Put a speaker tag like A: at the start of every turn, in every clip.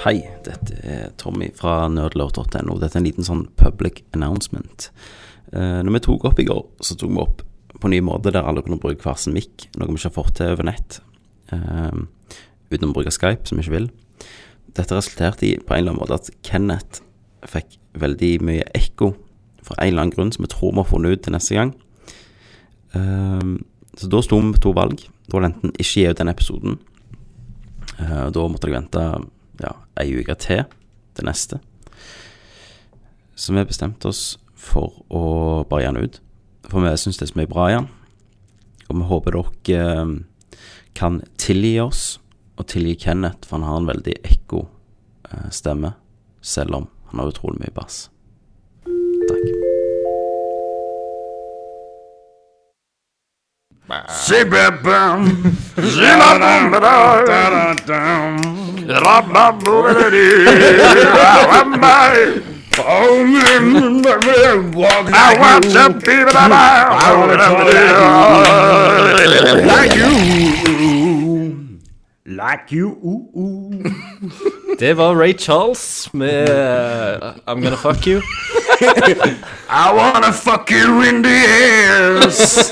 A: Hei, dette er Tommy fra nerdlord.no. Dette er en liten sånn public announcement. Eh, når vi tok opp i går, så tok vi opp på en ny måte der alle kunne bruke hver sin mic, noe vi ikke har fått til over nett. Eh, uten å bruke Skype, som vi ikke vil. Dette resulterte i på en eller annen måte at Kenneth fikk veldig mye ekko for en eller annen grunn som vi tror vi har funnet ut til neste gang. Eh, så da sto vi med to valg. Da var det enten ikke gi ut den episoden. Eh, og da måtte jeg vente ja, ei uke til til neste. Så vi bestemte oss for å bare gi den ut. For vi syns det er så mye bra i den. Og vi håper dere eh, kan tilgi oss, og tilgi Kenneth, for han har en veldig ekko eh, stemme. Selv om han har utrolig mye bass. Takk.
B: I want some people that I want to like you. Like you. ooh, ooh.
C: Det var Ray Charles med eh, I'm Gonna Fuck You.
B: I want to fuck you in the ass.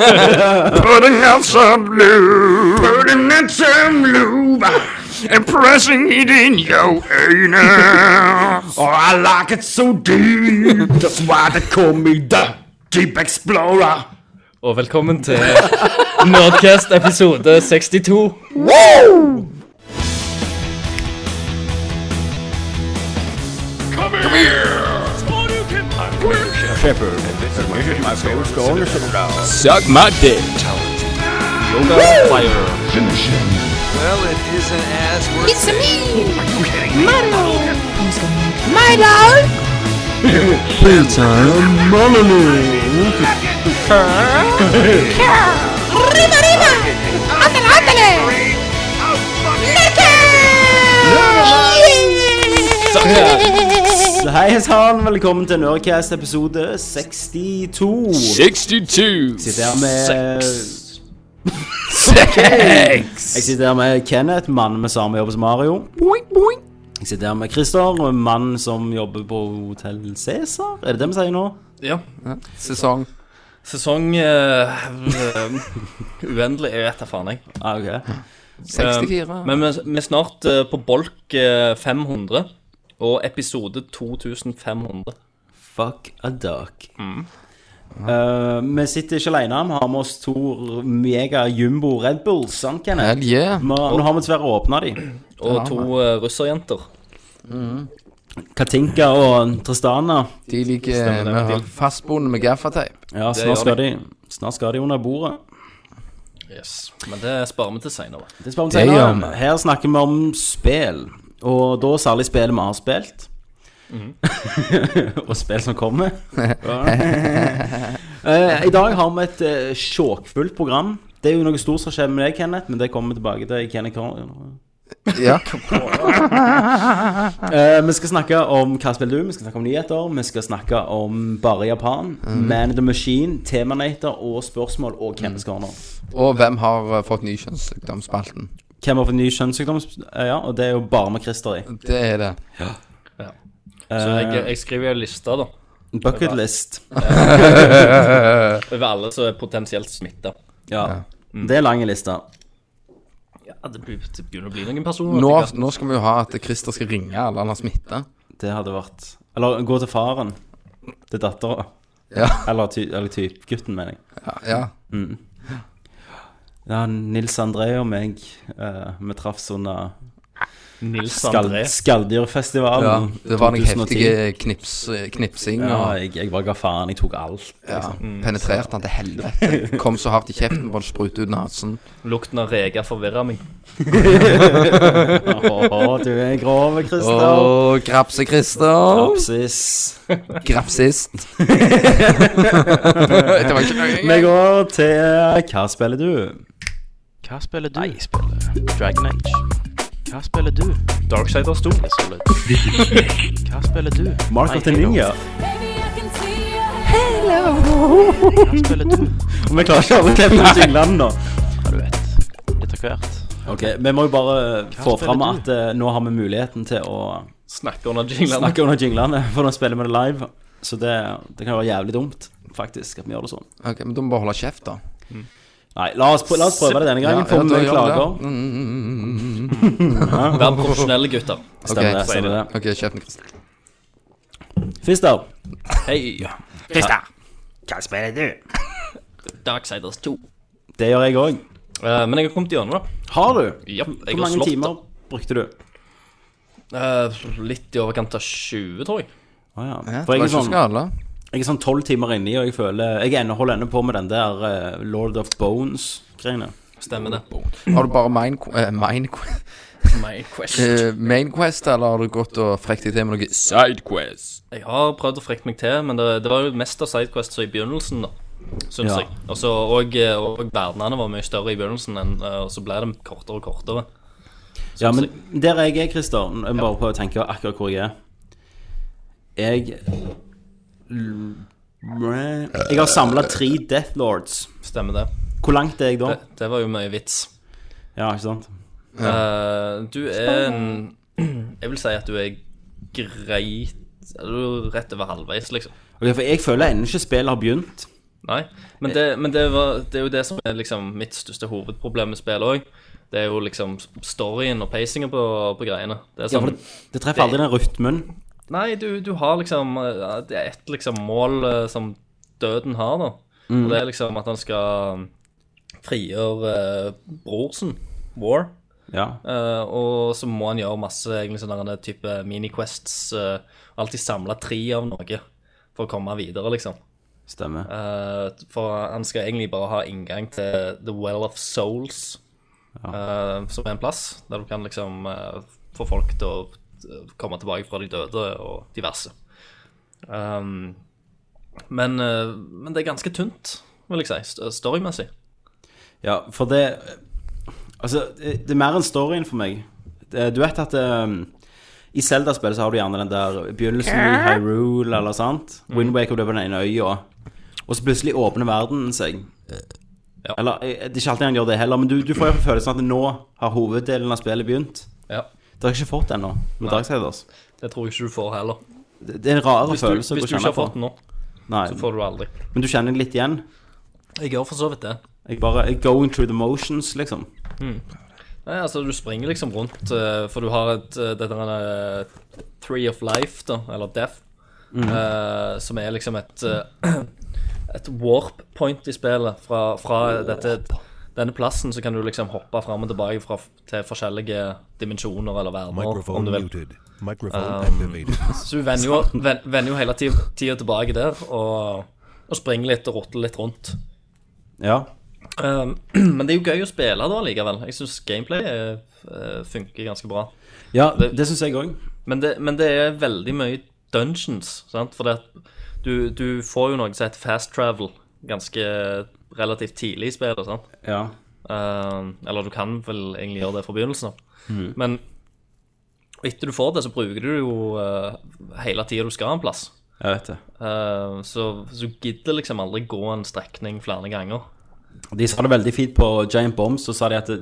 B: Putting out some lube. Putting out some lube. And pressing it in your anus. oh, I like it so deep. That's why they call me the Deep Explorer.
C: Og velkommen til Nerdcast episode 62.
D: It's a me! Mario! Milo! Riva, riva! Andale, andale! Neke! Yeah!
A: Hei sann, velkommen til Nerdcast episode 62.
E: 62
A: Jeg sitter her med Sex! Jeg sitter her med Kenneth, mannen med samme jobb som Mario. Jeg sitter her med Christer, mannen som jobber på Hotell Cæsar. Er det det vi sier nå?
C: Ja.
E: sesong.
C: Sesong eh, eh, uendelig. Jeg vet da faen, jeg.
A: Ah, ok.
E: 64.
C: Eh, men vi, vi er snart eh, på bolk eh, 500 og episode 2500.
A: Fuck a duck. Eh, vi sitter ikke alene. Vi har med oss to mega jumbo Red Bulls. Sant, Kenneth?
E: Hell yeah.
A: Nå, nå har vi dessverre åpna de.
C: Og to eh, russerjenter.
A: Katinka og Tristana.
E: De ligger
C: Stemmer det.
E: med fastbonde med gaffateip.
A: Ja,
C: Det gjør
A: snart skal de, snart skal de under bordet.
C: Yes. Men det sparer vi til seinere.
A: Det spør vi om
E: Det
A: senere.
E: gjør vi.
A: Her snakker vi om spill, og da særlig spill vi har spilt.
E: Mhm.
A: og spill som kommer. Eh, I dag har vi et eh, sjåkfullt program. Det er jo noe stort som skjer med deg, Kenneth, men det kommer vi tilbake til i Kenneth Corner.
E: Ja.
A: Eh, vi skal snakke om hva spiller du, vi skal snakke om nyheter, vi skal snakke om bare Japan,
E: Mhm.
A: Man in the Machine, Temanator og spørsmål og Kenneth Corner.
E: Og hvem har eh, fått ny kjønnssykdomsspalten?
A: Hvem har fått ny kjønnssykdom? Ja, og det er jo bare med Christer i.
E: Det er det.
C: Så jeg, jeg skriver en liste da
A: Bucketlist.
C: over alle som er potensielt smitta.
A: Ja. Mm. Det er lange lister.
C: Ja, det, blir, det begynner å bli noen personer.
E: Nå,
C: etter hvert.
E: nå skal vi jo ha at Christer skal ringe alle han har smitta.
A: Det hadde vært Eller gå til faren. Til dattera.
E: Ja.
A: Eller, ty, eller typ gutten, mener jeg.
E: ja.
A: Ja, Nils André og meg, eh, vi traffes under
C: Nils
A: skal,
C: André.
E: ja.
A: Skalldyrfestivalen.
E: Det var noen
A: 2010.
E: heftige knips, eh, knipsing
A: Ja,
E: og
A: jeg, jeg bare ga faen. Jeg tok alt.
E: ja, penetrerte han til helvete. Kom så hardt i kjeften på en sprut ut nesen.
C: Lukten av reker forvirrer meg.
A: Åh, du er grov, Christer.
E: Å, grapse, Christer.
A: Rapsis.
E: Grapsist. det var ikke
A: Vi går til eh, Hva spiller du?
F: Hva spiller du? Jeg spiller Dragon Age. Hva spiller du?
C: Darksiders 2.
F: Det er solid. Hva spiller du?
A: Mark of the Ninja.
F: Hva spiller du?
A: Og vi klarer ikke alle å klippe ut jinglene nå.
F: Ja, du vet. Litt av hvert.
A: Ok, Vi må jo bare få
F: spiller
A: fram
F: du?
A: at eh, nå har vi muligheten til å
C: Snakke under jinglene.
A: snakke under jinglene, for nå spiller vi det live. Så det, det kan være jævlig dumt, faktisk, at vi gjør det sånn.
E: Ok, men da må vi bare holde kjeft, da.
A: Nei, la oss, pr- la oss prøve det denne gangen, for
E: da
A: vi
E: gjør vi det.
A: klager.
E: Mm, mm, mm, mm, mm.
C: Vær profesjonelle, gutter.
A: Stemmer
E: Ok,
A: det. stemmer det.
E: Ok, kjeften, Kristian.
A: Fister,
C: Hei.
B: Christer, hva spiller du?
C: Darksiders 2.
A: det gjør jeg òg.
C: Eh, men jeg har kommet gjennom, da.
A: Har du?
C: Ja, jeg
A: Hvor
C: har
A: mange
C: slått
A: timer brukte du?
C: det. Eh, litt i overkant av 20, tror jeg.
A: Å ja.
E: Ja,
A: For
E: det
A: jeg
E: var
A: er
E: ikke
A: sånn
E: skala.
A: Jeg er sånn tolv timer inni, og jeg føler Jeg ender- holder ennå på med den der eh, Lord of Bones-greiene.
C: Stemmer det.
E: Har du bare main, eh, main,
C: My question.
E: eh, main quest, eller har du gått og frekt deg til med noe side quest?
C: Jeg har prøvd å frekke meg til, men det, det var jo mest av Sidequests i begynnelsen, da. Syns
A: Ja.
C: jeg. Altså, og, og verdenene var mye større i begynnelsen, enn, eh, og så ble det kortere og kortere. Sånn
A: Ja, men der jeg er, Christer Jeg må bare prøve å tenke akkurat hvor jeg er. Jeg Jeg har samla tre Death Lords.
C: Stemmer det.
A: Hvor langt er jeg da?
C: det. Det var jo mye vits.
A: Ja, ikke sant?
C: Eh, du er en Jeg vil si at du er greit er Du er rett over halvveis, liksom.
A: Ok, for jeg føler ennå ikke spillet har begynt.
C: Nei. Men, det, men det, var, det er jo det som er liksom mitt største hovedproblem med spillet òg. Det er jo liksom storyen og pacingen på, på greiene. Det er
A: Ja,
C: sånn,
A: for det, det treffer aldri den rytmen.
C: Nei, du, du har liksom eh, Det er ett liksom mål eh, som døden har, da. Og det er liksom at han skal frigjøre eh, bror sin, War.
A: Ja.
C: Eh, og så må han gjøre masse egentlig sånne der type mini-quests. eh, alltid samle tre av noe for å komme videre, liksom.
A: Stemmer.
C: Eh, for han skal egentlig bare ha inngang til The Well of Souls, eh, som er en plass der du kan liksom eh, få folk til å eh, komme tilbake fra de døde og diverse. Um, men, eh, men det er ganske tynt, vil jeg si, st- storymessig.
A: Ja, for det eh, Altså, det det er mer enn storyen for meg. Det, du vet at um, i Zelda-spill så har du gjerne den der begynnelsen i Hyrule eller sant? Windwaker du er på den ene øya, og så plutselig åpner verden seg.
C: Ja.
A: Eller eh, det er ikke alltid han gjør det heller, men du, du får jo følelsen at nå har hoveddelen av spillet begynt.
C: Ja,
A: Det har jeg ikke fått ennå med Darksiders.
C: Det tror jeg ikke du får heller.
A: Det det er en rarere
C: Hvis du, hvis
A: følelse å gå
C: du
A: og
C: ikke
A: kjenne
C: har
A: på.
C: fått den nå,
A: Nei,
C: så får du det aldri.
A: men du kjenner det litt igjen.
C: Jeg gjør for så vidt det.
A: Jeg bare jeg Going through the motions, liksom.
C: Nei, altså Du springer liksom rundt, eh, for du har et, eh, dette her eh, Tree of Life, da, eller Death,
G: Mm.
C: eh, som er liksom et eh, Et warp point i spillet. Fra, fra dette, denne plassen så kan du liksom hoppe fram og tilbake fra, til forskjellige dimensjoner eller verdener.
G: Microphone
C: Om du vil.
G: muted. Microphone activated.
C: Så du vender jo, ven- vender jo hele tida tilbake der og, og springer litt og rotter litt rundt.
A: Ja.
C: Eh, men det er jo gøy å spille da likevel. Jeg syns gameplay eh, funker ganske bra.
A: Ja, det, det syns jeg òg.
C: Men det, men det er veldig mye dungeons, sant? For det at du, du får jo noe som heter fast travel ganske relativt tidlig i spillet, sant?
A: Ja.
C: Eh, eller du kan vel egentlig gjøre det fra begynnelsen av. Men etter du får det, så bruker du det jo eh, hele tida du skal en plass.
A: Jeg vet det.
C: Eh, så, så du gidder liksom aldri gå en strekning flere ganger.
A: De sa det veldig fint på Giant Bombs, så sa de at det,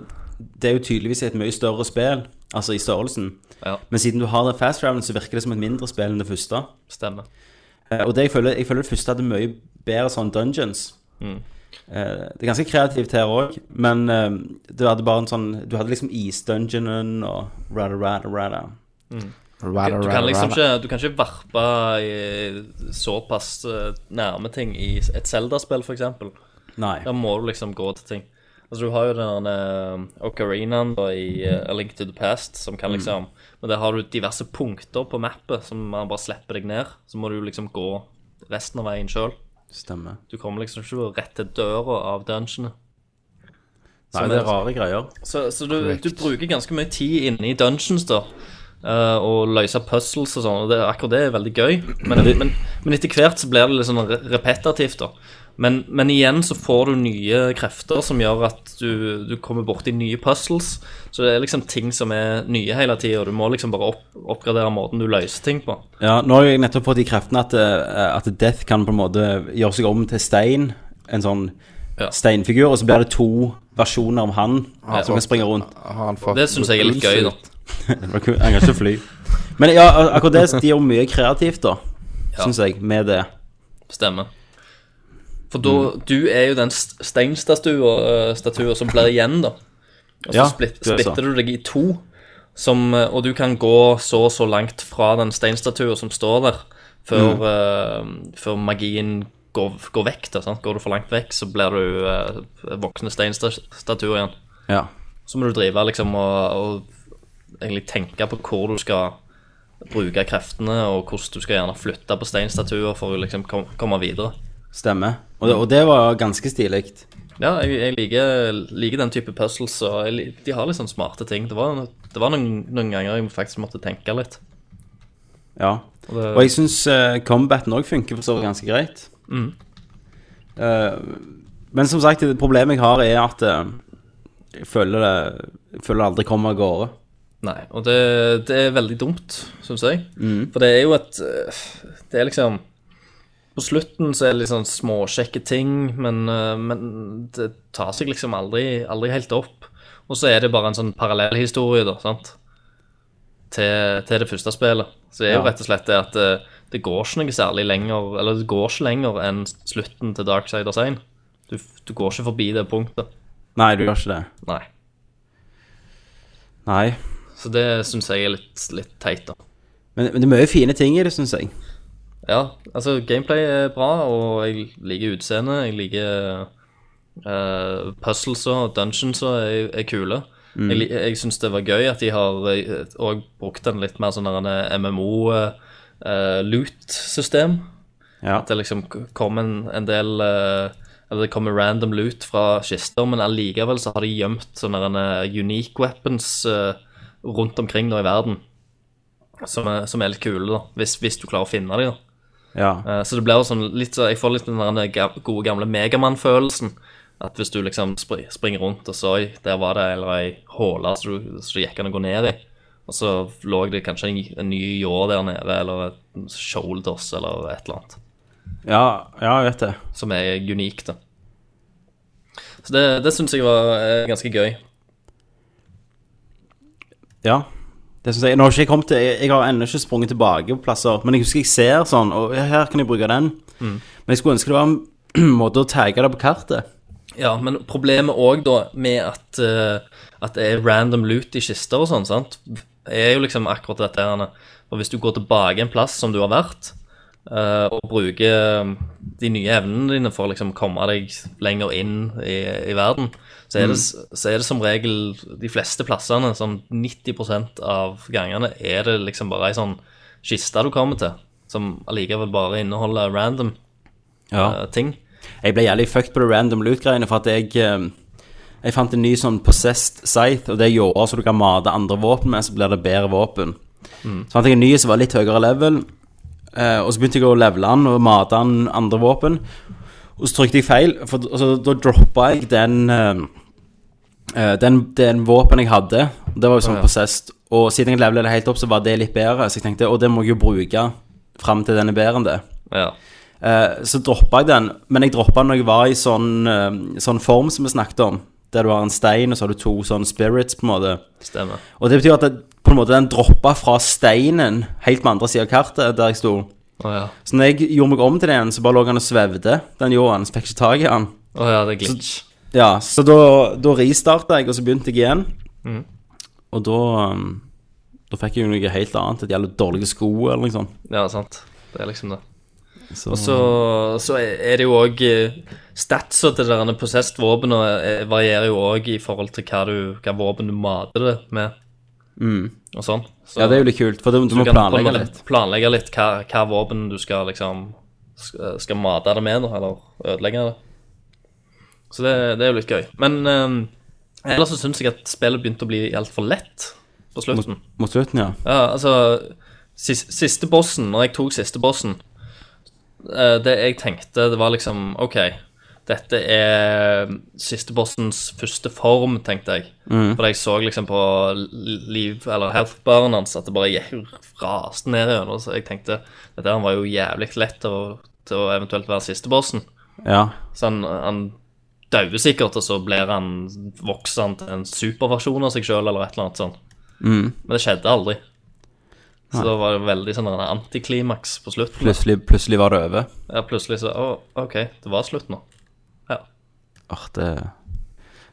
A: det er jo tydeligvis et mye større spill, altså i størrelsen.
C: Ja,
A: Men siden du har den fast travelen, så virker det som et mindre spill enn det første.
C: stemmer.
A: Eh, Og det jeg føler, jeg føler det første hadde mye bedre sånn dungeons.
C: Mm.
A: Eh, Det er ganske kreativt her òg, men eh, du hadde bare en sånn Du hadde liksom isdungeonen og rada, rada, rada.
E: Rada,
C: Du
E: rada,
C: kan liksom
E: rada.
C: ikke, du kan ikke varpe i såpass eh, nærme ting i et Zelda-spill, for eksempel.
A: Nei.
C: Da må du liksom gå til ting. Altså Du har jo den eh, ocarinaen da, i eh, A Link to the Past, som kan liksom Men der har du diverse punkter på mappet som man bare slipper deg ned. Så må du liksom gå resten av veien sjøl.
A: Stemmer.
C: Du kommer liksom ikke rett til døra av dungeonet.
A: Nei, det er rare greier.
C: Så, så du, du bruker ganske mye tid inne i dungeons, da. eh, og løse puzzles og sånn. Og det, akkurat det er veldig gøy. Men, men, men etter hvert så blir det litt sånn re- repetitivt, da. Men, men igjen så får du nye krefter som gjør at du, du kommer borti nye puzzles. Så det er liksom ting som er nye hele tida, og du må liksom bare opp, oppgradere måten du løser ting på.
A: Ja, nå har jeg nettopp fått de kreftene at, eh, at Death kan på en måte gjøre seg om til stein. En sånn
C: Ja.
A: steinfigur, og så blir det to versjoner av han
E: Ja.
A: som kan springe rundt.
E: Har han fått
C: Det syns jeg er litt gøy, da.
A: Han kan ikke fly. Men ja, al- akkurat det, de gjør mye kreativt, da. Syns jeg, med det.
C: Stemmer. For da,
A: Mm.
C: du er jo den st- steinstatua eh, statua som blir igjen, da. Og så
A: Ja,
C: splitt,
A: det er så.
C: splitter du deg i to, som, eh, og du kan gå så og så langt fra den steinstatua som står der, før,
A: Mm.
C: eh, før magien går, går vekk. Da, sant? Går du for langt vekk, så blir du eh, voksne steinstatua igjen.
A: Ja.
C: Så må du drive liksom og, og egentlig tenke på hvor du skal bruke kreftene, og hvordan du skal gjerne flytte på steinstatuer for å liksom kom, komme videre.
A: Stemmer. Og det, og det var ganske stilig.
C: Ja, jeg, jeg liker, liker den type puzzles, og jeg, lik- de har litt sånn smarte ting. Det var, det var noen, noen ganger jeg faktisk måtte tenke litt.
A: Ja.
C: Og det-
A: Og jeg syns uh, combaten òg funker for så vidt ganske greit. Eh, men som sagt, det problemet jeg har, er at eh, jeg føler det jeg føler det aldri kommer av gårde.
C: Nei, og det, det er veldig dumt, syns jeg. For det er jo et øh, Det er liksom På slutten så er det litt sånn småkjekke ting, men, øh, men det tar seg liksom aldri, aldri helt opp. Og så er det bare en sånn parallellhistorie, da, sant, til, til det første spillet. Så det er jo
A: Ja.
C: rett og slett det at øh, det går ikke noe særlig lenger Eller det går ikke lenger enn slutten til Darksiders 1. Du, du går ikke forbi det punktet.
A: Nei, du gjør ikke det.
C: Nei.
A: Nei.
C: Så det syns jeg er litt, litt teit, da.
A: Men, men det er mye fine ting i det, syns jeg.
C: Ja, altså gameplay er bra, og jeg liker utseendet. Jeg liker uh, puzzles og dungeons og er, er kule. Jeg, li- jeg syns det var gøy at de har eh, og brukt en litt mer sånn MMO-loot-system.
A: Ja.
C: eh, At det liksom k- kom en, en del eh, Eller det kommer random loot fra kister, men allikevel så har de gjemt sånn sånne derne eh, unique weapons eh, rundt omkring nå i verden. Som er, som er litt kule, da. Hvis, hvis du klarer å finne dem, da.
A: ja.
C: Eh, Så det blir jo sånn litt så Jeg får litt den der ga- gode gamle Megamann-følelsen. At hvis du liksom spri- springer rundt og så Oi, der var det eller ei håle så du- så det gikk an å gå ned i. Og så lå det kanskje en, en ny ljå der nede, eller et shoulders, eller et eller annet.
A: ja. Ja, jeg vet det.
C: Som er unikt, da. Så det, det syns jeg var eh, ganske gøy.
A: Ja. Det synes jeg, nå har ikke jeg, kommet til, jeg, jeg har ennå ikke sprunget tilbake på plasser, men jeg husker jeg ser sånn, og her kan jeg bruke den. Men jeg skulle ønske det var en måte å tagge det på kartet.
C: Ja, men problemet òg da med at, eh, at det er random loot i kister og sånn, sant, er jo liksom akkurat dette her. Anne. For hvis du går tilbake en plass som du har vært, eh, og bruker eh, de nye evnene dine for å liksom komme deg lenger inn i, i verden, så er, det, s- så er det som regel de fleste plassene, sånn 90 av gangene, er det liksom bare ei sånn kiste du kommer til, som allikevel bare inneholder random eh, ting.
A: Jeg ble jævlig fucked på det random loot-greiene, for at jeg eh, Jeg fant en ny sånn possessed scythe, og det gjorde så du kan mate andre våpen med, så blir det bedre våpen. Så fant jeg en ny som var litt høyere level, eh, og så begynte jeg å levele den og mate den andre våpen. Og så trykte jeg feil, for d- altså, da droppa jeg den eh, eh, den, den våpen jeg hadde, det var jo sånn possessed. Og siden jeg levelet det helt opp, så var det litt bedre. Så jeg tenkte og det må jeg jo bruke fram til den er bedre enn det.
C: Ja.
A: Eh, så droppa jeg den, men jeg droppa den når jeg var i sånn, eh, sånn form som vi snakket om. Der du har en stein, og så har du to sånne spirits, på en måte.
C: Stemmer.
A: Og det betyr at det, på en måte den droppa fra steinen helt på andre sida av kartet, der jeg sto.
C: Å ja.
A: Så når jeg gjorde meg om til den igjen, så bare lå han og svevde, den jorden. Så fikk jeg ikke tak i han.
C: Å ja, det er glitch.
A: Ja, så da, da restarta jeg, og så begynte jeg igjen. Og da um, Da fikk jeg jo noe helt annet. Et jævlig dårlige sko eller noe sånt.
C: Ja, sant. Det er liksom det.
A: Så,
C: Og så, så er det jo òg Statsa til de der possessed våpnene eh, varierer jo òg i forhold til hva, du, hva våpen du mater det med. Og sånn. Så,
A: Mm. ja, det er jo litt kult, for du, du
C: så
A: må
C: du kan på en
A: planlegge
C: måte
A: litt.
C: Planlegge litt hva, hva våpen du skal liksom sk- Skal mate det med, da, eller ødelegge det. Så det, det er jo litt gøy. Men eh, ellers så syns jeg at spillet begynte å bli altfor lett på slutten.
A: Mot slutten, ja.
C: Ja, altså sis- Siste bossen, når jeg tok siste bossen eh, Det jeg tenkte, det var liksom OK, dette er siste bossens første form, tenkte jeg. For jeg så liksom på li- liv- eller health-baren hans at det bare gikk raste ned igjennom. Så jeg tenkte dette her var jo jævlig lett til å, til å eventuelt være siste bossen.
A: Ja.
C: Så han, han dauer sikkert, og så blir han vokser han til en superversjon av seg sjøl eller et eller annet sånt. Men det skjedde aldri. Så det var det veldig sånn en antiklimaks på slutten.
A: Plutselig, plutselig var det over.
C: Ja, plutselig så Å, OK, det var slutt nå. Ja.
A: Åh, det,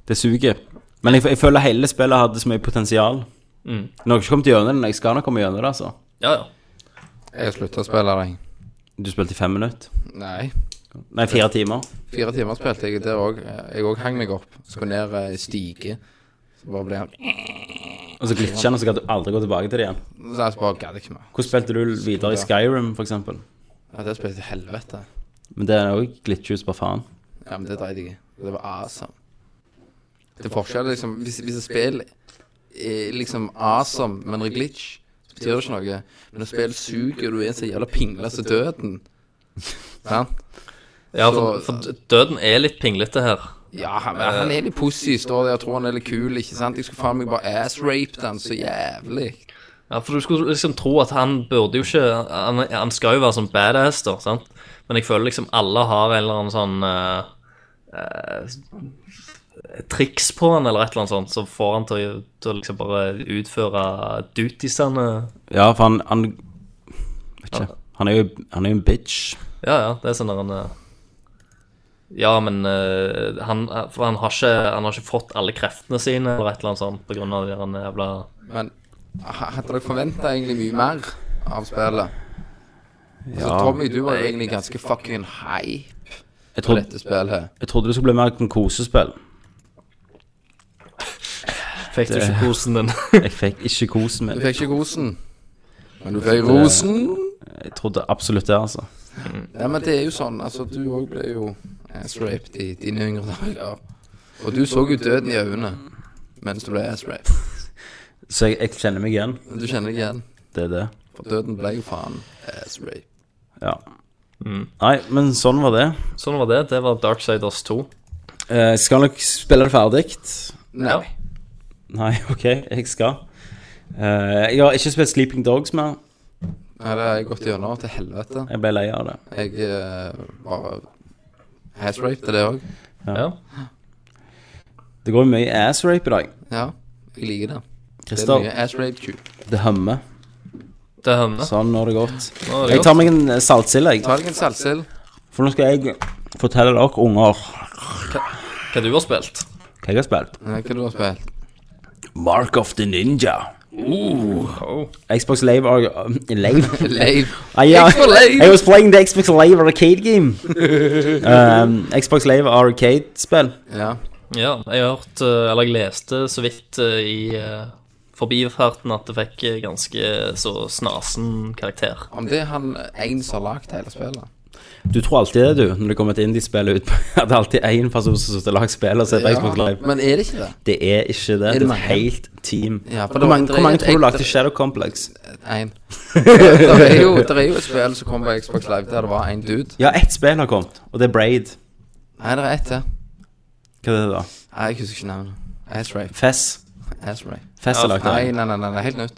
A: det suger. Men jeg, jeg føler hele spillet hadde så mye potensial. Nå har jeg ikke kommet gjennom det, men jeg skal nok komme gjennom det, altså.
C: Ja, ja.
E: Jeg slutta å spille deg.
A: Du spilte i fem minutter.
E: Nei.
A: Nei, fire timer.
E: Fire timer spilte jeg der òg. Jeg òg hang meg opp. Skulle ned eh, stige. Så bare ble han
A: Og så glitcha den, og så kan du aldri gå tilbake til det igjen.
E: Så jeg bare gadd ikke mer.
A: Hvordan spilte du videre i Skyrim, for eksempel?
E: Ja, det spilte til helvete.
A: Men det er òg glitches, bare faen.
E: Ja, men det dreit jeg i. Det var awesome. Det er forskjell, liksom. Hvis, hvis et spill er liksom awesome, men er glitch, så betyr det ikke noe. Men når spill suger, og du er så jævla pingla som døden Sant?
C: ja for,
E: Så-
C: for døden er litt pinglete her.
E: Ja, han, men han er litt pussig, står der og tror han er litt kul, ikke sant? Jeg skulle faen meg bare ass-rape den så jævlig.
C: Ja, for du skulle liksom tro at han burde jo ikke Han, han skal jo være sånn badass, da, sant? Men jeg føler liksom alle har en eller annen sånn eh, eh, triks på han, eller et eller annet sånt, som får han til, å- til å liksom bare utføre dutiesene.
A: Ja, for han, han Vet ikke. Han er jo, han er jo en bitch.
C: Ja, ja, det er sånn der han eh, Ja, men eh, han, for han, har ikke, han har ikke fått alle kreftene sine, eller et eller annet sånt, på grunn av de der jævla
E: Men ha- hadde dere forventa egentlig mye mer av spillet? Så Tommy, du var jo egentlig ganske fucking hype
A: Jeg
E: på
A: trodde,
E: dette spillet.
A: jeg trodde det skulle bli mer sånn kosespill.
C: Fikk du ikke kosen din?
A: Jeg fikk ikke kosen
E: Du
A: min.
E: fikk ikke kosen, men du fikk rosen.
A: Jeg trodde absolutt det, altså.
E: Ja, men det er jo sånn, altså, du òg ble jo ass-raped i dine yngre dager. Og du så jo døden i øynene mens du ble ass-raped.
A: Så jeg, jeg kjenner meg igjen.
E: Men Du kjenner deg igjen,
A: Det er det.
E: for døden ble jo faen eh, ass-raped.
A: Ja.
E: Mm.
A: Nei, men sånn var det.
C: Sånn var det. Det var Darksiders 2.
A: Eh, Jeg skal nok spille det ferdig.
E: Nei.
C: Ja.
A: Nei, OK, jeg skal. Eh, jeg har ikke spilt Sleeping Dogs mer.
E: Nei, det har jeg gått gjennom til helvete.
A: Jeg ble lei av det.
E: Jeg eh, bare ass-rapte det òg.
C: Ja.
A: Det går jo mye ass-rape i dag.
E: Ja, jeg liker det. Det er
A: Christer,
E: mye ass-rape cute.
A: det hummer.
C: Det hømmer.
A: Sånn, nå er det godt.
C: er det
A: Jeg tar meg en eh, saltsild, jeg.
E: Ta deg en salsild.
A: For nå skal jeg fortelle dere, unger,
C: Hva du har spilt?
A: hva jeg har spilt.
E: Hva har du spilt?
A: Mark of the Ninja.
E: Uh.
A: Oh. Xbox Live Ar- uh, Live?
E: Lave.
A: Ah, yeah.
E: Xbox Live.
A: I was playing the Xbox Live Arcade game. um, Xbox Live Arcade-spill.
E: Ja.
C: Ja, jeg har hørt, eh, eller jeg leste så vidt eh, i eh, forbifarten at det fikk eh, ganske så snasen karakter.
E: Om det er han en som har lagd hele spillet.
A: Du tror alltid det, du, når det kommer et indiespill ut. At det er alltid én person som sitter og lager spill og ser på Xbox Live.
E: Men er det ikke det?
A: Det er ikke det. Det er
E: det
A: et
E: mange?
A: helt team.
E: Ja, for
A: hvor,
E: det-
A: mange,
E: det
A: hvor
E: er
A: mange
E: et
A: tror du lagde
E: ekte-
A: Shadow Complex?
E: En. det, er jo, det er jo et spill som kom på Xbox Live der det var en dude.
A: Ja, ett spill har kommet, og det er Braid.
E: Nei, det er ett til.
A: Hva er det, da?
E: Nei, jeg husker ikke navnet. Ass-rape.
A: Fess.
E: Ass-rape.
A: Fess har lagd
E: Nei,
A: det.
E: nei, nei, nei, nei, helt nytt.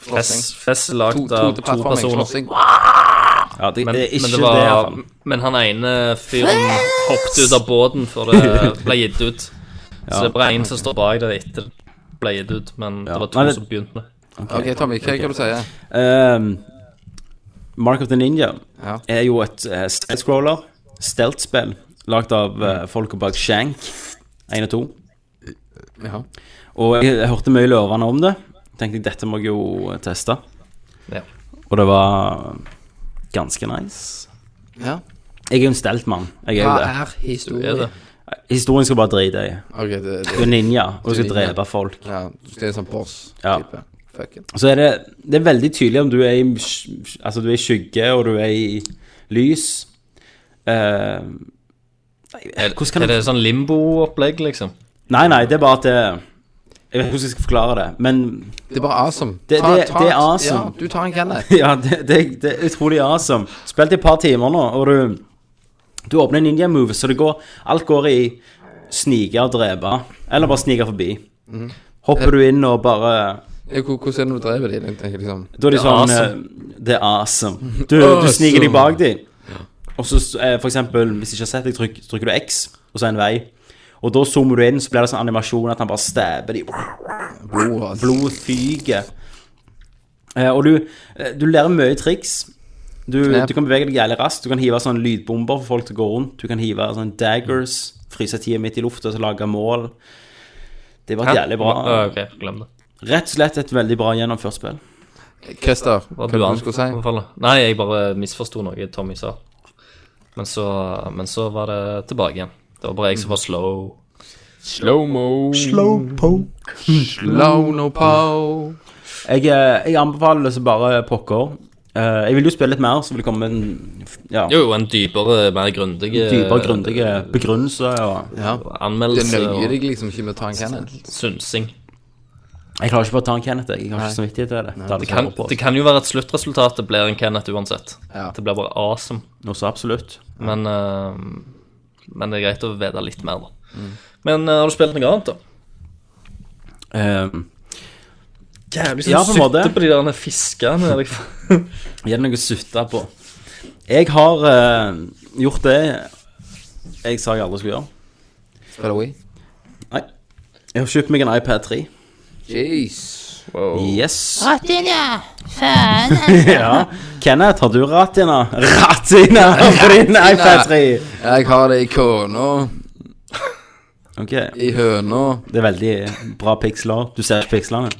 E: Flossing.
C: Fess, fess lagd av to, personer.
E: Flossing.
A: Ja, det,
C: Men,
A: det er ikke
C: men,
A: det,
C: det
A: i hvert
C: var,
A: fall.
C: men han ene fyren hoppet ut av båten før det ble gitt ut. Så det er bare én som står bak det etter det ble gitt ut, men
A: Ja.
C: det
A: Nei,
C: var to
A: det-
C: som begynte.
E: OK, Tommy, hva er det du sier?
A: Ehm, Mark of the Ninja
E: Ja.
A: er jo et uh, stealth-scroller, stealth-spill, lagd av eh, folka bak Shank 1 og 2.
E: Ja.
A: Og jeg, jeg hørte mye lovende om det. Tenkte jeg, dette må jeg jo teste.
C: Ja.
A: Og det var ganske nice.
E: ja.
A: Jeg er jo en steltmann. Jeg er
E: Hva
A: jo det.
E: er
C: Det er
E: historie?
C: det.
A: Historien skal bare drite i.
E: OK, det,
A: Du er
E: det,
A: ninja, og du skal
E: Du er ninja.
A: drepe folk.
E: ja, det er en sånn
A: Ja.
E: boss-type. Fuck it.
A: Og Så er det, det er veldig tydelig om du er i, sk- altså du er i skygge, og du er i lys. Eh,
C: Er,
A: hvordan kan
C: er det sånn limbo-opplegg, liksom?
A: nei, nei, det er bare at det Jeg vet ikke hvordan jeg skal forklare det, men
E: Det er bare awesome.
A: Det- det- det er awesome.
E: Ja, du tar en Kenneth.
A: ja, det, det, det er utrolig awesome. Spilt i et par timer nå, og du Du åpner ninja move, så det går Alt går i snike og drepe, eller bare snike forbi. Hopper du inn og bare
E: Ja, hvor- Hvordan er det du driver de? Jeg tenker liksom
A: Da er de
C: Det er
A: sånn
C: awesome.
A: eh, Det er awesome. Du, du
E: Awesome.
A: sniker deg bak dem. Og så eh, for eksempel, hvis du ikke har sett deg, trykker, trykker du X, og så er en vei. Og da zoomer du inn, så blir det sånn animasjon at han bare stabber de
E: Blod, altså.
A: Blod fyker. Eh, og du, eh, du lærer mye triks. Du,
E: Knep.
A: du kan bevege deg jævlig raskt. Du kan hive sånn lydbomber for folk til å gå rundt. Du kan hive sånn daggers, fryse tida midt i lufta og så lage mål. Det var et jævlig bra.
C: Ah, ok, glem det.
A: Rett og slett et veldig bra gjennomført spill.
E: Christer, hva
C: Hva
E: var det
C: annet
E: du skulle si?
C: anbefaler? Nei, jeg bare misforsto noe Tommy sa. Men så, men så var det tilbake igjen. Det var bare jeg som var slow.
E: Slow-mo. Slow-no-pow.
A: Jeg, eh, jeg anbefaler det så bare pokker. Eh, jeg vil jo spille litt mer, så vil det komme en ja,
C: Jo, eh, jo, en dypere, mer grundig eh,
A: dypere, grundige begrunnelser. Og...
E: Ja. Det
C: anmeldelse
E: nøyer
C: og
E: deg liksom ikke med å ta en cannon.
C: synsing.
A: Jeg klarer ikke bare å ta en Kenneth. Jeg Jeg har ikke samvittighet til det. sånn det, hadde
C: Det kan,
A: ikke vært på.
C: det kan jo være at sluttresultatet blir en Kenneth uansett.
E: Ja.
C: Det blir bare awesome.
A: Noe så absolutt.
C: Men, eh, men det er greit å vite litt mer, da.
E: Mm.
C: Men eh, har du spilt noe annet, da?
A: Um,
C: Jævlig
A: Ja, på en måte.
C: Sitte på de der fiskene. eller hva-
A: Gi det noe å sutte på. Jeg har eh, gjort det jeg sa jeg aldri skulle gjøre.
E: Spiller we?
A: Nei. Jeg har kjøpt meg en iPad 3.
E: Jeez.
A: Yes.
D: Ratina! Faen.
A: Ja. Kenneth, har du Ratina? Ratina på din iPad 3!
E: Jeg har det i kona,
A: Ok,
E: i høna.
A: det er veldig bra piksler. Du ser ikke pikslene.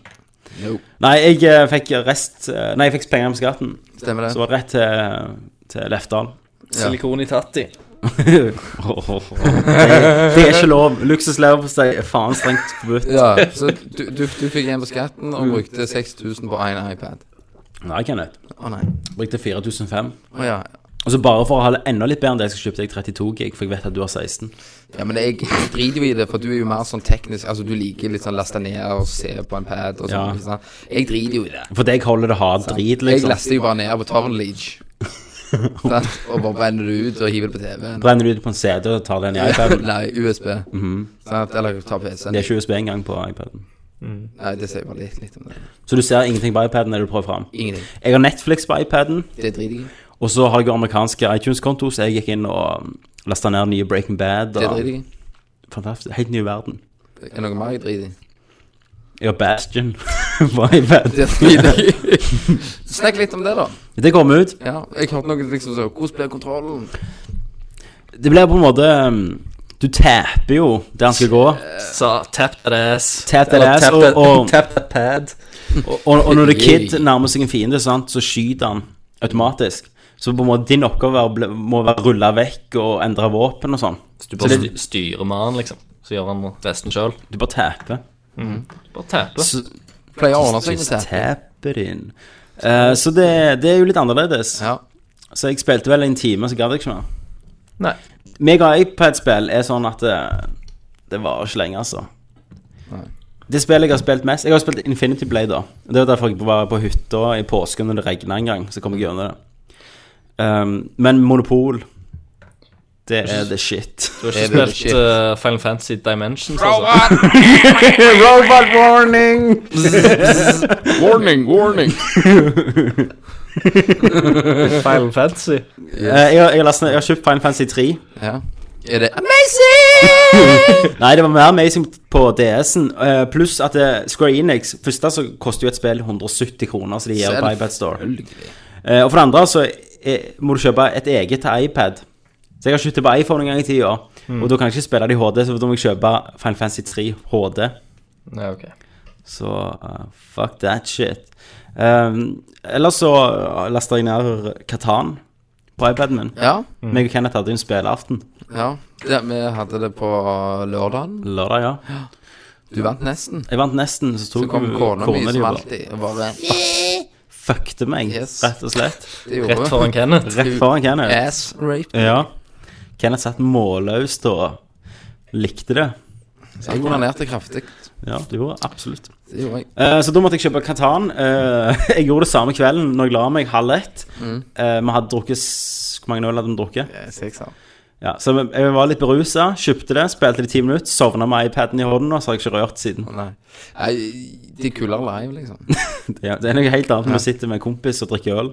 E: Jo.
A: Nei, jeg eh, fikk rest eh, Nei, jeg fikk penger på skatten.
E: Stemmer
A: Så
E: det?
A: var det rett til, til Lefdal.
C: Silikon i tatti.
A: det, det er ikke lov. Luksusleverpostei er faen strengt forbudt.
E: Ja, så du, du, du fikk en på skatten og brukte 6000 på én iPad.
A: Nei, Kenneth.
E: Å nei.
A: Brukte 4500.
E: Å ja.
A: Og så bare for å ha det enda litt bedre enn det, så kjøpte jeg 32 gig, for jeg vet at du har 16.
E: Ja, men jeg driter jo i det, for du er jo mer sånn teknisk Altså, du liker litt sånn laste ned og se på en pad og
A: Ja.
E: sånn. ikke sant? Jeg driter jo i det.
A: For deg holder det hard drit,
E: Jeg
A: liksom.
E: laster jo bare ned på Tornleach. Sant? og bare brenner det ut og hiver det på TV-en.
A: Brenner du det på en CD og tar den i iPaden?
E: Nei, Mhm. USB. Sant? Sånn Eller tar PC-en.
A: Det er ikke USB engang på iPaden.
E: Nei, det sier bare litt, litt om det.
A: Så du ser ingenting på iPaden når du prøver fram.
E: Ingenting.
A: Jeg har Netflix på iPaden,
E: Det driter jeg i.
A: og så har jeg jo amerikanske iTunes-konto, så jeg gikk inn og lasta ned nye Breaking Bad.
E: Det driter
A: Og
E: jeg i.
A: fantastisk. Helt ny verden.
E: Er det noe mer jeg driter i?
A: Jeg har Bastion på iPad.
E: Det driter jeg i. Snakk litt om det, da.
A: Det kom ut.
E: Ja, jeg hørte noe liksom sånn Hvordan blir kontrollen?
A: Det blir på en måte um, Du taper jo der han skal gå.
C: Sa tap that ass.
A: Tap that
C: Eller
A: ass,
C: tap
A: og-
C: that-
A: og-
C: Tap that pad.
A: Og, og når The Kid nærmer seg en fiende, sant, så skyter han automatisk. Så på en måte din oppgave er å bli- må være rulle vekk og endre våpen og sånn.
C: Hvis du bare sty- styrer med han, liksom, så gjør han resten sjøl.
A: Du bare taper.
C: Bare tape.
A: Så
E: Pleier å ordne seg med
A: så
E: teppe.
A: taper inn. Eh, så det, det er jo litt annerledes.
E: Ja.
A: Så jeg spilte vel en time, så gadd jeg ikke mer.
C: Nei.
A: Meg og iPad-spill er sånn at det, det varer ikke lenge, altså. Det spillet jeg har spilt mest Jeg har spilt Infinity Blade, da. Det var derfor jeg var på hytta i påsken når det regna en gang. Så kom jeg gjennom det. Um, men Monopol, det er the shit.
C: Du har ikke
E: Er det
C: spilt
E: shit?
C: eh, Final Fantasy Dimensions, altså?
B: Robot warning!
E: Warning, warning.
C: Final Fantasy?
A: Eh, jeg, har, jeg, har lest, jeg har kjøpt Final Fantasy 3.
E: Ja. Er det
A: Nei, det var mer amazing på DS-en. eh, Pluss at eh, Square Enix Først da så koster jo et spill 170 kroner, så de gir på iPad Store. Eh, og for det andre så eh, må du kjøpe et eget til iPad. Så jeg har kjøpt det på iPhone en gang i tida, og da kan jeg ikke spille det i HD, så da må jeg kjøpe Final Fantasy 3 HD.
C: Ja, ok.
A: Så eh, fuck that shit. Um, ellers så eh, laster jeg ned Katan på iPaden min.
E: Ja.
A: Meg og Kenneth hadde jo en spilleaften.
E: ja. ja. Vi hadde det på lørdagen.
A: Lørdag, ja.
E: Du vant nesten.
A: Jeg vant nesten, så
E: Så
A: tok
E: kom kona mi
A: di
E: som
A: og bare
E: alltid. og Bare
A: fuckte meg,
E: Yes.
A: rett og slett.
E: det gjorde
C: Rett
E: hun.
C: foran Kenneth.
A: Rett foran Kenneth.
E: Ass rape.
A: Ja. Kenneth satt målløst og likte det.
E: Så jeg onanerte kraftig.
A: Ja, det gjorde jeg absolutt.
E: Det gjorde jeg.
A: Eh, så da måtte jeg kjøpe Katan. Eh, jeg gjorde det samme
E: Mm.
A: kvelden når jeg la meg halv ett. Eh, Vi hadde drukket s- Hvor mange øl hadde vi drukket?
E: Seks av.
A: Ja, så jeg- jeg var litt berusa, kjøpte det, spilte det i ti minutter, sovna med iPaden i hånden, og så har jeg ikke rørt siden.
E: Nei. Nei, de er kulere live, liksom.
A: Ja, det er noe helt annet når du sitter med en kompis og drikker øl.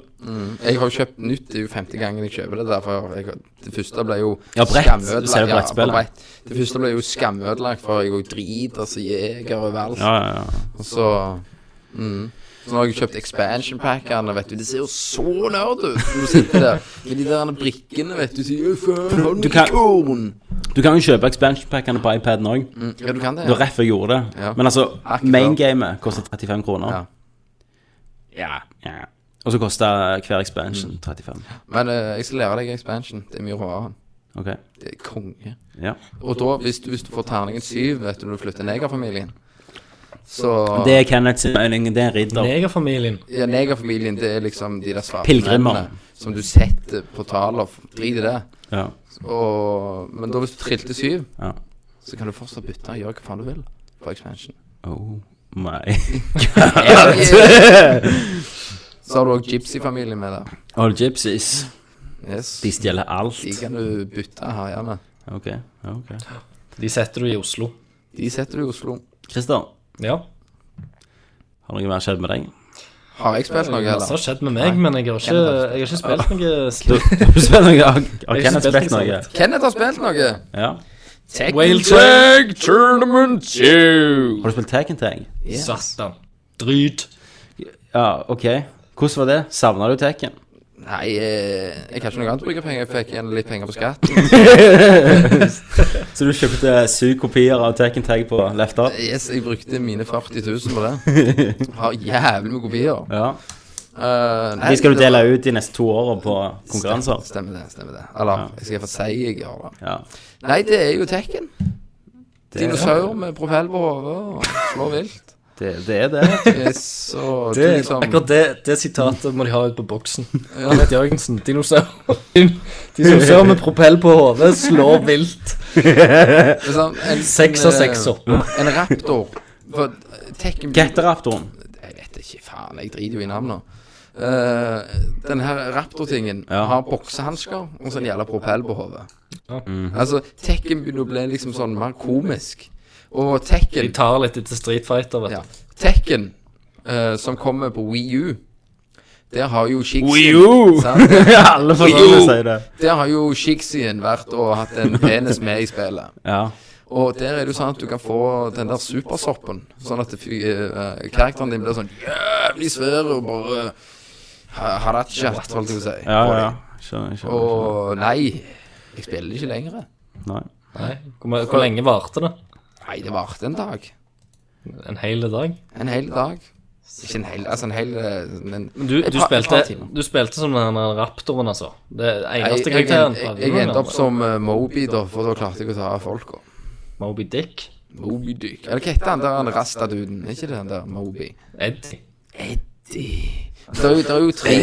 E: Jeg har jo kjøpt nytt, det er jo femte gangen jeg kjøper det. Derfor jeg, det første ble jo
A: Ja, brett. Du ser jo
E: ja,
A: brettspillet.
E: på brett. Det første ble jo skamødelagt, for jeg går drit, altså jeger overalt.
A: Ja, ja, ja.
E: Og så mm. Så nå har jeg kjøpt expansion packene, vet du. De ser jo så nerd ut når du sitter der med de der brikkene, vet du. Så, «Å, faen, har
A: Du
E: du
A: kan-
E: kan... korn?
A: Du kan jo kjøpe expansion-packene på iPaden òg.
E: Mm. Ja, du kan det.
A: Det var
E: Ja.
A: rett før jeg gjorde det.
E: Ja.
A: Men altså,
E: Akkurat.
A: maingamet koster 35 kroner.
E: Ja.
A: Ja. ja. Og så koster hver expansion 35.
E: Men eh, jeg skal lære deg expansion. Det er mye råere.
A: Ok.
E: Det er konge.
A: Ja.
E: Og da, hvis du, hvis du får terningen syv, vet du, når du flytter negerfamilien, så
A: Det er Kenneth sin mening. Det er ridder.
C: Negerfamilien.
E: Ja, negerfamilien, det er liksom de der svarte
A: Pilgrimer.
E: mennene som du setter på taler. Drit i det.
A: Ja.
E: Og, men da hvis du trilte syv,
A: Ja.
E: så kan du fortsatt bytte og gjøre hva faen du vil på expansion.
A: Oh my
E: Så har du òg Gypsy-familien med der.
A: All gypsies.
E: Yes.
A: De stjeler alt.
E: De kan du bytte her gjerne.
A: Ok. ja, ok.
C: De setter du i Oslo.
E: De setter du i Oslo.
A: Christer,
C: Ja.
A: har noe mer skjedd med deg?
E: Har jeg spilt noe,
C: Masse har
E: eller?
C: skjedd med meg, men jeg har ikke, jeg har ikke spilt noe
A: Du,
C: slikt.
A: du spiller noe? Har har
C: Jeg har ikke
A: Kenneth
C: spilt
A: spilt noe?
C: noe.
E: Kenneth har spilt noe!
A: Ja.
C: Whale
E: Tag Tournament 2!
A: Har du spilt Taken Tag?
C: Satan. Dryt.
A: Ja, ok. Hvordan var det? Savna du Taken?
E: Nei, eh, jeg kan ikke noe annet å bruke penger. Jeg fikk igjen litt penger på skatten.
A: Så du kjøpte syv kopier av Taken Tag på Left Up?
E: Yes, jeg brukte mine 40 000 på det. Har jævlig med kopier.
A: Ja.
E: Eh, nei,
A: De skal du
E: det
A: dele
E: var-
A: ut de neste to årene på konkurranser?
E: Stemmer det. stemmer det Eller jeg skal få si jeg gjør det.
A: Ja.
E: Nei, det er jo Tekken.
A: Det,
E: Dinosaur med propell på hodet og slår vilt.
A: Det, det er det.
E: Yes, og
C: Det,
E: du liksom
C: akkurat det, det sitatet må de ha ut på boksen.
E: Ja.
C: Kenneth Jørgensen, dinosaur. Dinosaur med propell på hodet, slår vilt.
E: liksom, en,
C: Seks av
E: eh,
C: seks opp.
E: En raptor. For Tekken
A: Getteraptoren.
E: Jeg vet ikke, faen. Jeg driter jo i navnet. Uh, den her raptor-tingen
A: Ja.
E: har boksehansker og sånn jævla propell på hodet.
C: Ja.
A: Mhm.
E: Altså, Tekken begynner å bli liksom sånn mer komisk. Og
C: De
E: Tekken
C: tar litt etter Street Fighter, vet du.
E: ja. Tekken, eh, som kommer på Wii U Der har jo
A: U!
E: Shixien sant?
A: Alle
E: Jo.
A: foreldre sier det.
E: Der har jo Shixien vært og hatt en penis med i spillet.
A: Ja.
E: Og der er det jo sånn at du kan få den der supersoppen. Sånn at det fy- eh, karakteren din blir sånn jævlig svær og bare ha- Harachat, holdt jeg på å si.
A: Ja, ja. Skjønner, skjønner. skjønner.
E: Og nei, jeg spiller ikke lenger.
A: Nei.
C: Nei. Hvor, ma- hvor lenge varte det?
E: Nei, det varte en dag.
C: En hel dag?
E: En hel dag. Ikke en hel, altså en hel eh, Men
C: Men du,
E: et
C: du,
E: par- et par
C: spilte,
E: timer.
C: du spilte som den der raptoren, altså. Det er
E: Jeg,
C: eneste
E: jeg,
C: karakteren.
E: jeg,
C: fra altså.
E: jeg endte
C: Runeland.
E: opp som eh, Moby, da, for da klarte jeg å ta av folka.
C: Moby Dick.
E: Moby Dick. Eller hva heter han der han Rasta-duden? Er ikke det han der Moby?
C: Eddie.
E: Eddie Det er jo, det er jo tre.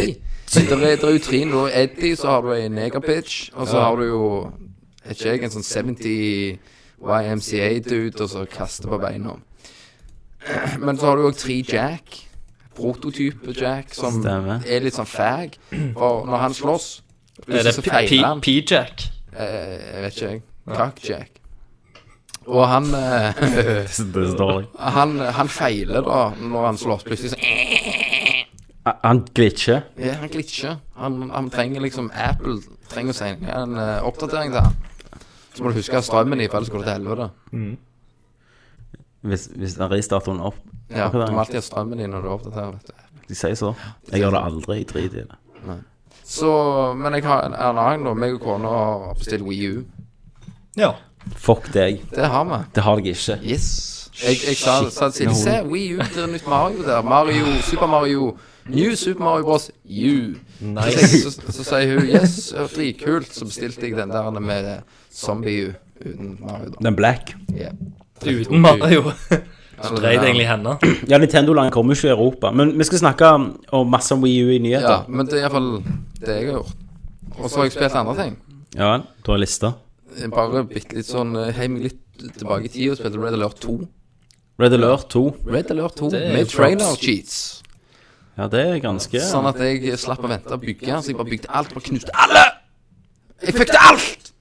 E: Det er, det er jo tre nå. Eddie, så har du ei negerpitch, og så har du jo Er ikke jeg en sånn 70 YMCA-dude, og så kaster på beina. Men så har du òg tre Jack. Prototype Jack, som
A: Stemmer.
E: er litt sånn fag. For når han slåss,
C: Er det
E: plutselig så
C: P-
E: feiler han.
C: P- P-Jack?
E: Eh, jeg vet ikke, jeg. Kakk-Jack. Og han eh,
A: Det er så dårlig.
E: han, han feiler da når han slåss plutselig. Så,
A: Ah, Han glitcher.
E: ja, han glitcher. Han, han trenger liksom Apple trenger å si en eh, oppdatering til han. Så må du huske strømmen i, for ellers går det til helvete.
A: Hvis, hvis han restarter den opp.
E: Ja, du
A: Akkurat.
E: må alltid ha strømmen i når du oppdaterer. vet du.
A: De sier så. Jeg gjør det aldri i drit i det.
E: Så, Men jeg har en en annen, da. Meg og kona har bestilt Wii U.
C: Ja.
A: Fuck deg.
E: Det har vi.
A: Det har jeg ikke.
E: Yes. Jeg, jeg sa sa til Silje Se, Wii U, det er nytt Mario der. Mario, Super Mario. New Super Mario Bros. U.
C: Nice.
E: Så, så, så sier hun Yes, det var dritkult. Så bestilte jeg den der med Zombie U uten Mario. da.
A: Den black.
E: Ja.
C: Uten Mario.
E: Så
C: Dreide egentlig henne.
A: Ja, Nintendo-land kommer ikke i Europa. Men vi skal snakke om masse om Wii U i
E: Ja,
A: nyheter.
E: men det er iallfall det jeg har gjort. Og så har jeg spilt andre ting.
A: Ja, du har lista.
E: Bare bitte litt sånn eh, Hei meg litt tilbake i tid og spilte Red Alert 2.
A: Red Alert 2.
E: Red Alert 2
C: Det er
E: med
C: jo
E: trailer
C: props.
E: cheats.
A: Ja, det er ganske
E: Sånn at jeg slapp å vente å bygge, så jeg bare bygde alt. Bare knuste alle! Jeg fikk det alt!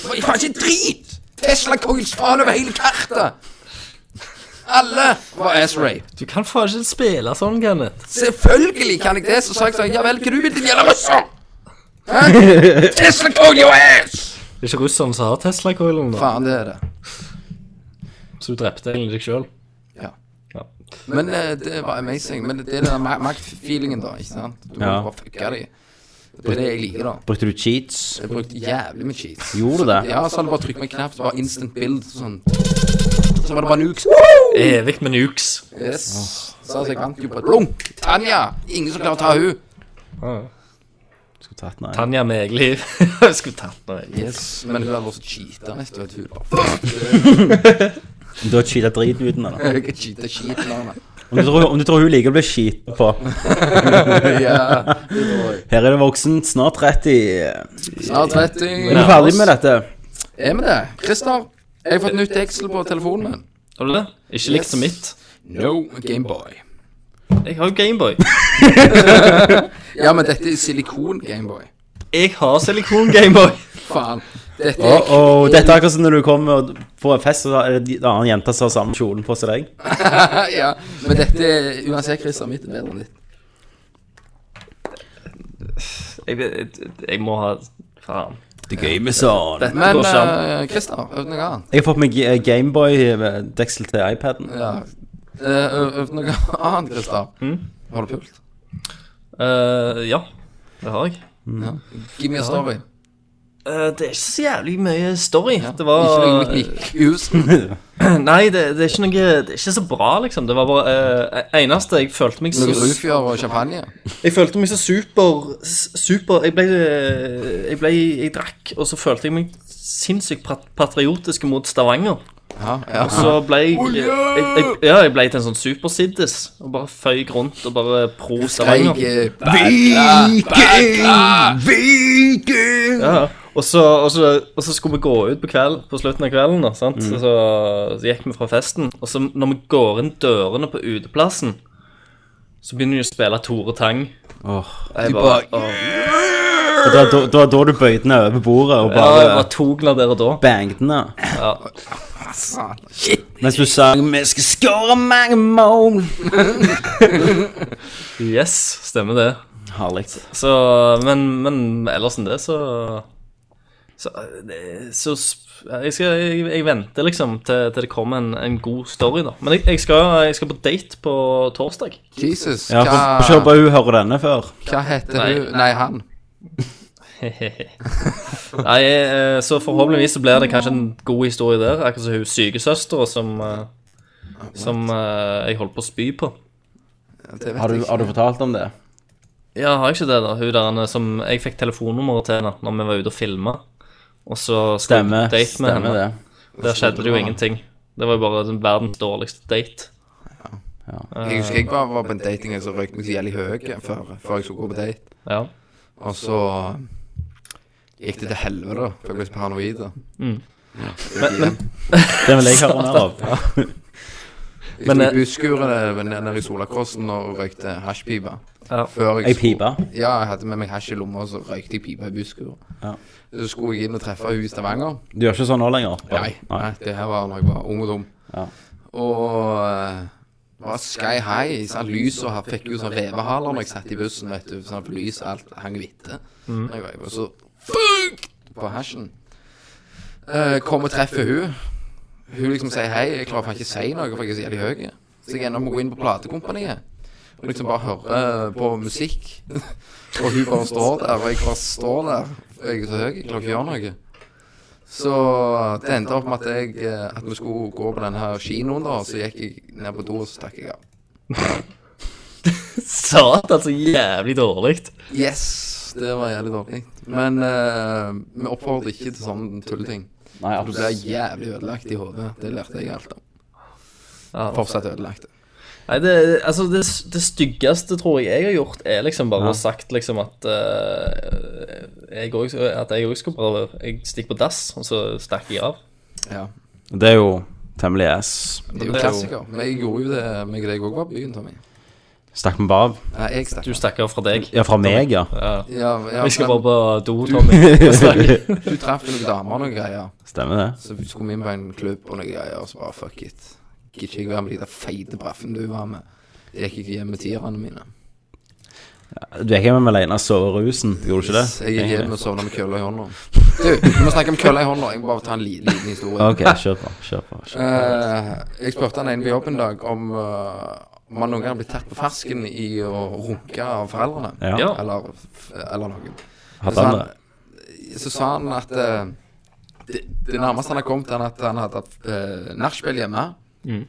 E: Det var ikke drit! Tesla-kongen faen over hele kartet! Alle var ass-rape.
C: Du kan faen ikke spille sånn, Kenneth.
E: Selvfølgelig kan jeg det, så sa jeg sånn, ja vel, hva du vil, din jævla russer? Hæ? Tesla Kong your ass!
C: Det er ikke russerne som har Tesla-coilen, da.
E: Faen, det er det.
C: Så du drepte egentlig deg sjøl.
E: Men eh, det var amazing. Men det er den ma- maktfeelingen, da, ikke sant? Du må
A: Ja.
E: bare fucke dem. Det er det jeg liker, da.
A: Brukte du cheats?
E: Jeg brukte jævlig med cheats.
A: Gjorde du det?
E: Ja, så hadde du bare trykket meg knapt, bare instant build, sånn. Så var det bare nukes. Woo!
C: Evig med nukes.
E: Yes. Så altså, jeg vant jo på et blunk. Tanja! Ingen som klarer å ta hun.
A: Skulle tatt nei.
C: Tanja med eget liv. Jeg Skulle tatt henne med eget
E: Yes. Men hun hadde også cheata, vet du. at Hun bare fuck,
A: Du har cheatet driten ut med det.
E: jeg cheata skit nå, nei.
A: Om du tror, om du tror hun liker å bli cheatet på
E: Ja, det var jeg.
A: Her er det voksen, snart 30.
E: Snart 30.
A: Er du ferdig med dette?
E: Er vi det? Christer, jeg har fått nytt deksel på telefonen min.
C: Har du det? Ikke likt som mitt.
E: No Gameboy.
C: Jeg har jo Gameboy.
E: Ja, men dette er silikon Gameboy.
C: Jeg har silikon-Gameboy.
E: Faen. Dette er
A: Oh, oh, dette er akkurat som når du kommer og på en fest, og så er det en annen jente som har samme kjolen på som deg.
E: ja, Men dette er uansett, Christer, mitt er bedre enn ditt.
C: Jeg, jeg, jeg må ha Faen.
A: The game is on.
C: Dette
E: Men
C: går ikke an.
E: eh, Christer, øvd noe annet.
A: Jeg har fått meg eh, Gameboy-deksel til iPaden.
E: Ja. Uh, øvd noe annet, Christer. Har du pult?
C: Eh, ja, det har jeg.
E: Give me a story.
C: Eh, det er ikke så jævlig mye story. Det
E: Ikke noe
C: var
E: mekanikhus.
C: Nei, det, det er ikke noe Det er ikke så bra, liksom. Det var bare eh, Eneste jeg følte meg så
E: Noe rufjør og champagne.
C: Jeg følte meg så super Super Jeg ble Jeg, ble, jeg drakk, og så følte jeg meg sinnssykt pat- patriotisk mot Stavanger.
E: Ja, ja.
C: Så ble jeg, jeg, jeg Ja, jeg ble til en sånn supersiddis og bare føyk rundt og bare pro Stavanger.
E: Jeg, eh,
C: Ja. Og så, og, så, og så skulle vi gå ut på, kveld, på slutten av kvelden, da, sant? Så, så gikk vi fra festen. Og så når vi går inn dørene på uteplassen, så begynner de å spille Tore Tang.
A: Åh.
C: Jeg bare, åh.
A: Og da- da- Da da du bøyde den over bordet og
C: ja, jeg
A: bare
C: bare tok den der og da.
A: banget den ned.
C: Ja.
A: Mens du sang 'Vi skal skåre mange mål'.
C: Yes, stemmer det.
A: Herlig.
C: Så, men, men ellers enn det, så Så, det- så sp- jeg, skal, jeg, jeg venter liksom til, til det kommer en, en god story, da. Men jeg, jeg, skal, jeg skal på date på torsdag.
E: Jesus,
A: Ja,
E: hva,
A: for- for se på hun hører denne før.
E: hva heter
C: Nei.
E: hun? Nei, han.
C: Nei, eh, så forhåpentligvis så blir det kanskje en god historie der. Akkurat som hun sykesøstera som, eh, som eh, jeg holdt på å spy på.
E: Det vet
A: Har du,
E: jeg
A: har
E: ikke.
A: du fortalt om det?
C: Ja, har jeg ikke det, da? Hun der henne som Jeg fikk telefonnummeret til henne når vi var ute og filma. Og så skulle
A: Stemmer.
C: jeg på date med
A: Stemmer
C: henne.
A: det.
C: Der skjedde det jo ingenting. Det var jo bare den verdens dårligste date.
E: Jeg husker jeg bare var på en dating og så røykte meg så jævlig høy før, før jeg skulle gå på date.
C: Ja.
E: Og så gikk det til helvete, da, for jeg ble så paranoid. da.
C: Mm.
A: Det vil jeg høre mer av.
E: Jeg
C: Men,
E: sto i
C: eh,
E: busskuret nede- nede i Solakrossen og røykte hasjpipe.
C: Ja.
E: Før
A: Ei
E: skulle-
A: pipe.
E: Ja, jeg hadde med meg hasj i lomma, og så røykte jeg pipe i busskuret.
A: Ja.
E: Så skulle jeg inn og treffe hun i Stavanger.
A: Du gjør ikke sånn nå lenger?
E: Nei, nei, det her var da jeg var ung og dum.
A: Ja.
E: Og eh, var sky high. Sånn lys og her fikk jo sånn revehaler når jeg satt i bussen, vet du. Sånn at lys og alt hang hvitte. Mm. Jeg var jo så fuck på hasjen. Eh, kom og treffer hun. Hun liksom sier hei. Jeg klarer faen ikke å si noe, for jeg er så jævlig høy. Så jeg ender med å gå inn på platekompaniet. Og liksom bare høre på musikk. og hun bare står der, og jeg bare står der. Jeg er så høy, jeg klarer ikke å gjøre noe. Så det endte opp med at, jeg, eh, at vi skulle gå på denne her kinoen, da. Så gikk jeg ned på do, og så stakk jeg av.
C: Satan, så jævlig dårlig.
E: Yes! Det var jævlig dårlig. Men eh, vi oppfordrer ikke til sånne tulleting.
A: Nei,
E: Du blir jævlig ødelagt i hodet. Det lærte jeg alt om.
C: Ja.
E: Fortsatt ødelagt.
C: Nei, det, altså det, det styggeste tror jeg jeg har gjort, er liksom bare å ha sagt liksom at eh, jeg også, At jeg òg skal bare Jeg stikker på dass, og så stikker jeg av.
E: Ja.
A: Det er jo temmelig ass.
E: Det er jo klassiker. Men jeg gjorde jo det med deg òg var på byen, Tommy.
A: Stakk vi bare av?
E: Nei, jeg stakk.
C: Du stakk av fra deg.
A: Ja, fra meg, ja.
C: Ja.
E: Ja, ja,
C: Vi skal bare
E: men
C: på do, Tommy. Snakke.
E: Du traff noen damer og noen greier.
A: Stemmer det.
E: Så vi skulle inn på en klubb og noen greier, og så bare fuck it. Gidder ikke jeg være med de der feite braffene du var med. Det gikk ikke hjem med tierne mine.
A: Du gikk hjem alene og sov i rusen, gjorde du ikke det?
E: Jeg gikk hjem og sovna med kølla i hånda. Du, vi må snakke om kølla i hånda. Jeg må bare ta en li- liten historie.
A: Ok, kjør på. Kjør på. Kjør på.
E: Eh, jeg spurte han en på jobb en dag om eh, om han noen gang blitt tatt på fersken i å runke av foreldrene.
A: Ja.
C: Ja.
E: Eller, f- eller noen.
A: Hadde han det?
E: så sa han at eh, det, det nærmeste han har kommet, er at han hadde hatt eh, nachspiel hjemme.
A: Mm.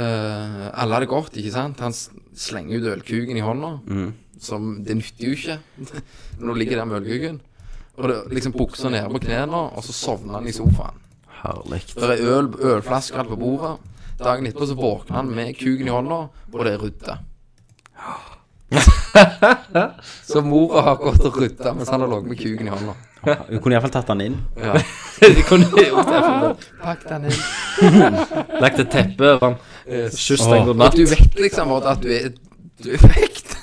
E: Eh, alle hadde gått, ikke sant? Han s- slenger ut ølkuken i hånda.
A: Mm.
E: Som Det nytter jo ikke når du ligger der med ølkuken. Og det, liksom buksa nede på knærne, og så sovner han i sofaen.
A: Herlig.
E: Det er øl, ølflasker alt på bordet. Dagen etterpå så våkner han med kuken i hånda, og det er rydda. så mora har gått og rydda mens han har ligget med kuken i hånda.
A: Hun kunne iallfall tatt han inn.
C: De kunne jo treffe det.
E: Pakk den inn.
C: Lagt et teppe over den. Eh, Kyss
A: Åh.
C: deg god
E: Og
C: natt.
E: du vet liksom Odd, at du er Du er vekt.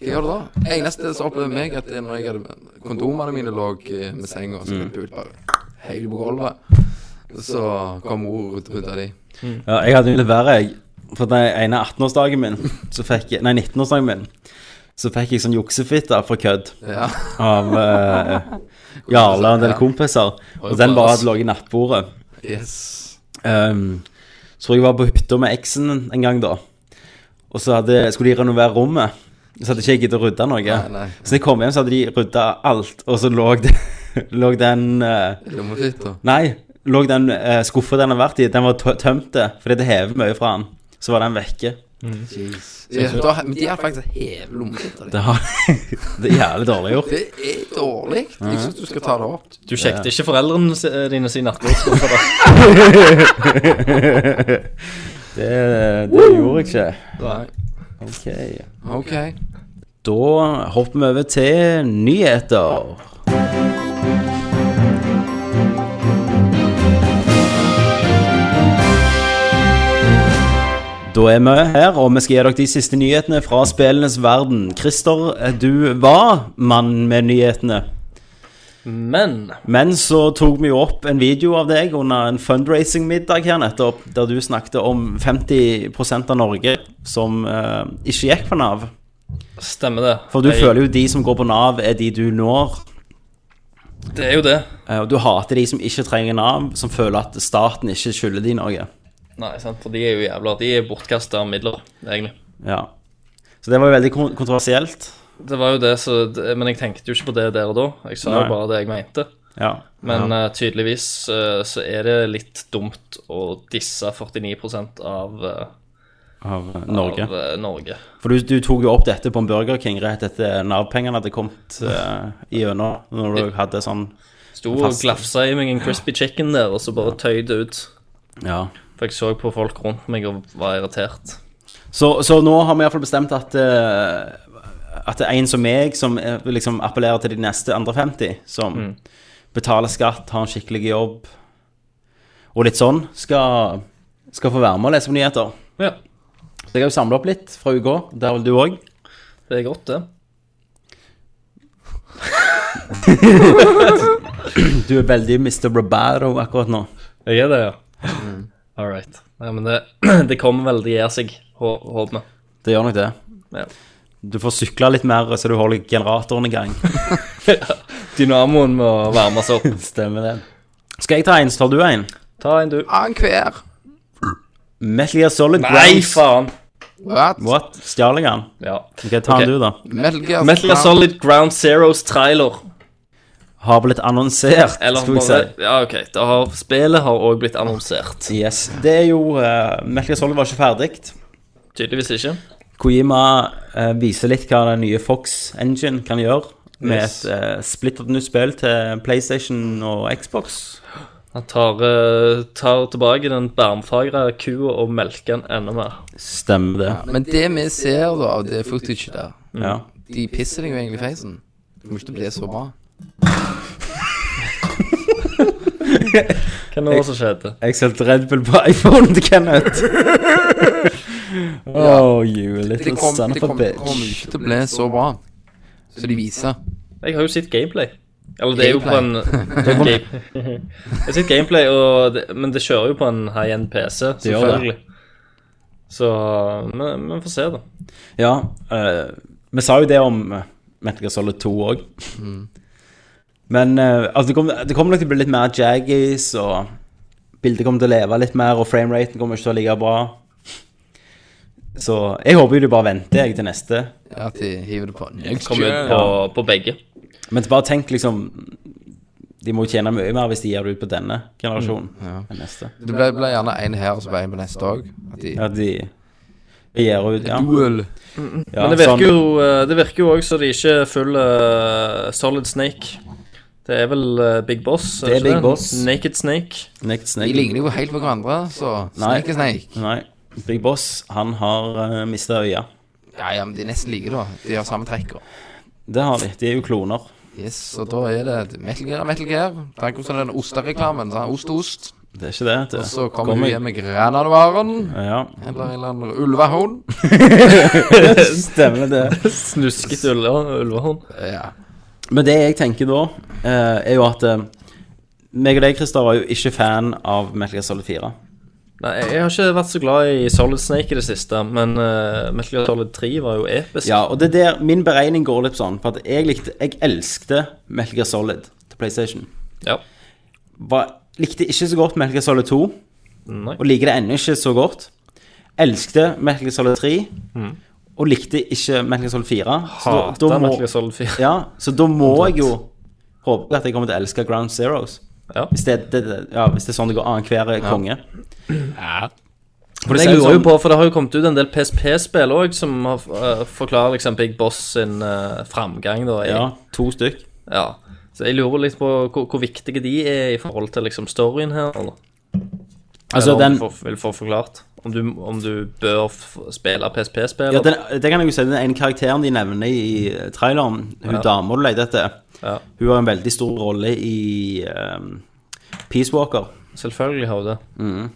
E: Hva gjør du da? Eneste som opplevde meg, at det er når jeg hadde kondomene mine lå eh, med senga, så ble det pult bare høyt på gulvet. Så kom mor og rydda de.
A: Ja, jeg hadde jo litt verre, jeg. For den ene 18-årsdagen min, så fikk jeg Nei, 19-årsdagen min, så fikk jeg sånn juksefitte for kødd
E: Ja.
A: av eh, Jarle og en del
E: Ja.
A: kompiser. Og den bare hadde ligget i nattbordet.
E: Yes.
A: Ehm, så jeg var på hytta med eksen en gang, da. Og så hadde, skulle de renovere rommet. Så hadde ikke jeg giddet å rydde noe.
E: Nei, nei.
A: Så da jeg kom hjem, så hadde de rydda alt, og så lå, det, lå den eh,
E: Lommefitta.
A: Nei, lå den eh, skuffa den har vært i, den var tø- tømt, det, fordi det hever mye fra den. Så var den vekke.
E: Ja, da, men de har faktisk hevet lommefitta di.
A: Det, har, det er jævlig dårlig gjort.
E: Det er dårlig. Jeg syns du skal ta det opp.
C: Du sjekket ikke foreldrene si- dine sin nattbordsskuffe, da.
A: Det, det gjorde jeg ikke.
E: Nei.
A: Ok.
E: OK.
A: Da hopper vi over til nyheter. Da er vi her, og vi skal gi dere de siste nyhetene fra spillenes verden. Christer, du var mannen med nyhetene.
C: Men
A: Men så tok vi jo opp en video av deg under en fundraising-middag her nettopp, der du snakket om 50 av Norge som eh, ikke gikk på Nav.
C: stemmer det.
A: For du
C: Jeg-
A: føler jo de som går på Nav, er de du når.
C: Det er jo det.
A: Eh, Og du hater de som ikke trenger Nav, som føler at staten ikke skylder de noe.
C: Nei, sant, for de er jo jævla De er bortkasta midler, egentlig.
A: Ja. Så det var jo veldig kon- kontroversielt.
C: Det var jo det, så det, Men jeg tenkte jo ikke på det der og da. Jeg sa
A: Nei.
C: jo bare det jeg mente.
A: Ja.
C: Men eh, tydeligvis eh, så er det litt dumt å disse 49 av, eh,
A: Av eh, Norge.
C: av eh, Norge.
A: For du, du tok jo opp dette på en Burger King rett etter Nav-pengene hadde kommet eh, gjennom, når du hadde sånn
C: Sto og
A: Fast.
C: glafsa i meg en crispy chicken der, og så bare tøyde det ut.
A: Ja.
C: For jeg så på folk rundt meg og var irritert.
A: Så, så nå har vi iallfall bestemt at eh, At det er en som meg, som eh, liksom appellerer til de neste andre 50, som
C: Mm.
A: betaler skatt, har en skikkelig jobb og litt sånn, skal, skal få være med og lese på nyheter.
C: Ja,
A: Så jeg har jo samla opp litt fra uka. Der vil du òg.
C: det er godt, det.
A: Du er veldig Mr. Roberto akkurat nå.
C: Jeg er det, ja. All right. Nei, men det, det kommer vel, det gir seg, hå- håper vi.
A: Det gjør nok det.
C: Ja.
A: Du får sykle litt mer, så du holder generatoren i gang.
C: Dynamoen må varme seg opp.
A: Stemmer det. Skal jeg ta en, så tar du en.
C: Ta en, du.
E: Annenhver.
A: Metal Gear Solid
C: Nei,
A: Grounds-
C: faen!
E: What?
A: What? Stjal jeg den?
C: Ja.
A: Ok, ta
C: Ok.
A: den du, da.
E: Metal Gear
C: Metal Gear
E: Solid.
C: Solid Ground Zeros trailer.
A: har blitt annonsert,
C: Eller
A: skulle
C: bare
A: jeg
C: Ja, OK. Det har, spillet har òg blitt annonsert.
A: si. Yes. Det er jo uh, Metal Gear Solid var ikke ferdig.
C: Tydeligvis ikke.
A: Kojima eh, viser litt hva den nye Fox Engine kan gjøre. Med
C: Yes.
A: et uh, splitter nytt spill til PlayStation og Xbox.
C: Han tar, eh, tar tilbake den bærmfagre kua og melker den enda mer.
A: Stemmer det.
E: Men det vi ser da av det footage der,
A: Ja.
E: de pisser deg jo egentlig i feisen. Det må ikke bli så bra.
C: Hva nå som skjedde?
A: Jeg solgte Red Bull på iPhone til Kenneth. Oh, you little
E: Det kom,
A: son
E: det
A: of a
E: kom, kom
A: sånn bitch.
E: ut til å bli så bra. Så de viser.
C: Jeg har jo sett gameplay. Eller det er jo på en
E: Gameplay.
C: det er jo game- Jeg har sett gameplay, og det, men det kjører jo på en high-end PC,
A: gjør det.
C: selvfølgelig. Så men men vi får se, da.
A: Ja, eh, vi sa jo det om eh, Metal Gear Solid 2 òg.
C: Mm.
A: Men eh, altså, det kommer det kommer nok til å bli litt mer jaggies, og bildet kommer til å leve litt mer, og frameraten kommer ikke til å ligge bra. Så jeg håper jo de bare venter jeg til neste.
E: At de hiver det på next
C: Kommer ut på, på begge.
A: Men bare tenk liksom De må jo tjene mye mer hvis de gir det ut på denne generasjonen
C: Mm,
E: ja.
A: enn neste.
E: Det ble, ble gjerne en her og så ble en på neste òg. At de
A: Ja, de, de gir ut ja.
E: Duel.
A: ja,
C: Men det virker
A: sånn-
C: jo eh, Det virker jo òg som de ikke følger eh, Solid Snake. Det er vel eh, Big Boss?
A: Det er
C: ikke
A: Big Boss.
C: Naked Snake.
A: Naked
E: De
A: Snake.
E: ligner jo helt på hverandre, så
A: Nei.
E: Snake er Snake.
A: Nei. Big Boss, han har uh, mista øya.
E: Ja, ja, men de er nesten like, da. De har samme trekk. og-
A: Det har de. De er jo kloner.
E: Yes, og da er det Metal Gear, Metal Gear. Tenk om sånn den ostereklamen. sånn, Ost, ost.
A: Det er ikke det. det.
E: Og så kommer
A: Kommer
E: hun
A: jeg-
E: hjem med granadvaren.
A: Ja,
E: Eller en eller annen ulvehund.
A: stemmer det.
C: Snuskete ulve- ulvehånd.
E: Ja.
A: Men det jeg tenker da, eh, er jo at eh, meg og deg, Christer, var jo ikke fan av Metal Gear Solid 4.
C: Nei, jeg har ikke vært så glad i Solid Snake i det siste, men eh, Metal Gear Solid 3 var jo episk.
A: Ja, og det er der min beregning går litt sånn, for at jeg likte Jeg elskte Metal Gear Solid til PlayStation.
C: Ja.
A: Var, likte ikke så godt Metal Gear Solid 2,
C: Nei.
A: og liker det ennå ikke så godt. Elskte Metal Gear Solid 3, og likte ikke Metal Gear Solid 4. Så da,
C: Hater
A: da må,
C: Metal Gear Solid 4.
A: ja, så da må jeg jo håpe at jeg kommer til å elske Ground Zeroes.
C: Ja.
A: Hvis det, det, det, ja, hvis det er sånn det går annenhver konge. For
C: Men
A: det ser
C: jeg
A: jo
C: lurer jo
A: sånn-
C: på, for det har jo kommet ut en del PSP-spill òg som har, eh, forklarer liksom Big Boss sin eh, framgang. da. i-
A: Ja, to stykk.
C: ja. Så jeg lurer litt på hvor, hvor viktige de er i forhold til liksom storyen her. Eller,
A: Altså,
C: eller om
A: den,
C: du får, vil få forklart om du, om du bør f- spille PSP-spill.
A: ja, den, det kan jeg jo si, den ene karakteren de nevner i eh, traileren, hun
C: Ja.
A: dama du leter etter,
C: Ja.
A: hun har en veldig stor rolle i ehm, Peace Walker,
C: Selvfølgelig har du det.
A: Mm.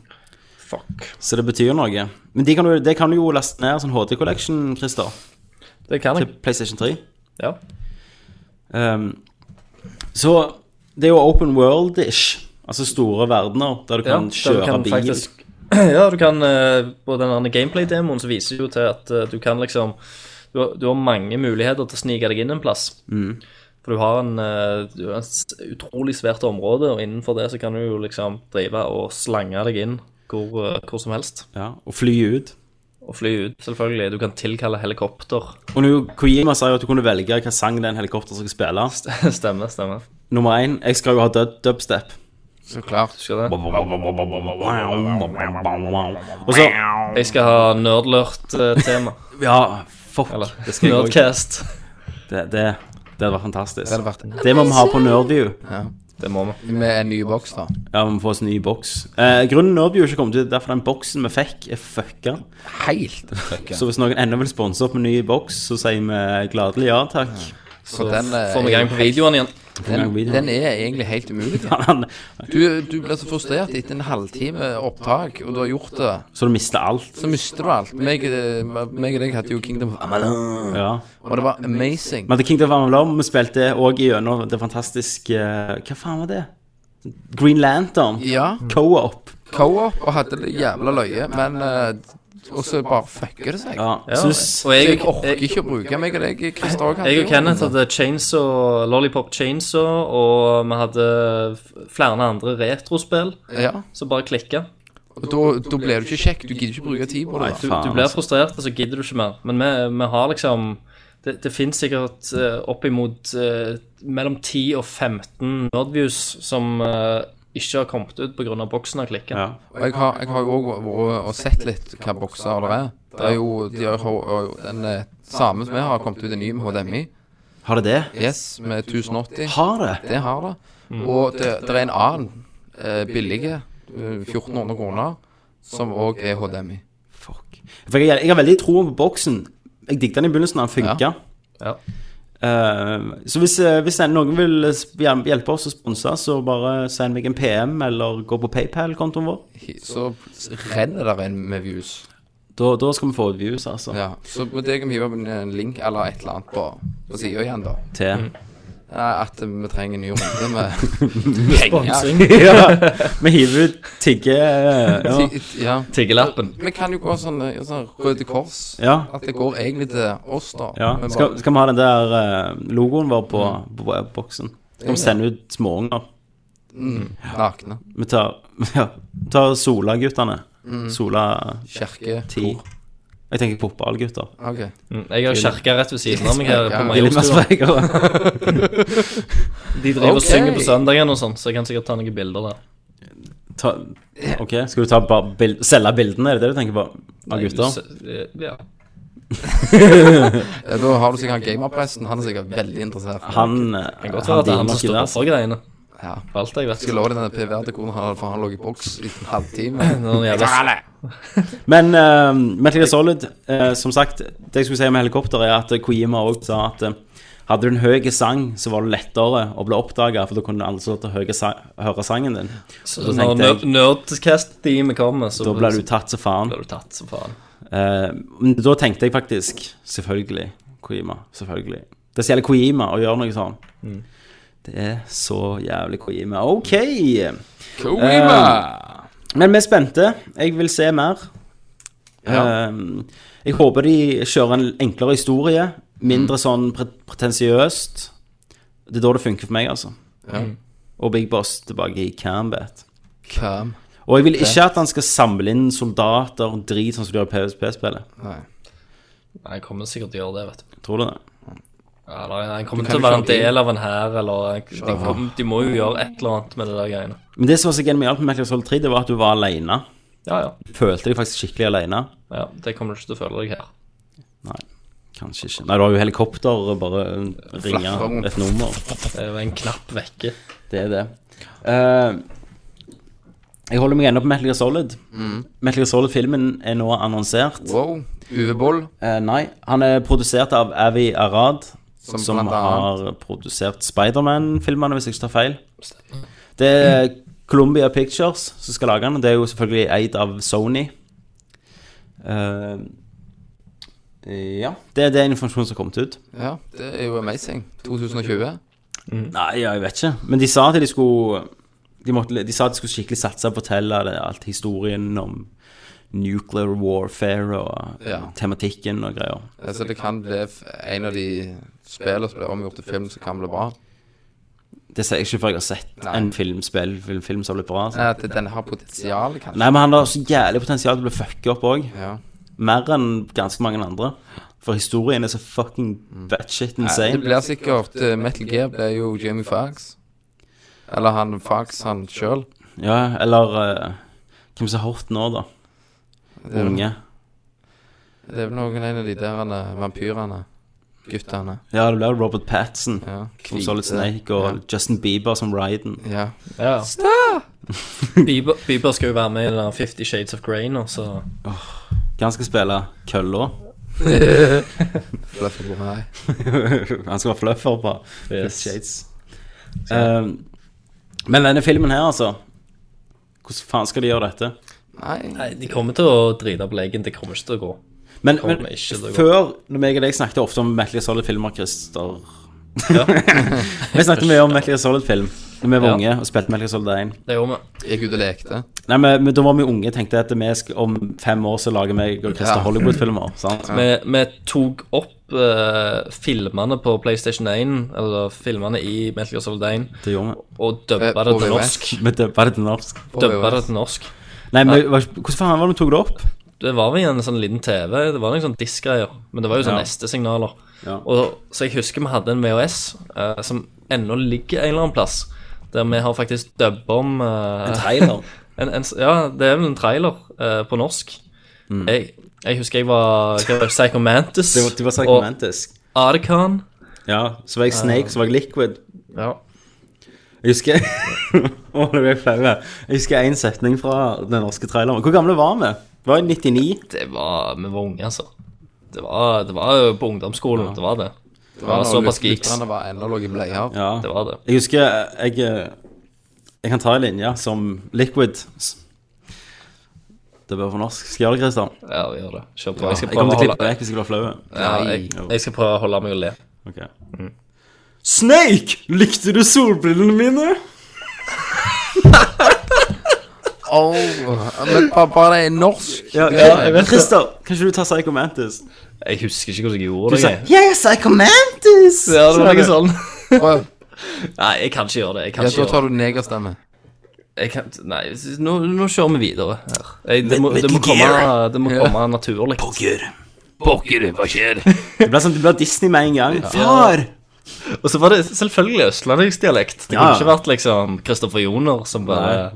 C: Fuck.
A: så det betyr noe. Men de kan jo, det kan du jo laste ned sånn HD Collection, Christer,
C: Det kan jeg.
A: til PlayStation 3.
C: Ja.
A: Ehm, så det er jo open world-ish, altså store verdener, der du
C: Ja,
A: kan
C: der du
A: kjøre
C: kan
A: bil.
C: faktisk- ja, du kan eh, På den andre gameplay-demoen så viser det jo til at eh, du kan liksom du har, du har mange muligheter til å snike deg inn en plass. For du har en eh, du har et s- utrolig svært område, og innenfor det så kan du jo liksom drive og slange deg inn hvor, eh, hvor som helst.
A: Ja, og fly ut.
C: Og fly ut, selvfølgelig. Du kan tilkalle helikopter.
A: Og nå, Kojima sa jo at du kunne velge hva sang den helikopteren skal spille.
C: Stemmer, stemmer.
A: Nummer én, jeg skal jo ha dub dubstep.
E: Så klart.
C: Skal det?
A: Og så
C: Jeg skal ha nerdlert-tema.
A: Ja, fuck.
C: Eller
A: det skal jeg også.
C: Nerdcast.
A: Det, det, det hadde vært fantastisk.
E: Det hadde vært
A: Det må vi ha på Nerdview.
C: Det må vi.
E: med en ny boks, da.
A: Ja, vi må få oss en ny boks. Eh, grunnen Nerdview er ikke kommet ut, derfor den boksen vi fikk, er fucka.
E: Helt fucka.
A: Så hvis noen ennå vil sponse opp med ny boks, så sier vi gladelig ja takk.
E: Så
C: Så
E: den er,
C: får vi i gang på videoene igjen.
E: den, den er egentlig helt umulig. da.
A: Han-
E: Du, du blir så frustrert etter en halvtime opptak, og du har gjort det.
A: Så du mister alt.
E: Så mister du alt. Meg, eh, meg og deg hadde jo Kingdom of Amalur.
A: Ja.
E: Og det var amazing.
A: Vi hadde Kingdom of Amalom, vi spilte òg gjennom det fantastiske Hva faen var det? Green Lantern.
E: Ja.
A: Co-op.
E: Co-op og hadde det jævla løye, men eh, Og så bare fucker det seg.
A: Ja,
C: Ja,
A: Syns
C: og
E: Så
C: jeg,
E: jeg orker
C: jeg,
E: ikke å bruke meg og deg, Christer òg.
C: jeg og Kenneth hadde Chainsaw, Lollipop Chainsaw, og vi hadde f- flere andre retrospill
E: Ja.
C: som bare klikka.
E: Og da, da blir du ikke kjekk. Du gidder ikke bruke tid på det.
A: Nei,
E: da.
C: Du,
A: Faen,
C: du blir
A: altså.
C: frustrert, og så gidder du ikke mer. Men vi, vi har liksom Det, det fins sikkert eh, oppimot eh, mellom 10 og 15 Nerdviews som eh, ikke har kommet ut pga. boksen har klikka.
A: Ja.
E: Og Jeg har, jeg har jo òg vært og sett litt hva bokser det er. Det er jo, de har, har- har- Den eh, samme som jeg har kommet ut en ny med HDMI.
A: Har det det?
E: Yes, med 1080.
A: Har det?
E: Det har det. Og det, det er en annen eh, billig, eh, 1400 kroner, som òg er HDMI.
A: Fuck. For jeg, jeg har veldig troen på boksen. Jeg digget den i begynnelsen da den funka.
C: Ja.
A: Eh, så hvis, eh, hvis noen vil sp- hjem- hjelpe oss å sponse, så bare send meg en PM eller gå på PayPal-kontoen vår.
E: Så renner det inn med views.
A: Da, da skal vi få ut views, altså.
E: Ja, så må deg hive opp en, en eh, link eller et eller annet på, på sida igjen, da.
A: Til
E: Nei, at vi trenger en ny runde med
C: Sponsing.
A: Ja, vi hiver ut tigge eh, Ja.
E: Ja.
C: Tiggelappen.
E: Vi kan jo gå sånn, eh, sånn Røde Kors.
A: ja.
E: At det går egentlig til oss, da.
A: ja.
E: Men
A: Skal,
E: bare-
A: skal vi ha den der eh, logoen vår på,
C: Mm.
A: på boksen? Skal vi sende ut småunger?
E: Nakne.
A: Vi tar, ja, tar Sola-guttene.
C: Mm.
A: Sola
E: Kirke.
A: 10. Jeg tenker fotballgutter.
E: OK.
C: Mm, Jeg har kjerka rett ved siden av meg her på
E: Ja,
A: De er litt mer
C: Majorstua.
A: sprekere.
C: De driver og
E: Ok.
C: synger på søndagen og sånn, så jeg kan sikkert ta noen bilder der.
A: Ta, ok, skal du ta bare bild, selge bildene, er det det du tenker på? Av gutter?
C: gutter? eh, Ja.
E: Ja, Da har du sikkert han gamerpresten. Han er sikkert veldig interessert.
A: Han,
C: Det kan godt være at det er han som står
A: for.
C: for greiene.
E: Ja.
C: For alt jeg vet.
E: Skal love denne PVR-dekoren, for han lå i boks i en halvtime.
C: Noen jævla
A: Men uh, Metal Gear Solid, eh, som sagt, det jeg skulle si om helikopter, er at Kojima også sa at eh, hadde du en høy sang, så var det lettere å bli oppdaga, for da kunne alle stå til å høye sa- høre sangen din.
C: Så
A: da
C: Når
A: tenkte jeg-
C: nerd- Nerdcast-teamet kommer, så
A: Da ble du tatt som faen.
C: blir du tatt som faen.
A: Eh, men da tenkte jeg faktisk Selvfølgelig, Kojima. Selvfølgelig. Det er så jævlig Kojima å gjøre noe sånn. Det er så jævlig Kojima. OK. Kojima! Men vi er spente. Jeg vil se mer.
E: Ja.
A: Eh, jeg håper de kjører en enklere historie. Mindre
E: Mm.
A: sånn pre pretensiøst. Det er da det funker for meg, altså.
E: Ja.
A: Og Big Boss tilbake i Cambet.
E: Hvem?
A: Og jeg vil ikke at han skal samle inn soldater og drit, sånn som de gjør i PSP-spillet.
E: Nei.
C: Nei, jeg kommer sikkert til å gjøre det, vet du.
A: Tror du det?
C: Ja, da, jeg kommer
E: Du
C: til
E: kan
C: å være en
E: ikke ha
C: del av en hær, eller eh, de, kom, de må jo gjøre et eller annet med det der greiene.
A: Men det som var så genialt med Metal Gear Solid 3, det var at du var alene.
C: Ja, ja.
A: Følte deg faktisk skikkelig alene.
C: ja det kommer du ikke til å føle deg her.
A: Kanskje ikke. Nei, du har jo helikopter og bare ringe
E: Flaffer.
A: et nummer.
C: Det er jo en knapp vekke.
A: Det er det. Eh, jeg holder meg ennå på Metal Gear Solid.
E: Mm.
A: Metal Gear Solid-filmen er nå annonsert.
E: Wow. Uveboll.
A: Eh, nei, han er produsert av Avi Arad, som,
E: Som blant
A: har produsert Spiderman-filmene, hvis jeg ikke tar feil. Det er Columbia Pictures som skal lage den, og det er jo selvfølgelig eid av Sony. Eh, ja, det er det informasjonen som har kommet ut.
E: Ja, det er jo amazing. 2020.
A: Nei, ja, jeg vet ikke. Men de sa at de skulle De, måtte, de sa at de skulle skikkelig satse på å fortelle det, alt historien om nuclear warfare og um,
E: Ja.
A: tematikken og greier.
E: Altså, det kan bli f- en av de spillene som blir omgjort til film som kan bli bra.
A: Det ser jeg ikke før jeg har sett
E: Nei.
A: en film, spill, film, film som har blitt bra. Altså.
E: Nei, Eh, At den har potensial, kanskje.
A: Nei, men han har så jævlig potensial til å bli fucket opp òg.
E: Ja.
A: Mer enn ganske mange andre. For historien er så fucking batshit
E: Mm. Det
A: insane.
E: blir sikkert eh, Metal Gear blir jo Jamie Foxx. Eller han Fox, han sjøl.
A: Ja, eller eh, Hvem som er hot nå, da?
E: Det, er vel-
A: Unge.
E: det er vel noen en av de der eh, vampyrene. Guttene.
A: Ja, det blir Robert Patson
E: Ja.
A: som Solid Snake, og Justin Bieber som Ryden.
E: Ja.
C: Ja. Bieber, Bieber skal jo være med i den der Fifty Shades of Grey nå, så
A: Hva han skal spille? Kølla?
E: Fluffy Boy.
A: han skal være fluffer på
C: Yes.
A: Fifty Shades. Eh, men denne filmen her, altså Hvordan faen skal de gjøre dette?
E: Nei.
C: Nei, de kommer til å drite på legen. Det kommer ikke til å gå.
A: Men,
C: Kommer
A: men
C: ikke til å gå.
A: før, når meg og deg snakket ofte om Metal Gear Solid-filmer, Christer Vi snakket mye om Metal Gear Solid-film da vi var
C: Ja.
A: unge og spilte Metal Gear Solid 1.
C: Det gjorde vi.
E: Gikk ut og lekte.
A: Nei, men, men da var vi unge og tenkte at vi sk- om fem år så lager meg og Christer
E: Ja.
A: Hollywood-filmer. sant?
C: Vi, vi tok opp eh, filmene på PlayStation 1, eller filmene i Metal Gear Solid 1,
A: Det gjorde vi.
C: og dubba
E: Eh,
C: det
E: på
C: til
E: VHS.
C: norsk.
A: Vi dubba det til norsk.
C: Dubba det til norsk.
A: Nei, men var ikke- hvordan faen var det vi tok det opp?
C: Det var vel i en sånn liten TV, det var noen sånn diskgreier, men det var jo sånn
A: Ja.
C: nestesignaler.
A: Ja.
C: Og, så jeg husker vi hadde en VHS eh, som ennå ligger en eller annen plass, der vi har faktisk dubba om eh,
A: En trailer.
C: en, en, s- ja, det er vel en trailer eh, på norsk. Jeg, jeg husker jeg var, jeg var
A: Mm.
C: Psychomantis
A: Det var, det var segmentisk.
C: og Ardekan.
A: Ja, så var jeg Snake, så var jeg Liquid.
C: Ja.
A: Jeg husker Å, det ble flau. her. Jeg husker én setning fra den norske traileren. Hvor gamle var vi? Var jeg 99?
C: Det var, vi var unge, altså. Det var, det var jo på ungdomsskolen, det var det. Det var,
E: når
C: såpass
E: lytterne
C: geeks.
E: var ennå lå i bleier.
A: Ja.
C: Det var det.
A: Jeg eh, husker jeg, eh, jeg kan ta en linje som Liquid. Det bør for norsk. Skal jeg gjøre det, Christian?
C: Ja, vi gjør det. Kjør på. Jeg skal
A: Jeg kommer til å
C: prøve å holde,
A: klippe vekk hvis jeg blir flau.
C: ja, Mm. jeg, jeg skal prøve å holde meg og le.
A: Ok. Snake! Likte du solbrillene mine?
E: Åh, men ba- bare det er norsk.
A: Ja,
C: jeg vet det.
A: Christer, kan ikke du ta Psycho Mantis?
C: Jeg husker ikke hvordan jeg gjorde
A: Du
C: det.
A: sa
C: jeg.
A: Yeah, Psycho Mantis!
C: Ja, det
A: Sa du.
C: var noe sånn.
E: Prøv.
C: Nei, jeg kan ikke gjøre det. Jeg kan
E: Ja,
C: ikke
E: da
C: gjøre det.
E: tar du negerstemme.
C: Jeg kan, nei, s- nå, nå kjører vi videre her. Jeg, det, må,
A: Metal
C: det, må komme,
A: Gear.
C: det må komme naturlig.
B: Pokker, hva skjer?
A: Det ble sånn, det ble Disney med en gang. Far!
C: Og så var det selvfølgelig østlendingsdialekt. Det
A: Ja, ja.
C: kunne ikke vært liksom Kristoffer Joner som bare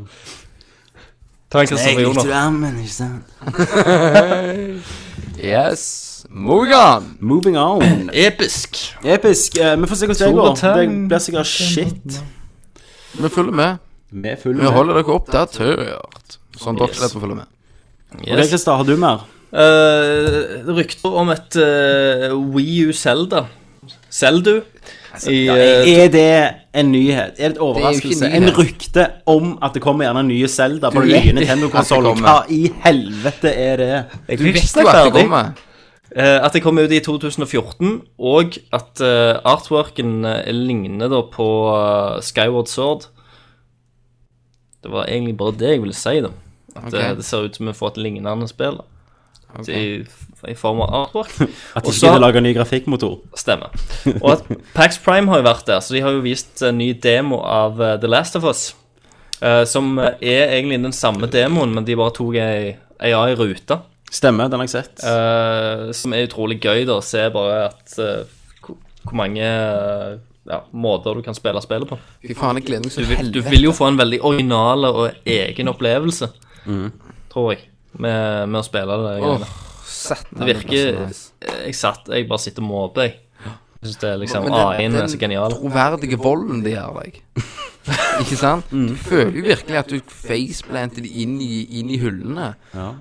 C: Ta en Kristoffer
A: Jeg likte
C: Joner.
A: du armen, ikke sant?
E: Yes. Morgan.
A: Moving on.
C: Episk.
A: Episk. Eh, Vi får se hvordan det går.
C: Solotang.
A: Det blir sikkert shit.
E: Vi følger med.
A: Vi er fulle.
E: Vi holder dere oppdatert. Sånn dere
C: Yes.
E: slipper å følge med.
A: Ok,
C: Yes.
A: Christer, har du mer?
C: Eh, rykter om et uh, Wii U Zelda. Seldu.
E: Altså,
C: I, eh,
A: Er det en nyhet? Er det et overraskelse?
E: Det er jo ikke
A: En
E: nyhet.
A: rykte om at det kommer gjerne nye Zelda på
E: Du
A: den
E: vet
A: nye
E: at
A: Nintendo-konsollen?
E: det
A: Hva
E: kommer.
A: i helvete er det?
C: jeg
E: Du
C: blir
E: visste
C: ikke
E: jo at det
C: ferdig.
E: kommer.
C: Eh, at det kom ut i 2014, og at eh, artworken eh, ligner da på eh, Skyward Sword. Det var egentlig bare det jeg ville si, da. At eh, det ser ut som vi får et lignende spill. da. I, I form av artwork.
A: At de
C: Og
A: ikke
C: så-
A: gidder lage en ny grafikkmotor?
C: Stemmer. Og at Pax Prime har jo vært der, så de har jo vist en ny demo av eh, The Last of Us. eh, som eh, er egentlig den samme demoen, men de bare tok ei AI-rute.
A: Stemmer, den har jeg sett.
C: Eh, som er utrolig gøy da, å se bare at eh, hvor hvor mange eh, ja, måter du kan spille spillet på.
E: Fy faen, jeg gleder meg så
C: Du vil, du
E: helvete.
C: vil jo få en veldig original og egen opplevelse, tror jeg, med, med å spille det.
E: Åh,
C: greiene.
E: sett den
C: det virker
E: plassen, nice.
C: Jeg satt, jeg bare sitter og måper, jeg. Jeg syns det er liksom
E: Men
C: AI-en er så genial.
E: troverdige volden de gjør deg. Ikke sant?
C: Mm.
E: Du føler jo virkelig at du faceplanter de inn i, inn i hullene.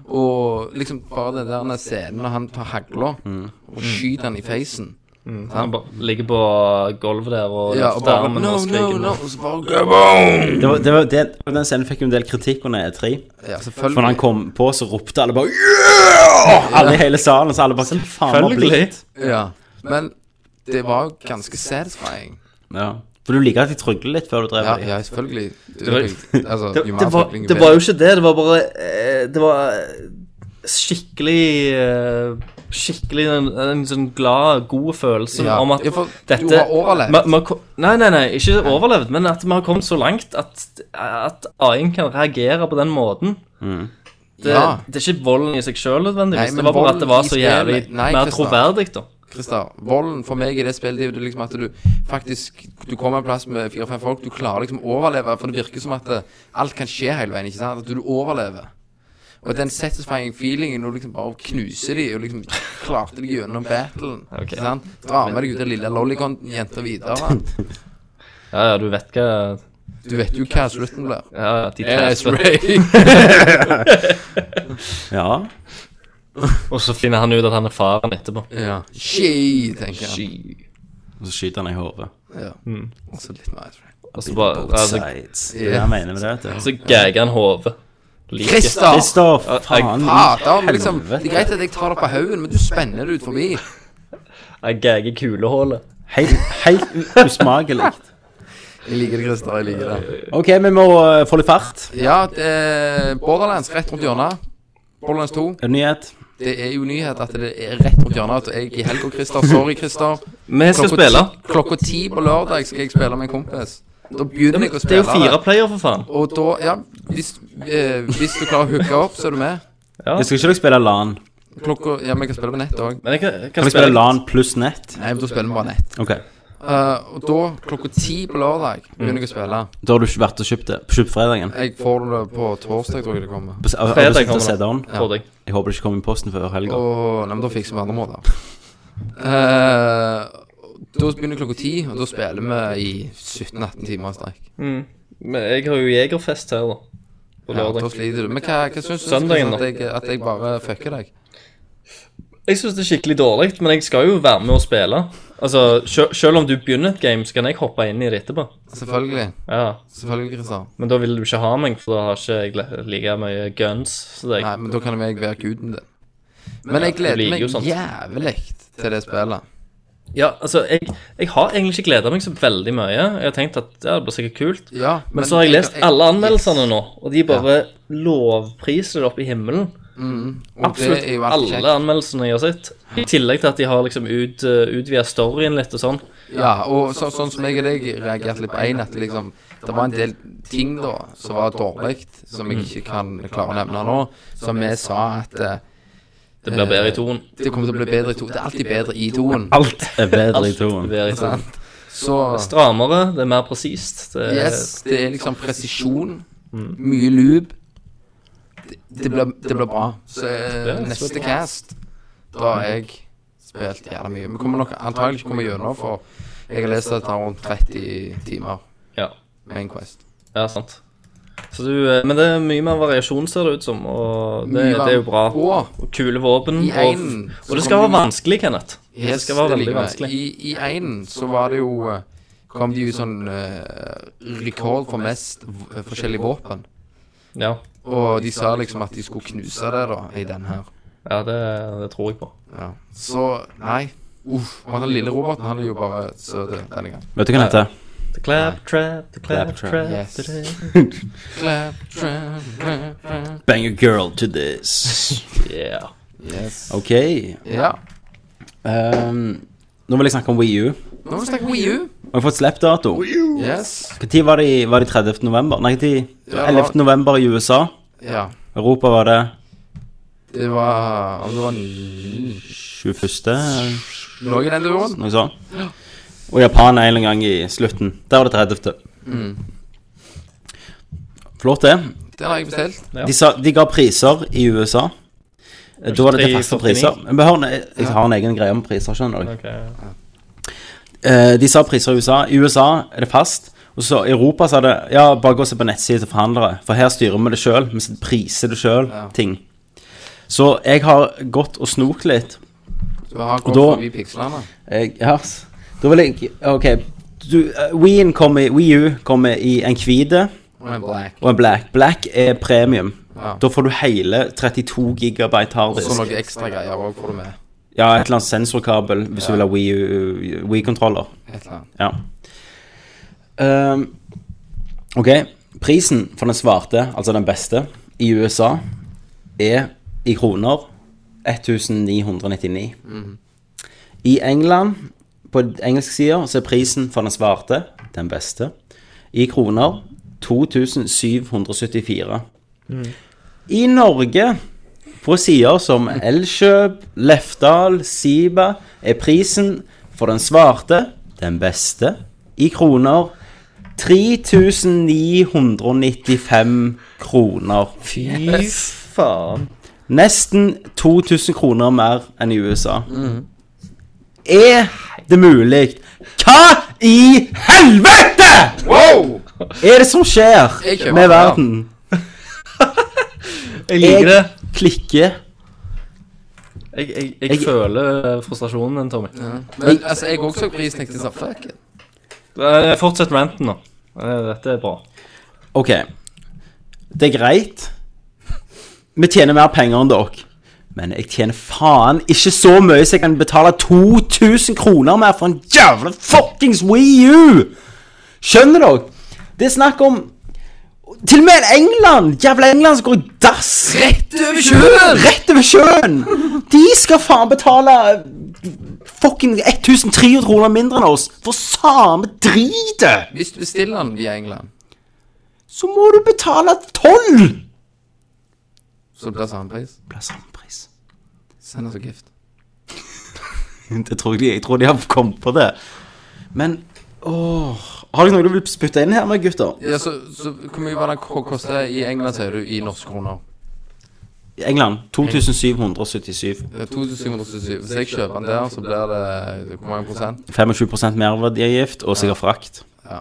E: Og liksom bare den der scenen når han tar hagla
C: Mm.
E: og skyter han i facen.
C: Han bare ligger på gulvet der og
E: Ja, og
C: løfter
E: bare
C: armen
E: No,
C: og
E: no,
C: skriker.
E: no. Og så bare
A: Det var, det var, det, og den scenen fikk jo en del kritikk under E3.
E: Ja,
A: For når han
E: selvfølgelig.
A: kom på, så ropte alle bare yeah! Alle i hele salen. Så alle bare Hva faen har
C: Selvfølgelig.
A: blitt?
E: Ja. Men det var jo ganske satisfying.
A: Ja. For du liker at de trygler litt før du drev
E: Ja,
A: med dem?
E: ja selvfølgelig. Du,
C: var-
E: altså,
C: Det,
E: jo mer
C: det, var,
E: trykling, jo
C: det
E: bedre.
C: var jo ikke det, det var bare eh, Det var eh, skikkelig eh, Skikkelig en, en sånn glad, god følelse
E: Ja,
C: om at
E: ja, for du
C: dette
E: har overlevd.
C: Ma- ma- ko- nei, nei, nei, ikke overlevd, men at vi har kommet så langt at, at AI-en kan reagere på den måten. Det,
E: Mm. Ja.
C: det er ikke volden i seg sjøl nødvendigvis,
E: Nei, men
C: det var bare at det var
E: volden i
C: så jævlig
E: spillet- Nei,
C: mer
E: Kristian.
C: troverdig, da.
E: Christer, volden for meg i det spillet det er jo liksom at du faktisk Du kommer en plass med fire-fem folk, du klarer liksom å overleve. For det virker som at det, alt kan skje hele veien. ikke sant? At du overlever. Og den satisfying feelingen når du liksom bare knuser de og liksom klarte deg gjennom battlen.
C: Ok.
E: ikke sant? Dra med deg ut den lille lollicon-jenta videre.
C: Ja, ja, du vet hva
E: Du vet jo hva slutten blir.
C: ja, ja, de
E: Yes,
C: tester.
E: Ray.
A: Ja.
C: Og så finner han ut at han er faren etterpå.
E: ja. She, tenker jeg.
A: Og så skyter han i hodet.
E: Ja. Også litt mer Ice Ray.
C: Og så bare
A: Both
C: altså,
A: sides. Det er det jeg mener med det. vet du.
C: Så gagger han hodet. Like.
E: Christer!
A: Christer,
C: Ja, jeg-
A: faen.
E: Fader, men liksom,
A: Helvete.
E: det er greit at jeg tar det på haugen, men du spenner det ut forbi.
C: Jeg gagger kulehullet.
A: Helt, helt u- usmakelig.
E: Jeg liker det, Christer. Jeg liker det.
A: OK, vi må eh, få litt fart.
E: Ja, det, Borderlands rett rundt hjørnet. Borderlands 2.
A: Nyhet.
E: Det er jo nyhet at det er rett rundt hjørnet. At jeg i helga, Christer. Sorry, Christer.
C: Vi skal spille.
E: ti- klokka ti på lørdag skal jeg spille med en kompis. Da begynner jeg å
C: Det er jo
E: spille.
C: fire player, for faen.
E: Og da, ja hvis, eh, hvis du klarer å hooke opp, så er du med.
A: Jeg skal ikke dere spille LAN?
E: Klokka Ja, vi kan spille på nett òg.
C: Men jeg kan, jeg kan
A: Kan dere spille LAN pluss nett?
E: Nei, men da spiller vi bare nett.
A: OK.
E: Eh, og da, klokka ti på lørdag, begynner jeg å spille.
A: Da har du ikke vært og kjøpt det? Kjøpt fredagen?
E: Jeg får det på torsdag, tror jeg det kommer.
A: På s- har- har du
C: Fredag
A: sittet og
C: kommer
A: sett den?
C: Tror jeg.
A: Jeg håper det ikke kommer i posten før helga.
E: Åh, nei, men da fikser vi andre måter. Eh, da begynner klokka ti, og da spiller vi i 17-18 timer i streik.
C: Men jeg har jo Jegerfest her, da. På
E: Ja,
C: lørdag.
E: da sliter du. Men hva, hva syns du?
C: Søndagen,
E: At jeg, at jeg bare fucker deg?
C: Jeg syns det er skikkelig dårlig, men jeg skal jo være med og spille. Altså, sjø- selv om du begynner et game, så kan jeg hoppe inn i det etterpå.
E: Selvfølgelig.
C: Ja,
E: Selvfølgelig, Kristian.
C: Men da vil du ikke ha meg, for da har ikke jeg le- like mye guns som deg.
E: Nei, men da kan jo jeg være guden din. Men jeg
C: du
E: gleder
C: liker
E: meg
C: jo sånt.
E: jævlig til det spillet.
C: Ja, altså, jeg, jeg har egentlig ikke gleda meg så veldig mye. Jeg har tenkt at ja, det blir sikkert kult.
E: Ja,
C: Men, så har jeg lest alle anmeldelsene
E: Yes.
C: nå, og de bare lovpriser det opp i himmelen.
E: Og
C: Absolutt
E: det er jo alt
C: alle
E: kjekt.
C: anmeldelsene jeg har sett. I tillegg til at de har liksom ut, eh, utvida storyen litt og sånn.
E: Ja, og så, sånn som jeg og deg reagerte litt på én, at liksom Det var en del ting da som var dårlig, som jeg ikke kan klare å nevne nå, som vi sa at eh,
C: Det blir bedre i toen.
E: det kommer til å bli bedre i to. Det er alltid bedre i toen.
A: Alt er bedre i
C: Alt
A: toen.
C: blir i toen.
E: Sant? Så
C: Strammere, det er mer presist. Det er
E: Yes, det er liksom presisjon. Mye loop. Det, det, blir, det blir bra. Så eh,
C: Spennende.
E: neste cast Da har jeg spilt jævla mye. Vi kommer nok antagelig ikke komme gjennom, for jeg har lest at det tar rundt 30 timer.
C: Ja.
E: Main Quest.
C: Ja, sant. Så du, eh, men det er mye mer variasjon, ser det ut som, og det,
E: Mye
C: det er jo bra.
E: Og
C: Og kule våpen.
E: I
C: Og,
E: einen
C: og det
E: så
C: skal
E: kommer
C: være
E: de-
C: vanskelig, Kenneth. Det
E: yes,
C: skal være veldig
E: liker jeg.
C: vanskelig.
E: I, i einen så var det jo eh, Kom det jo sånn eh, rekord for mest v eh, forskjellige våpen.
C: Ja,
E: Og de sa liksom at de skulle knuse det, da, i den her.
C: ja det, det tror jeg på.
E: Ja. Så nei. Uff. Og han lille Roberten, han er jo bare søt denne gangen.
A: Vet du hva den heter?
C: The clap trap, the clap,
A: Clap trap,
C: trap.
E: yes.
C: da-da.
E: Clap, trap, clap, trap.
A: Bang a girl to this.
C: Yeah.
E: Yes.
A: Ok.
E: Ja.
A: ehm, nå vil jeg snakke om Wii U.
E: Nå må vi snakke Wii U.
A: Og jeg har fått slippdato.
E: Yes.
A: Når var det i- var det 30. november? Nei, de,
E: Ja,
A: 11. november i USA.
E: Ja.
A: Europa var det
E: Det var Om det var
A: 21.
E: noe i den duren?
A: Noe sånt. Og Japan er en gang i slutten. Der var det 30.
C: Mm.
A: Flott, det.
E: Den har jeg bestilt.
C: Ja.
A: De, sa, de ga priser i USA. Eh, Da var det til faste
C: 23,49.
A: priser. Men vi har en, jeg har en egen greie om priser, skjønner du.
C: Ok.
A: Eh, de sa priser i USA. I USA er det fast. Og så i Europa så er det Ja, bare gå og se på nettsiden til forhandlere. For her styrer vi det sjøl. Vi setter- priser det sjøl.
E: Ja.
A: Ting. Så jeg har gått og snokt litt.
E: Du har
A: Og
E: gått
A: da-
E: forbi pikslene.
A: Jeg, ja, s- da vil jeg OK. Du, eh, Wien kommer, Wii U kommer i en hvite
E: Og en black.
A: og en black. Black er premium.
E: Ja.
A: Da får du hele 32 gigabyte
E: Og
A: harddisk.
E: så noen ekstra greier òg får du med.
A: Ja, et eller annet sensorkabel hvis du vil ha Wii U- Wii-kontroller.
E: Et eller
A: ja.
E: annet.
A: Ehm, ok, prisen for den svarte, altså den beste, i USA er i kroner 1999. I England, på engelsk side, så er prisen for den svarte den beste. I kroner 2774. I Norge på sider som Elkjøp, Lefdal, Siba er prisen for den svarte den beste i kroner 3995 kroner.
C: Fy faen.
A: Nesten 2000 kroner mer enn i USA. Er det mulig? Hva i helvete
E: Wow!
A: er det som skjer
E: Jeg kjøper
A: med
E: den.
A: verden?
C: Jeg liker det.
A: Jeg klikker.
C: Jeg, jeg, jeg,
A: Jeg-
C: føler frustrasjonen din, Tommy.
E: Men altså, jeg òg så prisen. Jeg tenkte sånn Fuck it.
C: Eh, Fortsett ranten nå. Eh, Dette er bra.
A: Ok, det er greit. Vi tjener mer penger enn dere. Men jeg tjener faen ikke så mye så jeg kan betale 2000 kroner mer for en jævla fuckings Wii U! Skjønner dere? Det er snakk om Til og med England! Jævla England som går i dass! Rett over sjøen! Rett over sjøen! De skal faen betale fucking 1300 kroner mindre enn oss for samme dritet!
E: Hvis du bestiller den via England,
A: så må du betale tolv!
E: så blir det samme pris.
A: Blir samme pris.
E: Send oss en gift.
A: Det tror jeg, de- jeg tror de har kommet på det. Men åh Har dere noe du vil spytte inn her med, gutter?
E: Ja, så, så hvor mye var det k- kostet i England, sier du, i norske kroner?
A: I England 2777.
E: Det er 2777. Hvis jeg kjøper den der, så blir det hvor mange prosent?
A: 25 merverdiavgift og sikkert frakt.
E: Ja.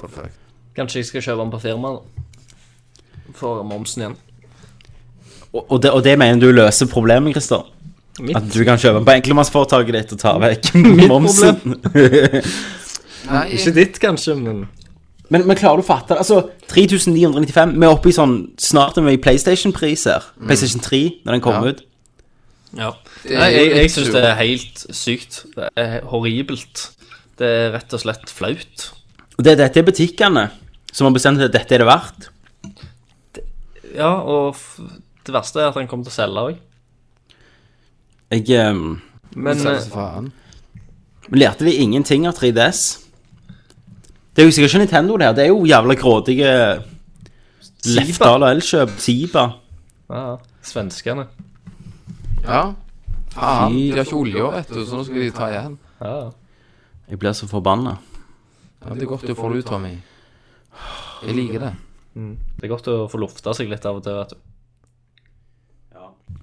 E: Perfekt.
C: Kanskje jeg skal kjøpe den på firmaet, da. For momsen igjen.
A: Og, og, det, og det mener du løser problemet, Christer?
C: Mitt.
A: At du kan kjøpe den på enkeltmannsforetaket ditt og ta vekk
C: Mitt
A: momsen.
E: Nei,
C: Ikke ditt, kanskje, men
A: Men, men klarer du å fatte det? Altså, 3995 Vi er oppe i sånn snart er vi i PlayStation-pris her. PlayStation 3, når den kom
E: Ja.
A: ut.
C: Ja.
E: er
C: Nei, jeg, jeg
E: helt
C: syns
E: sjukt.
C: det er helt sykt. Det er horribelt. Det er rett og slett flaut.
A: Og det, dette er butikkene som har bestemt at dette er det verdt.
C: Ja, og f det verste er at han kommer til å selge òg.
A: Jeg ehm,
C: Men
E: så
C: eh,
E: faen.
A: lærte de ingenting av 3DS. Det er jo sikkert ikke Nintendo, det her. Det er jo jævla grådige Lefdal og Elkjøp. Siba.
C: ja, ja, svenskene
E: Ja. Faen. De har ikke olje, vet du, så nå skal de ta igjen.
C: ja, ja.
A: Jeg blir så forbanna.
E: Ja, det er godt du får det ut, Tommy. Jeg liker det.
C: Det er godt å få lufta seg litt av og til, vet du.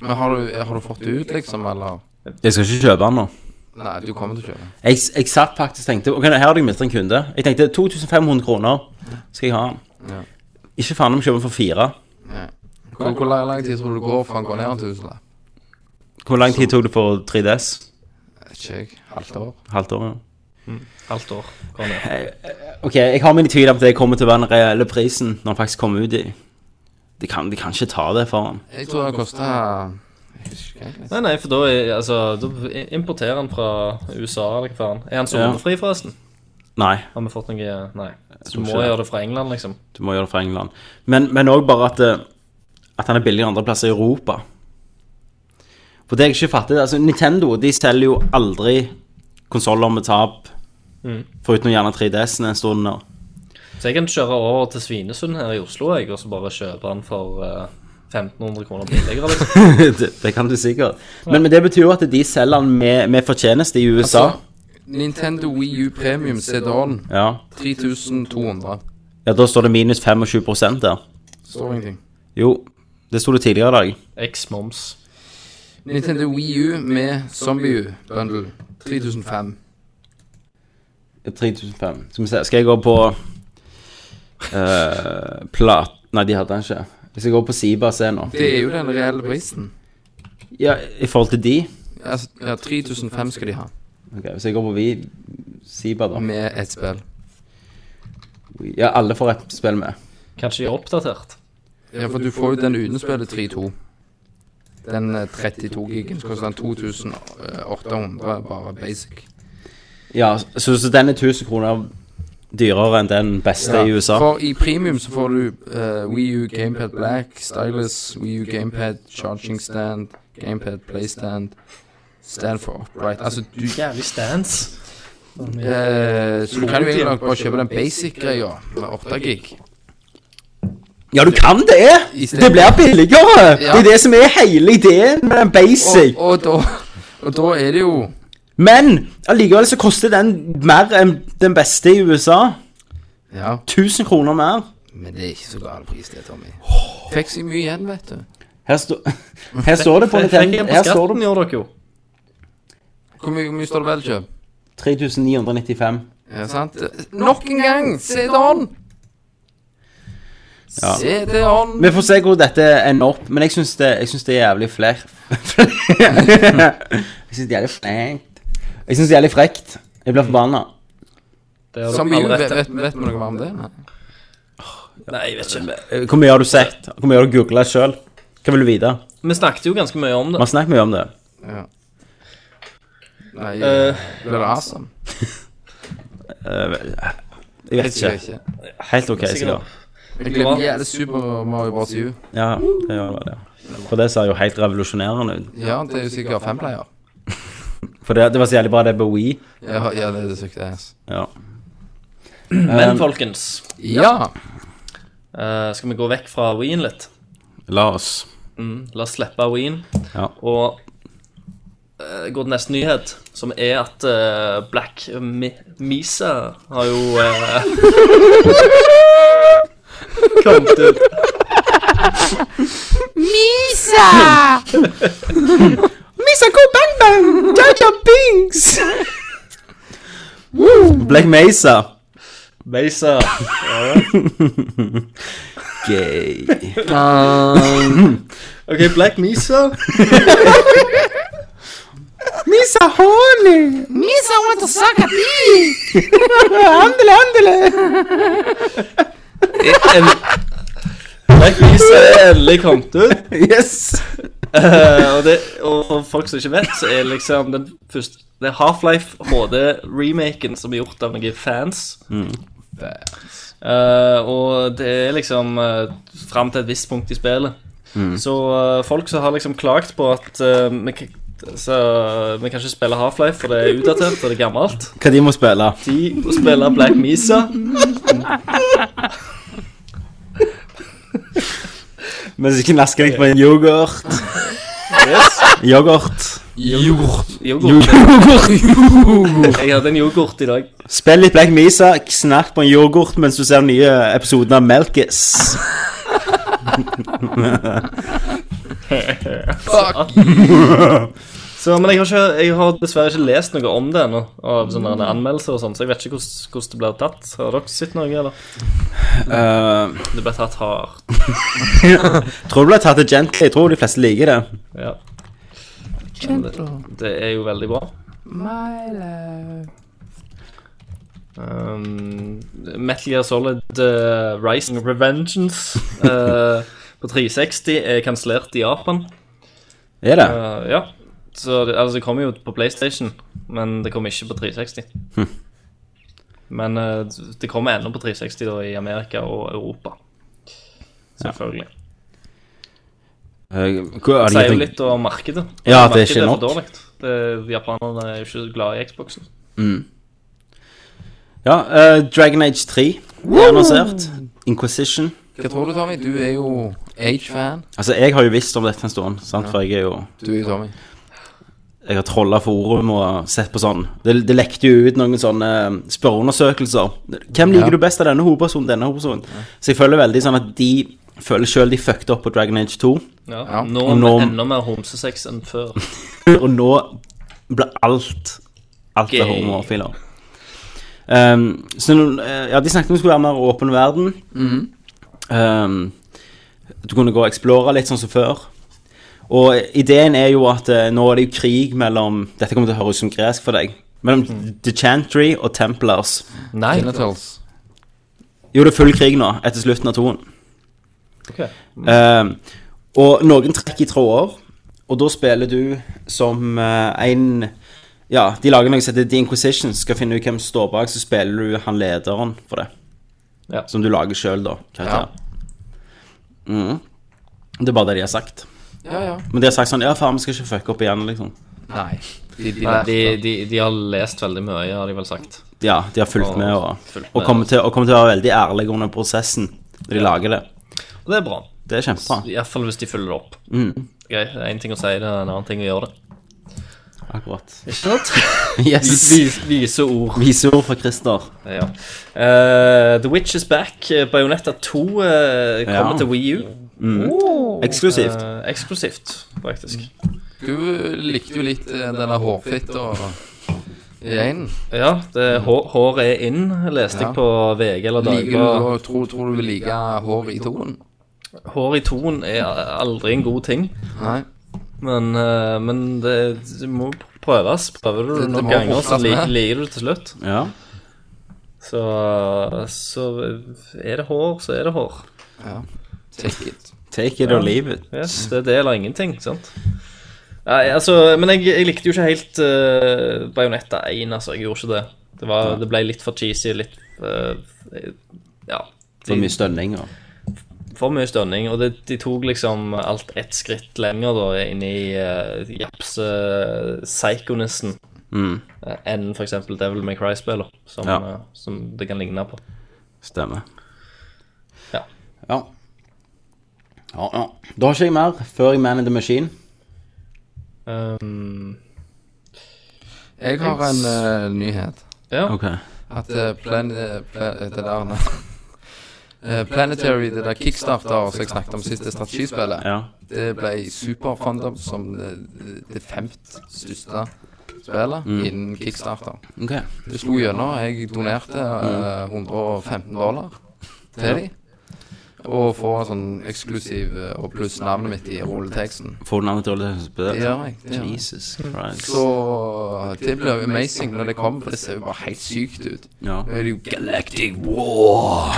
E: Men har du, har du fått det ut, liksom, eller?
A: Jeg skal ikke kjøpe den nå.
E: Nei, du kommer til å kjøpe.
A: Jeg, jeg satt faktisk og tenkte Ok, her har jeg mistet en kunde. Jeg tenkte 2500 kroner skal jeg ha den.
E: Ja.
A: Ikke faen om jeg kjøper for fire.
E: Hvor, hvor lang lang tid tror du det går for han går ned en tusenlapp?
A: Hvor lang tid tok det for 3DS?
E: Vet Ikke jeg. Halvt år.
A: Halvt år? ja.
C: Halvt år. går ned.
A: Ok, jeg har mine tvil om det kommer til å være den reelle prisen når den faktisk kommer ut i De kan, de kan ikke ta det for den.
E: Jeg tror det kosta Jeg husker ikke.
C: Nei, nei, for da, er, altså, da importerer han fra USA eller hva faen. Er han sonefri, forresten?
A: Nei,
C: Har vi fått noe eh, Nei. Du
A: tror
C: må
A: ikke det.
C: gjøre det fra England, liksom.
A: du må gjøre det fra England. Men men òg bare at, eh, at han er billigere andre plasser i Europa. For det jeg ikke fatter, altså Nintendo de selger jo aldri konsoller med tap. Foruten gjerne 3DS-en en stund. og-
C: Så jeg kan kjøre over til Svinesund her i Oslo jeg, og så bare kjøpe den for eh, 1500 kroner billigere. liksom.
A: det, det kan du sikkert. Men, men det betyr jo at de selger den med, med fortjeneste i USA.
E: Nintendo Wii U Premium Sedan
A: ja.
E: 3200.
A: ja, da står det minus 25 der.
E: Står ingenting.
A: Jo, det sto det tidligere i dag.
C: Eks-moms.
E: Nintendo Wii U med Zombie U Bundle 3005.
A: 3500. Skal vi se, skal jeg gå på eh, Plat... Nei, de hadde den ikke. Hvis jeg går på Siba og ser nå
E: Det er jo den reelle prisen.
A: Ja, i forhold til de
E: Altså, ja, 3005 skal de ha
A: Ok, Hvis jeg går på vi Siba, da
E: med et spill.
A: Ja, alle får et spill med.
C: Kanskje de er oppdatert.
E: Ja, for du får jo den uten spillet 32. Den eh, 32 gigen så koster den 2800, bare basic.
A: Ja, så, så den er 1000 kroner dyrere enn den beste i USA.
E: For i premium så får du uh, Wii U Gamepad Black, Stylus, Wii U Gamepad, Charging Stand, Gamepad Playstand, Stand for Upright. Altså, du
C: Jævlig stands.
E: eh, Så du kan jo egentlig bare kjøpe den basic-greia med 8 gig.
A: Ja, du kan det!
E: I stedet-
A: Det blir billigere! Det er
E: Ja.
A: det som er hele ideen med den basic.
E: Og, og, da, og da er det jo
A: Men allikevel så koster den mer enn den beste i USA.
E: Ja,
A: 1000 kroner mer.
E: men det er ikke så gal pris, det, Tommy. Fikk så mye igjen, vet du.
A: Her, sto, her står det på Nintendo Her står det
C: skatten, gjør dere jo.
E: Hvor mye, hvor mye står det vel, kjøp?
A: 3995.
E: Ja, sant? Nok en gang! CD-on!
A: Ja.
E: CD-on!
A: Vi får se hvor dette ender opp, men jeg syns det, jeg synes det er jævlig fler. jeg syns det er jævlig frekt. Jeg syns det er jævlig frekt. Jeg blir forbanna.
C: Det har
E: Som
C: dere
E: Wii U,
C: alle
E: vet,
C: rett til.
E: vet, vet vi noe mer om det? Nei.
C: Nei, jeg vet ikke.
A: Eh, Hvor mye har du sett? Hvor mye har du googla sjøl? Hva vil du vite?
C: Vi snakket jo ganske mye om
A: Vi
C: det.
A: har snakket mye om det.
E: Nei,
C: Eh,
E: Blir det awesome?
A: Eh, Jeg vet
E: Jeg
A: ikke.
E: ikke.
A: Helt OK,
C: Sikkert.
A: sikkert.
E: Jeg glemmer ja, det er Super Mario Bros. U.
A: Ja, det gjør det. ja. For det ser jo helt revolusjonerende ut.
E: Ja, det er jo sikkert femplayer.
A: For det, det var så jævlig bra det på Wii.
E: Ja, ja, det er det sykt ass.
A: Ja.
C: Men folkens,
E: Ja!
C: eh, skal vi gå vekk fra Wien litt?
A: La oss.
C: Mm, la oss slippe Wien.
A: Ja.
C: Og eh, gå til neste nyhet, som er at eh, Black Mi Misa har jo eh, kommet ut.
D: Misa!
A: Black Mesa.
C: Mesa.
A: Gay. Um.
C: OK, Black Misa
A: Misa horny!
D: Misa want to suck a dick.
A: Andele, andele!
C: En Blackbeast er endelig kommet ut.
A: Yes!
C: Eh, og, det, og for folk som ikke vet, så er liksom den første Det er Half-Life HD-remaken som er gjort av noen fans. Eh, og det er liksom uh, fram til et visst punkt i spillet. Så eh, folk som har liksom klagd på at eh, vi, k- så, eh, vi kan ikke spille Half-Life, for det er utdatert og det er gammelt.
A: Hva de må spille?
C: De må spille Black Misa.
A: Mens ikke nasker deg på en yoghurt.
C: Yes.
A: Yoghurt.
C: Yoghurt. Jeg hadde en yoghurt i dag.
A: Spill litt Black Misa, snakk på en yoghurt mens du ser den nye episoden av Melkis.
E: Fuck!
C: Så, men jeg har, ikke, jeg har dessverre ikke lest noe om det ennå, av sånne anmeldelser og sånn, så jeg vet ikke hvordan, hvordan det blir tatt. Har dere sett noe, eller? Det ble tatt hardt.
A: Eh, tror du det er tatt det gently? Jeg tror de fleste liker det.
C: Ja. Men Det, det er jo veldig bra. Um, Metal Gear Solid eh, Rising Revengeance eh, på 360 er kansellert i Japan.
A: Er det?
C: Eh, ja. Så det, altså, det kommer jo på PlayStation, men det kommer ikke på 360.
A: Hm.
C: Men eh, det kommer ennå på 360 da, i Amerika og Europa. Selvfølgelig.
A: Eh, hva- har de gitt
C: Det sier jo
A: en-
C: litt om markedet.
A: Ja, det er ikke
C: Markedet
A: nok.
C: for dårlig. Det- Japanerne er jo ikke glad i Xboxen.
A: Ja, eh, Dragon Age 3 er annonsert. Inquisition.
E: Hva tror du, Tommy? Du er jo Age-fan.
A: Altså, jeg har jo visst om dette en stund, sant? for jeg er jo
E: Du er jo Tommy.
A: Jeg har trolla forum og sett på sånn. Det, det lekte jo ut noen sånne eh, spørreundersøkelser. Hvem liker
E: Ja.
A: du best av denne hovedpersonen, denne hovedpersonen? Så jeg føler veldig sånn at de føler sjøl de fucket opp på Dragon Age 2.
C: Ja.
E: Ja.
C: Nå
A: Og
C: er
A: nå-
C: det enda mer homsesex enn før.
A: Og nå ble alt Alt er
C: Gay.
A: homofiler. Um, så nå- eh, ja, de snakket om det skulle være mer åpen verden. Um, du kunne gå og explore litt sånn som før. Og ideen er jo at eh, nå er det jo krig mellom Dette kommer til å høres som gresk for deg. Mellom The Chantry og Templars.
C: Nei.
E: Genitals.
A: Jo, det er full krig nå, etter slutten av toen.
C: Ok.
A: Ehm, og noen trekker i tråder, og da spiller du som eh, en Ja, de lager noe som heter The Inquisition. Skal finne ut hvem som står bak, så spiller du han lederen for det.
C: Ja.
A: Som du lager sjøl, da. karakter. Mm. Det er bare det de har sagt.
E: Ja, ja.
A: Men de har sagt sånn Ja, faen, vi skal ikke fucke opp igjen, liksom.
E: Nei. De, de,
C: Nei,
E: de,
C: de, de, de har lest veldig mye, har de vel sagt.
A: Ja, de har fulgt
C: Og-
A: med og, og
C: fulgt med. altså.
A: kommer til, og kommer til å være veldig ærlige under prosessen når de lager det.
C: Og det er bra.
A: Det er kjempebra.
C: Iallfall hvis de følger det opp.
A: Mm.
C: Greit, det er én ting å si det, en annen ting å gjøre det.
A: Akkurat.
C: Ikke sant?
A: Yes.
C: Vis, vise ord.
A: Viseord fra Christer.
C: Ja. Eh, The Witch is back. Eh, Bayonetta 2 eh, kommer
A: Ja.
C: til Wii U.
A: Eksklusivt.
C: Eh, eksklusivt, faktisk.
E: du likte jo litt eh, denne hårfitta i øynene.
C: Ja, det, hår, hår er inn, leste
E: Ja.
C: jeg på VG eller
E: Liker du,
C: Dagbladet.
E: og tror, tror du vil like hår i toen?
C: Hår i toen er aldri en god ting,
E: Nei.
C: men, eh, men det, det må prøves. Prøver du
E: Det-
C: det
E: det
C: noen
E: må
C: ganger, så
E: fortsatt
C: li-
E: med.
C: liker du det til slutt.
A: Ja.
C: Så, så er det hår, så er det hår.
E: Take it.
A: Take it or leave it.
C: Yes, det er det eller ingenting, sant? Nei, altså, men jeg, jeg likte jo ikke helt uh, Bajonetta 1, altså. Jeg gjorde ikke det. Det, var, det ble litt for cheesy, litt eh, Ja.
A: For
C: de-
A: mye stønning og
C: for mye stønning, og det, de tok liksom alt ett skritt lenger da, inn i uh, japse-psykonissen
A: Mm,
C: eh, enn for eksempel Devil May Cry-spiller, som,
A: Ja.
C: eh, som det kan ligne på.
A: stemme.
C: Ja.
A: Ja. ja, ja. Da har ikke jeg mer før jeg Man in the Machine.
C: Um,
E: Jeg har en eh, nyhet.
C: ja.
A: Ok.
E: At eh, plan, eh, pla- eh, det der eh, Planetary, det der kickstarter som jeg snakket om sist, det strategispillet,
A: Ja.
E: det ble superfunded som det, det femt største spillet innen kickstarter.
A: Ok.
E: Det Mm. slo gjennom. Jeg donerte eh, 115 dollar til dem. Og få en sånn eksklusiv eh, og pluss navnet mitt i rulleteksten.
A: Får du navnet til alle som spiller?
E: Det gjør jeg. Det gjør jeg.
A: Jesus Christ.
E: Så eh, det blir jo amazing når det kommer, for det ser jo bare helt sykt ut.
A: Ja.
E: Nå er det jo Galactic War.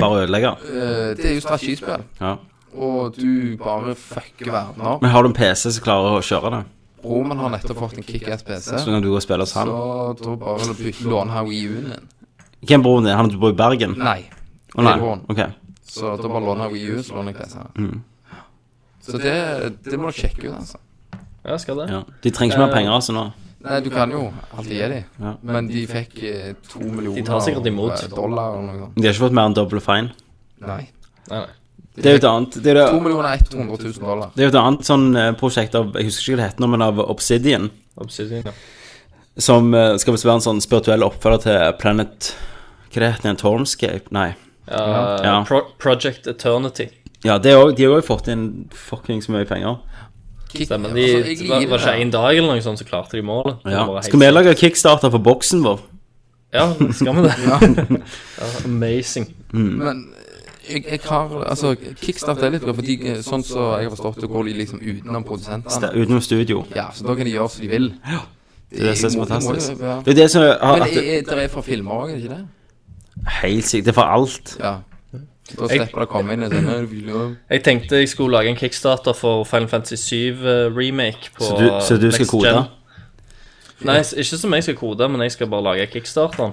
A: Bare ødelegge.
E: Eh, Det er jo strategispill,
A: Ja.
E: og du bare fucker verden opp.
A: Men har du en PC som klarer å kjøre det?
E: Broren har nettopp fått en kickass PC,
A: Så kan du gå og spille hos
E: så
A: han?
E: da bare bytte- låner han Wii-U-en din.
A: Hvem broren din? Han du bor i Bergen?
E: Nei.
A: Å nei.
E: broren.
A: Ok.
E: Så da bare låner jeg Wii U, så låner jeg PC-en.
A: Mm.
E: Så det, det må du sjekke ut, altså.
C: Ja, skal det.
A: Ja. De trenger ikke mer
C: Eh,
A: penger altså nå.
E: Nei, du kan jo alltid gi dem,
A: Ja.
E: men de fikk eh, to millioner
C: De tar sikkert imot.
E: eh, dollar eller noe sånt.
A: De har ikke fått mer enn double fine.
E: Nei.
C: Nei, nei.
E: De
A: Det er jo et
E: fikk
A: annet Det er
E: To
A: jo
E: millioner 100 000 dollar.
A: det er jo et annet sånn eh, prosjekt av Jeg husker ikke hva det heter nå, men av Obsidian.
C: Obsidian, ja.
A: Som eh, skal visst være en sånn spirituell oppfølger til Planet Hva det heter det? Tormscape? Nei.
C: Eh,
A: Ja.
C: Pro Project Eternity.
A: Ja, det er også, de har òg fått inn fuckings mye penger.
E: Kick-
C: Stemmer. De,
E: altså, jeg
C: det var,
E: liker
C: var ikke
E: det.
C: en dag eller noe sånt, så klarte de målet. Det
A: Ja.
C: var bare
A: Skal vi
C: helt-
A: lage kickstarter for boksen vår?
C: Ja, skal vi det? ja, amazing.
E: Men eh, jeg, jeg har Altså, kickstart er litt bra, fordi eh, sånn som jeg har forstått det, går de liksom utenom
A: Sta-
E: produsentene.
A: Utenom studio.
E: Ja, så da kan de gjøre som de vil.
A: Det er det som er så
E: må- må jo
A: fantastisk.
E: være-
A: Det er det som er
E: Men
A: at,
E: det er, det er fra filmer òg, er det ikke det?
A: Helt sikkert. Det er for alt.
E: Ja. Da slipper det å komme inn en sånn «Nå, vi løper».
C: Jeg tenkte jeg skulle lage en kickstarter for Final Fantasy 7 remake på
A: Så du- så du
C: eh,
A: skal
C: Next
A: kode?
C: Gen. Nei, s- ikke som jeg skal kode, men jeg skal bare lage kickstarteren.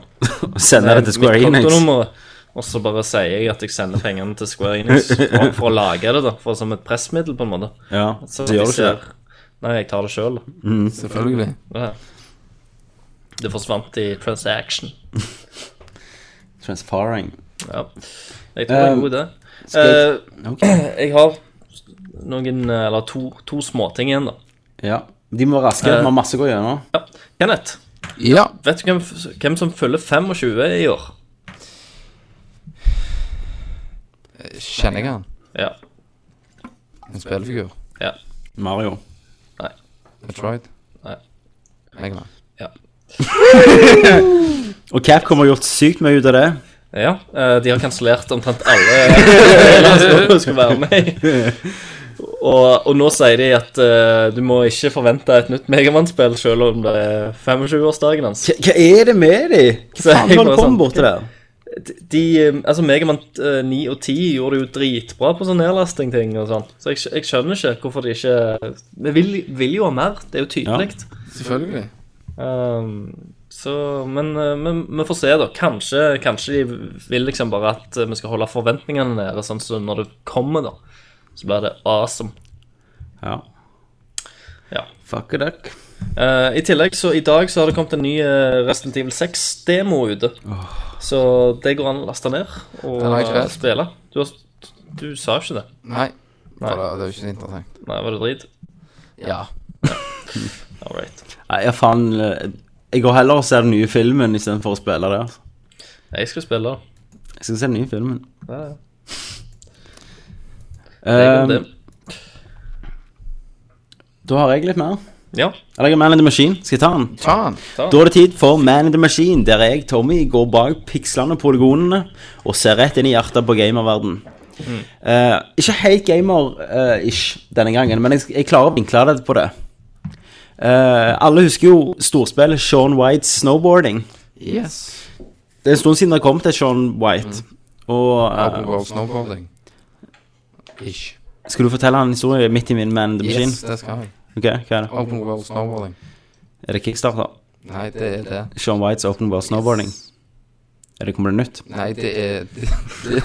A: Sende det til Square
C: Mitt
A: Enix.
C: kontonummeret. Og så bare sier jeg at jeg sender pengene til Square Enix for, for å lage det, da. For som et pressmiddel, på en måte.
A: Ja, så gjør
C: Så de
A: du ikke det.
C: ser- Nei, jeg tar det sjøl.
E: Selvfølgelig.
C: Det forsvant i transaction.
A: Transfaring.
C: Ja. Jeg tror det er en
A: Um,
C: god idé.
A: skal
C: Eh,
A: Ok.
C: jeg har noen, eh, eller to, to småting igjen, da.
A: Ja. De må være raskere. Vi har masse å gå gjennom.
C: Ja. Kenneth,
E: Ja.
C: vet du hvem, f- hvem som fyller 25 i år?
E: Kjenner jeg han?
C: Ja.
E: En spillefigur?
C: ja.
A: Mario.
E: Metroid?
C: Nei.
E: Mega Man.
A: Og Capcom har gjort sykt mye ut av det.
C: Ja, eh, de har kansellert omtrent alle som skulle være med. i. Og, og nå sier de at eh, du må ikke forvente et nytt Megamann-spill selv om det er 25-årsdagen hans.
A: Hva, hva er det med de?
C: Så
A: Hva faen
C: jeg
A: har
C: bare
A: det kommet
C: sånn-
A: borti der?
C: De, eh, altså Megamann 9 og 10 gjorde det jo dritbra på sånn nedlasting-ting og sånn. Så jeg, skj- jeg skjønner ikke hvorfor de ikke Vi vil, vil jo ha mer, det er jo tydelig.
E: Selvfølgelig.
C: Um, så, men, eh, men vi får se, da. Kanskje, kanskje de vil liksom bare at eh, vi skal holde forventningene nede, sånn så når det kommer, da, så blir det awesome.
A: Ja.
C: Ja.
A: Fuck it up.
C: Eh, I tillegg, så i dag så har det kommet en ny eh, Resident Evil 6-demo ute. Så det går an å laste ned og
E: Den har jeg ikke lest.
C: spille. Du, har, du sa jo ikke det.
E: Nei.
C: Nei.
E: For det, det er jo ikke så interessant.
C: Nei, var det drit?
E: Ja.
C: All right.
A: Nei, jeg faen eh, Jeg går heller og ser den nye filmen istedenfor å spille det. altså.
C: Jeg skal spille.
A: Jeg skal se den nye filmen.
C: Ja, ja. Det går det.
A: Eh, da har jeg litt mer.
C: Ja.
A: Eller jeg har Man in the Machine. Skal jeg ta den?
E: Ta han.
A: Da er det tid for Man in the Machine, der jeg, Tommy, går bak pikslene og polygonene og ser rett inn i hjertet på gamerverden. Eh, ikke helt gamer-ish denne gangen, men jeg, jeg klarer å vinkle det på det. Eh, alle husker jo storspillet Sean Whites Snowboarding.
E: Yes. Mm.
A: Det er en stund siden det kom til Sean White. Og eh,
E: Apropos snowboarding. Ish.
A: Skal du fortelle en historie midt i min Man in the Machine?
E: Yes, det skal jeg.
A: Ok, hva er det?
E: Open World Snowboarding.
A: Er det kickstarter?
E: Nei, det er det.
A: Sean Whites Open World Snowboarding? Er det kommer det nytt?
E: Nei, det er Det,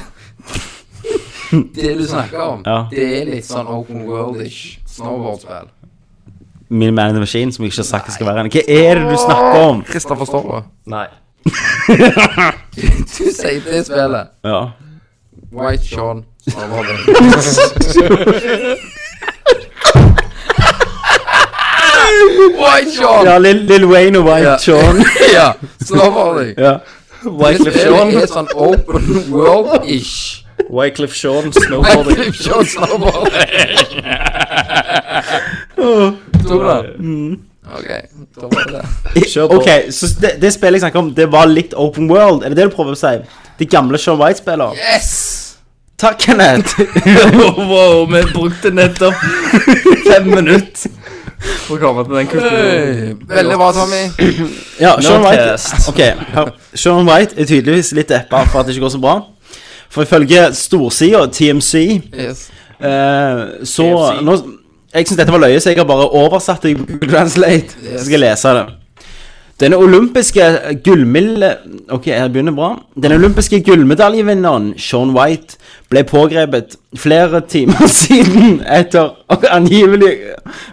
E: det du snakker om,
A: Ja.
E: det er litt sånn open world-ish snowboardspill.
A: Min Man in the Machine, som jeg ikke har sagt det skal være en. Hva er det du snakker om?
E: Christer, forstår du?
C: Nei.
E: Du sier det spillet.
A: Ja.
E: White Sean snowboarding. White Sean!
A: Ja, Lil, Lil Wayne og White Sean.
E: Ja, snowboarding.
A: Ja.
E: Det spillet er sånn open world-ish.
C: Wycliffe Shaun
E: Jeg
C: snowboarding.
E: klipper ikke oss nå bare. Tror du det?
A: Mm.
E: Ok, da var det det.
C: Kjør på.
A: Ok, så det, det spillet jeg snakker om, det var litt open world. Er det det du prøver å si? Det gamle Sean White-spillet?
E: Yes!
A: Takk, Kenneth!
C: wow, vi brukte nettopp fem minutter for å komme til den konklusjonen.
E: Veldig bra, Tommy.
A: Ja, Sean White,
C: Nerdcast.
A: Ok, hør. Sean White er tydeligvis litt deppa for at det ikke går så bra. For ifølge storsida, TMC,
E: Yes.
A: eh, så
C: TMC.
A: nå, Jeg syns dette var løye, så jeg har bare oversatt det i Google Translate. Så skal jeg lese det. Den olympiske gullmille... Ok, jeg begynner bra. Den olympiske gullmedaljevinneren Sean White ble pågrepet flere timer siden etter angivelig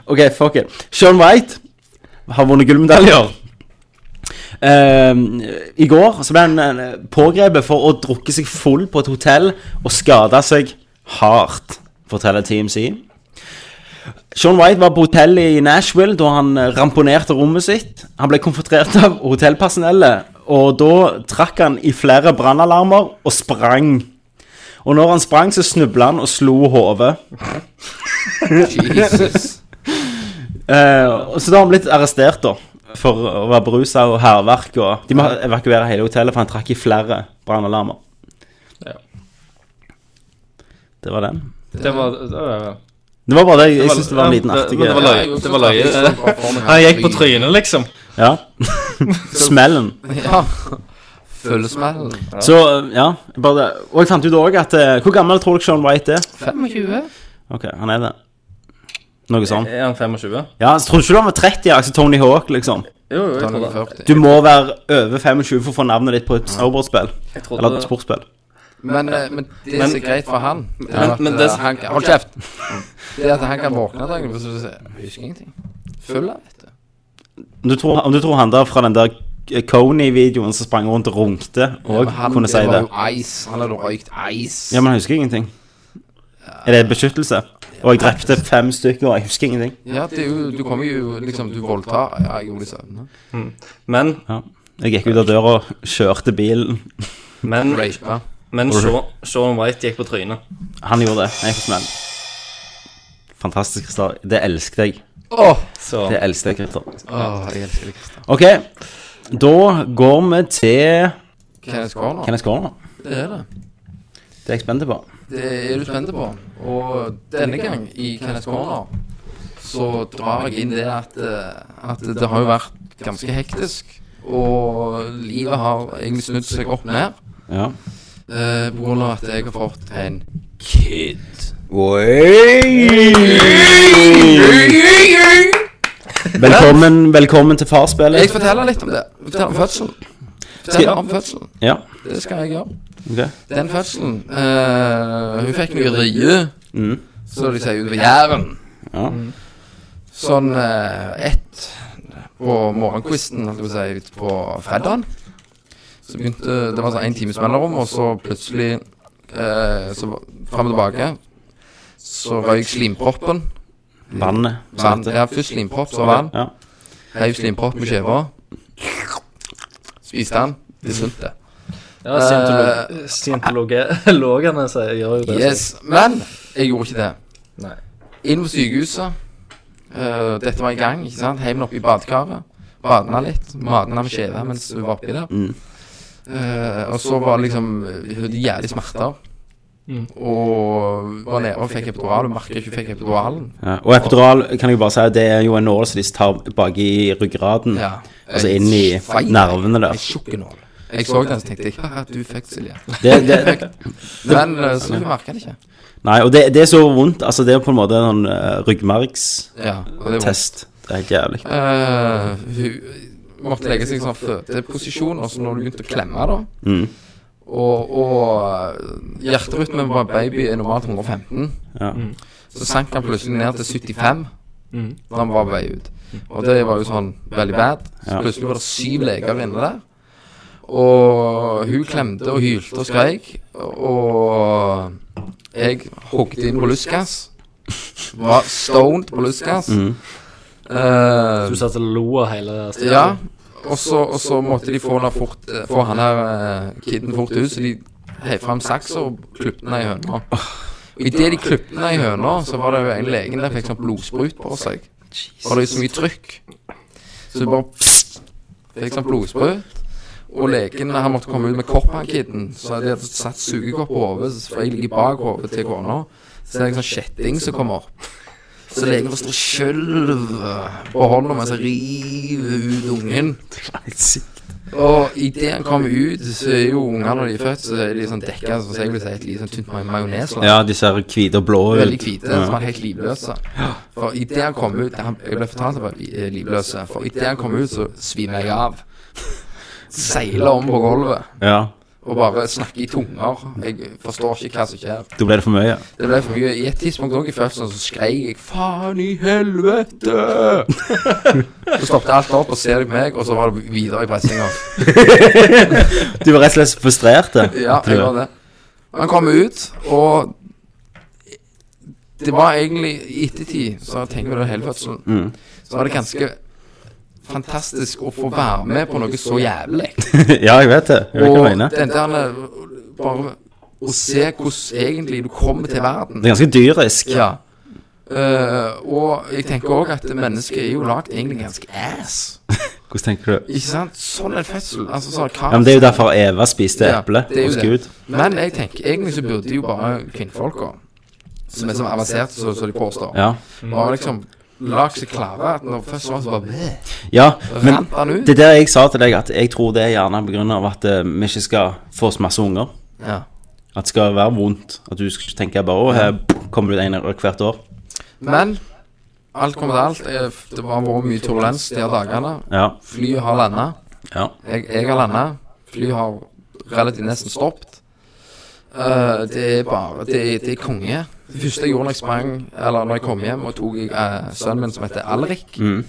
A: Ok, fuck it. Sean White har vunnet gullmedaljer. Eh, I går så ble han eh, pågrepet for å drukke seg full på et hotell og skade seg hardt, forteller TMC. Sean White var på hotellet i Nashville da han eh, ramponerte rommet sitt. Han ble konfrontert av hotellpersonellet, og da trakk han i flere brannalarmer og sprang. Og når han sprang, så snubla han og slo hodet.
E: Jesus.
A: Eh, og så da har han blitt arrestert, da. For å være berusa og hærverk. Og de må evakuere hele hotellet, for han trakk i flere brannalarmer.
C: Ja.
A: Det var den.
C: Det var, det var,
A: Det var bare det. Jeg
C: var-
A: syns det var en
C: ja,
A: liten
C: det-
A: artig
C: men det var løye. det var løye. Han gikk på trynet, liksom.
A: Ja. Smellen.
E: Ja. Følelsesmell.
A: Så eh, ja. Bare, og jeg fant ut òg at eh, Hvor gammel tror dere Sean White er?
E: 25.
A: Ok, han er det. Noe sånt.
C: Er han 25?
A: Ja, så Tror du ikke han var 30, altså Tony Hawk, liksom?
C: Jo, jo, jeg
E: Han er
C: trodde,
E: 40.
A: Du må være over 25 for å få navnet ditt på et snowboardspill.
C: jeg
A: Eller et
C: trodde
A: sportsspill.
E: Men, eh, men det som er greit for han det er
C: Men-
E: at,
C: men
E: eh,
C: det som-
E: han, kan- Hold kjeft! Det er at han kan våkne dagen og så husker ingenting. Full av, vet du.
A: Om du tror, om du tror han der fra den der Coney-videoen som sprang rundt og runkte, og
E: Men han-
A: kunne si det.
E: Det var jo ice. Han hadde røykt ice.
A: Ja, men jeg husker ingenting. Er det beskyttelse? Og jeg drepte fem stykker, og jeg husker ingenting.
E: Ja, det er jo, du kommer jo liksom Du voldtar. Ja, jeg gjorde det i søvne.
C: Men,
A: Ja. Jeg gikk ut av døra og kjørte bilen.
C: men,
E: Rape.
C: men Sean- Sean White gikk på trynet.
A: Han gjorde det. Jeg får smell. Fantastisk, Christer. Det elsket jeg.
E: Åh,
C: Så
A: Det elsket jeg, Christer.
E: åh, jeg elsker deg, Kristian.
A: OK. Da går vi til
E: Kenneth Corner.
A: Kenneth Corner.
E: Det er det.
A: Det er jeg spent på.
E: Det er du spent på. Og denne gang i Kenneth Corner så drar jeg inn det at, eh, at det har jo vært ganske hektisk. Og livet har egentlig snudd seg opp ned.
A: Ja.
E: eh, På grunn av at jeg har fått en kid.
A: Velkommen, velkommen til
E: Jeg
A: Farsspillet.
E: forteller litt om det. Fortell om fødselen. Fortell om fødselen.
A: Ja.
E: Det skal jeg gjøre.
A: ok
E: Den fødselen eh, Hun fikk noe rie,
A: Mm.
E: så de sier ute ved Jæren.
A: Ja.
E: Sånn eh, ett på morgenkvisten, holdt jeg på å si, ut på fredagen. Så begynte Det var sånn en times mellomrom, og så plutselig eh, Så fram og tilbake. Så røyk slimproppen.
A: Vannet. som
E: Vann.
A: heter.
E: Ja, først slimpropp, så vann.
A: Ja.
E: Heiv slimpropp med skiva. Spiste den. Det sunte.
C: Ja, scientolo- scientologene sier- gjør jo det.
E: Yes, men jeg gjorde ikke det.
C: Nei.
E: Inn på sykehuset. eh, dette var i gang. ikke sant? Heimen oppe i badekaret. Badna litt. Madna med skjeve mens hun var oppi der.
A: Mm.
E: Eh, og så var liksom Hun hadde jævlig smerter.
C: Mm.
E: Og var nede og fikk epidural. Hun merker ikke hun fikk epiduralen.
A: Ja. Og epidural kan jeg bare si at det er jo en nål som de tar bak i ryggraden.
E: Ja.
A: Altså inn i nervene der.
E: En tjukk nål. Jeg så den, så tenkte jeg haha, du fikk Silje.
A: Det, det,
E: Men eh, så hun merka det ikke.
A: nei, og det, det er så vondt. Altså, det er på en måte en sånn eh, ryggmargstest.
E: Ja, og det var
A: Det er helt jævlig.
E: Eh, hun måtte legge seg i sånn fødeposisjon, og så når du begynte å klemme, da
A: Mm.
E: Og, og hjerterytmen var baby er normalt 115.
A: Ja.
E: Så sank han plutselig ned til 75
C: Mm.
E: da han var på vei ut. Og det var jo sånn veldig bad. Så
A: Ja.
E: plutselig var det syv leger inne der. Og hun klemte og hylte og skreik. Og jeg hogde inn molluskas. Var stoned molluskas.
A: Mm.
E: Eh,
C: Du satt og lo av hele stedet.
E: ja, og så, og så måtte de få han, her fort, eh, få han her eh, kiden fort ut, så de heiv fram saksa og klipte den i høna. Og idet de klipte den i høna, så var det jo en legen der fikk sånn blodsprut på seg. Og det er så mye trykk. Så du bare pssst, fikk sånn blodsprut. Og legene har måttet komme ut med Koppan-kidden. Så de hadde satt sugekopp på hodet, så- for jeg ligger bak hodet til kona. Så er det en sånn kjetting som kommer opp. Så legen får stå og skjelve på hånda mens jeg river ut ungen. Og idet han kommer ut, så er jo ungene når de er født, så er de sånn dekka, som jeg vil si, et litt sånn tynt ma- majonesland.
A: Ja, de ser hvite og blå
E: Veldig
A: ut.
E: hvite, som var helt livløse. For idet han kom ut han, Jeg ble fortalt at han var li- eh, livløse. For idet han kom ut, så svimer jeg av. Seiler om på gulvet
A: Ja.
E: og bare snakker i tunger. Jeg forstår ikke hva som skjer.
A: Da ble det for mye.
E: Det ble for mye. I et tidspunkt også i fødselen så skrek jeg 'faen i helvete'. så stoppet alt opp og ser på meg, og så var det videre i pressinga.
A: Du var rett og slett frustrert. da.
E: Ja, jeg var det. Og Han kom ut, og det var egentlig i ettertid, så jeg tenker på den hele fødselen,
A: Mm.
E: så var det ganske fantastisk å få være med på noe så jævlig.
A: ja, jeg vet det. Jeg vet hva
E: Og
A: du mener.
E: den der eh, bare å se hvordan egentlig du kommer til verden.
A: Det er ganske dyrisk.
E: Ja. Eh, og jeg tenker òg at mennesket er jo lagd egentlig ganske ass.
A: Hvordan tenker du?
E: Ikke sant? Sånn er fødsel. Altså, så er det
A: Ja, men Det er jo derfor Eva spiste
E: Ja,
A: eple
E: det er jo
A: hos
E: det.
A: Gud.
E: Men jeg tenker, egentlig så burde jo bare kvinnfolka, som er så avanserte som som de påstår,
A: Ja.
E: bare liksom lagt seg klare at når først var det så bare bleh,
A: ja, men
E: rant han ut.
A: det der jeg sa til deg, at jeg tror det er gjerne på grunn av at eh, vi ikke skal få så masse unger.
E: Ja.
A: At det skal være vondt. At du skal ikke tenke bare å, her kommer du en hvert år.
E: Men alt kommer til alt. eh, Det har vært mye turbulens de her dagene.
A: Ja.
E: Flyet har landa.
A: ja.
E: Jeg, jeg har landa. Flyet har relativt nesten stoppet. Eh, det er bare Det er, det er konge. Det første jeg gjorde når jeg sprang, eller når jeg kom hjem, og tok jeg eh, sønnen min som heter Alrik
A: Mm.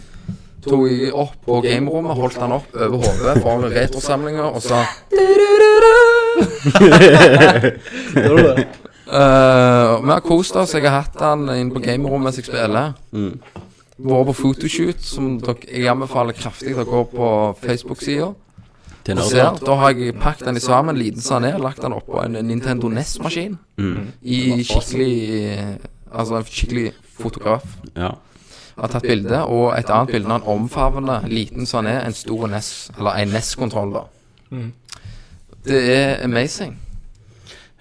E: tok jeg opp på gamerommet, holdt han opp over hodet foran retrosamlinga og sa Eh, Vi har kost oss. Jeg har hatt han inne på gamerommet mens jeg spiller.
A: Mm.
E: Vært på photoshoot, som dere, jeg anbefaler kraftig dere går på Facebook-sida.
A: Det er
E: Og
A: nerdete.
E: ser, Da har jeg pakket den i sammen, liten sånn ned, lagt den oppå en Nintendo NES-maskin
A: Mm.
E: i skikkelig Altså en skikkelig fotograf
A: Ja.
E: har tatt bilde, og et annet bilde når han omfavner liten som han er, en stor NES, eller en NES-kontroll, da.
C: Mhm.
E: Det er amazing.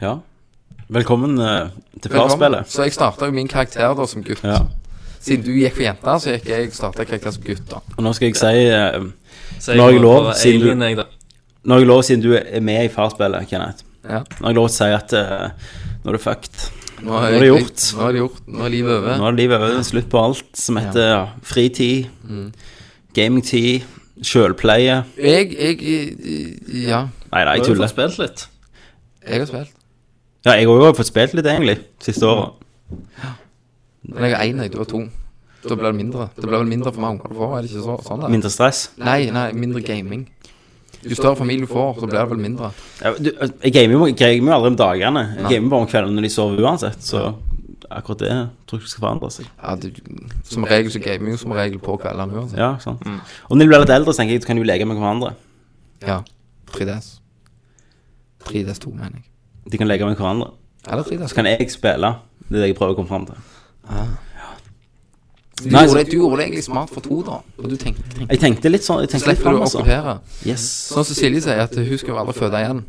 A: ja. Velkommen eh, til
E: Velkommen.
A: Farspillet.
E: Så jeg starta jo min karakter da som gutt.
A: Ja.
E: Siden du gikk for jenta, så gikk jeg starta karakter som gutt, da.
A: Og nå skal jeg si eh,
C: Så
A: Nå har jeg
C: må
A: lov,
C: prøve
A: siden du-
C: Alien, jeg, da.
A: Nå har jeg lov, siden du er med i Farspillet, Kenneth
E: Ja.
A: Nå har jeg lov til å si at eh, nå er det fucked.
E: Nå,
A: er
E: jeg-
A: det gjort.
E: Nå er det gjort. Nå er livet over.
A: Nå er livet over. Slutt på alt som heter ja. Mm. fritid, gamingtid, sjølpleie
E: Jeg, jeg Ja,
A: Nei, nei,
C: Du
A: jeg
C: har jo fått
A: tuller.
C: spilt litt.
E: jeg har spilt.
A: Ja, jeg har jo fått spilt litt, egentlig, siste året.
E: Men jeg er én, jeg. Du er to. Da blir det mindre. Det blir vel mindre for mange unger du får, er det ikke så, sånn? det?
A: Mindre stress.
E: Nei, nei, mindre gaming. Jo større familie du får, så blir det vel mindre.
A: Ja, du, eh, Jeg gamer jo jeg gamer jo aldri om dagene. Jeg
E: Nei.
A: gamer bare om kveldene når de sover uansett, så akkurat det tror jeg ikke skal forandre seg.
E: Ja, du, som regel så gamer vi jo som regel på kveldene uansett.
A: Ja, Mm. sant. Og når de blir litt eldre, så tenker jeg, så kan de jo leke med hverandre.
E: Ja. 3DS. 3DS2, mener jeg.
A: De kan leke med hverandre.
E: Eller 3DS.
A: Så kan jeg spille. Det er det jeg prøver å komme fram til.
E: Du,
A: Nei,
E: gjorde
A: så-
E: det, du gjorde det egentlig smart for to, da. Og du tenkte, tenkte
A: Jeg tenkte litt sånn. jeg tenkte litt
E: Slipper
A: fram,
E: du å
A: altså.
E: okkupere.
A: Yes.
E: Sånn som Silje sier, at hun skal jo aldri føde igjen.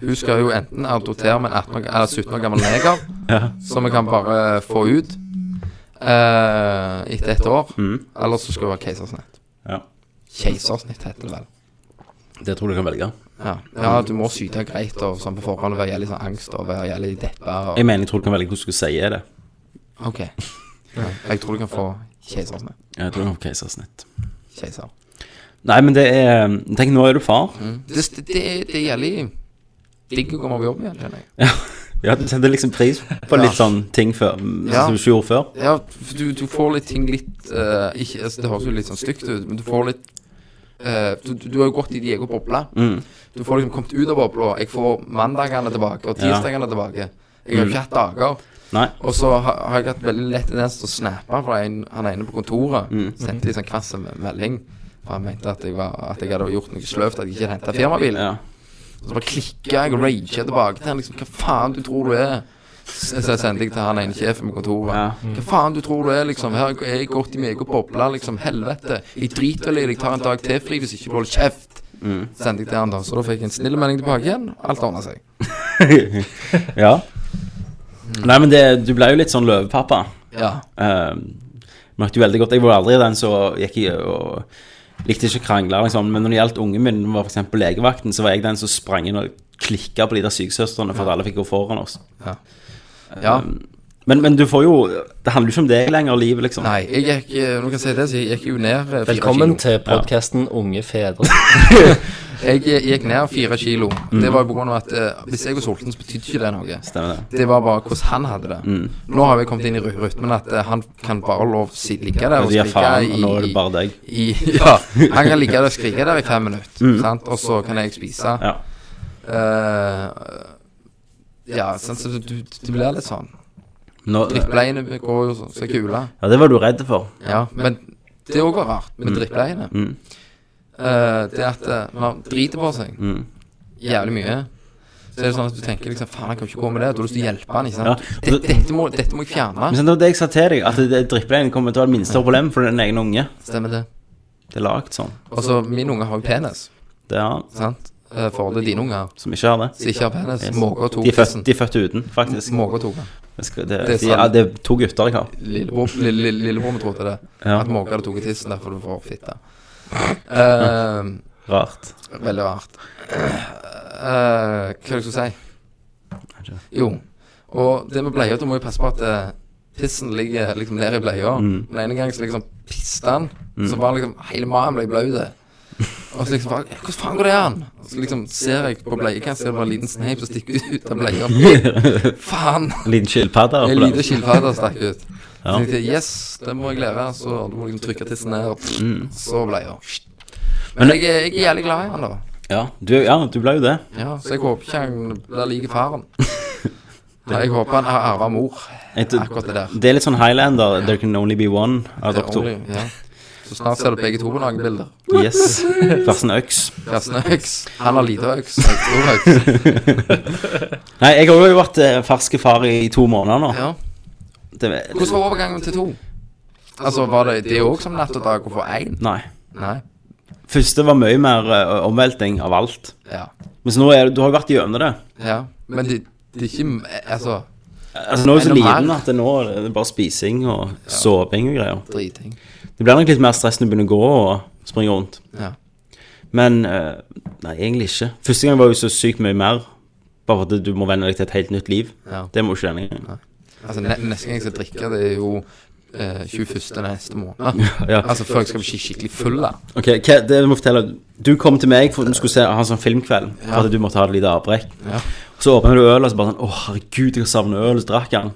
E: Hun skal jo enten adoptere med en 18 år, eller 17 år gammel neger,
A: Ja.
E: som vi kan bare få ut eh, etter et år.
A: Mm.
E: Eller så skal hun ha keisersnitt.
A: Ja.
E: Keisersnitt heter det vel.
A: Det tror jeg du kan velge.
E: Ja, ja du må syte greit og sånn på forhånd være jævlig sånn angst og være jævlig deppa. Og...
A: Jeg mener, jeg tror du kan velge hvordan du skal si det.
E: OK. Ja, jeg tror du kan få keisersnitt.
A: Jeg tror jeg har keisersnitt.
E: Keiser.
A: Nei, men det er Tenk, nå er du far.
E: Det, det, det, det er jævlig digg å komme på jobb igjen, kjenner jeg.
A: Ja, Du setter liksom pris på litt sånn ting før,
E: Ja.
A: som du ikke gjorde før.
E: Ja, for du, du får litt ting litt eh, ikke, altså, Det høres jo litt sånn stygt ut, men du får litt eh, du, du, du har jo gått i din egen boble.
A: Mm.
E: Du får liksom kommet ut av bobla. Jeg får mandagene tilbake og
A: Ja.
E: tirsdagene tilbake. Jeg har
A: Mm.
E: jo ikke hatt dager.
A: Nei.
E: Og så har, har jeg hatt veldig lett tendens til å snappe fra en, han ene på kontoret.
A: Mm.
E: Sendte litt sånn kvass melding. For han mente at jeg, var, at jeg hadde gjort noe sløvt, at jeg ikke henta firmabil.
A: Ja.
E: Så bare klikker jeg og rager tilbake til han liksom, Hva faen du tror du er? Så så sendte jeg til han ene sjefen på kontoret.
A: Ja.
E: Hva faen du tror du er, liksom? Her er jeg gått i meg og bobla, liksom. Helvete. Jeg driter i deg. Jeg tar en dag til fri hvis ikke du holder kjeft. Sendte jeg til han, da. Så da fikk jeg en snill melding tilbake igjen. Alt ordna seg.
A: ja. Nei, men det, du ble jo litt sånn løvepappa.
E: Ja.
A: Eh, merkte jo veldig godt Jeg var aldri den som gikk i og likte ikke å krangle, liksom. men når det gjaldt ungen min, var f.eks. legevakten, så var jeg den som sprang inn og klikka på de der sykesøstrene for at alle fikk gå foran oss.
E: ja.
A: Men, men du får jo Det handler jo ikke om deg lenger, livet, liksom.
E: Nei, jeg gikk eh, Når jeg kan si det, så jeg gikk jo ned eh, fire
C: Velkommen
E: kilo.
C: til podkasten Unge fedre.
E: Jeg eh, gikk ned fire kilo.
A: Mm.
E: Det var jo på grunn av at eh, hvis jeg var sulten, så betydde ikke det noe.
A: Stemmer det.
E: Det var bare hvordan han hadde det.
A: Mm.
E: Nå har vi kommet inn i ry- rytmen at eh, han kan bare lov si, ligge der og
A: Du gir
E: skrike
A: faen, og
E: i,
A: nå er det bare deg.
E: i Ja. Han kan ligge der og skrike der i fem minutter, sant? og så kan jeg spise.
A: Mm. Ja.
E: Eh, ja, sant, så du, du, du blir litt sånn.
A: Nå,
E: Drittbleiene går jo så- så kule.
A: ja, det var du redd for.
E: Ja, men det òg var rart med drittbleiene.
A: Mm.
E: Eh, det at eh, man driter på seg
A: Mm.
E: jævlig mye. Så er det sånn at du tenker liksom Faen, han kan jo ikke gå med det. Du har lyst til å hjelpe han, ikke
A: Ja.
E: sant. Dette, dette, må, dette må jeg fjerne.
A: Men så det var det jeg sa til deg, at det- drippeleien kommer til å være det minste problem for din egen unge.
E: Stemmer det.
A: Det er lagd sånn.
E: Og så min unge har jo penis,
A: Det er han
E: sant? Eh, For det er dine unger
A: som ikke har det.
E: som ikke har penis.
A: Yes.
E: Måke og to.
A: De er født, de er født uten, faktisk.
E: Måke og toga.
A: Jeg skal- Det,
E: Det er
A: de, ja,
E: sant.
A: det er to gutter jeg har.
E: Lillebror lille, lille, lillebror min trodde det.
A: Ja.
E: At måke hadde tatt tissen derfor du får fitte. Eh,
A: Rart.
E: veldig rart. Eh, hva er det jeg skulle si? Jo. Og det med bleier, du må jo passe på at eh, tissen ligger liksom ned i bleia. Den ene gangen så liksom piste han, så bare liksom hele magen ble blaut. Og så liksom bare Hvordan faen går det an? Og så liksom ser jeg på bleiekanten, ser det bare en liten sneip som stikker ut av bleia. faen!
A: En liten skilpadde.
E: En
A: oppå der.
E: liten skilpadde stakk ut.
A: Ja.
E: Så tenkte jeg yes, det må jeg lære. Så du må liksom trykke tissen ned, og
A: Mm.
E: så bleia. Men jeg, er- jeg er jævlig glad i han, da.
A: Ja, du, ja, du ble jo det.
E: Ja, så jeg håper ikke han blir like faren. Nei, Jeg håper han har arva mor.
A: Et,
E: Akkurat det der.
A: det er litt sånn Highlander, there can only be one, av
E: Det er
A: dere to.
E: ordentlig, Ja. Så snart ser du begge to på noen bilder.
A: Yes. Karsten Øks.
E: Karsten har øks. Han har lite øks. Jeg har stor øks.
A: Nei, jeg har jo vært eh, ferske far i to måneder nå.
E: Ja.
A: Det,
E: Hvordan var overgangen til to? Altså, Var det det òg som natt og dag å få én?
A: nei.
E: Nei.
A: Første var mye mer eh, omvelting av alt.
E: Ja.
A: Mens nå er det- du har jo vært gjennom det.
E: ja. Men det, det er ikke Altså,
A: Altså Nå er du så
E: Enda mer.
A: liten at det nå er det bare spising og soving og greier.
E: driting.
A: Det blir nok litt mer stress når du begynner å gå og springe rundt.
E: Ja.
A: Men eh, nei, egentlig ikke. Første gang var jo så sykt mye mer. Bare fordi du må venne deg til et helt nytt liv.
E: Ja.
A: Det må du ikke denne gangen.
E: Altså, ne neste gang jeg skal drikke, det er jo eh, 21. neste måned.
A: Ja.
E: Altså, før jeg skal bli skikkelig full, da.
A: Ok, hva, det må jeg fortelle Du kom til meg for at du skulle se, ha en sånn filmkveld For at du måtte ha et lite avbrekk
E: Ja.
A: Så åpner du øl og så bare sånn Åh, herregud, jeg har savnet øl Og så drakk han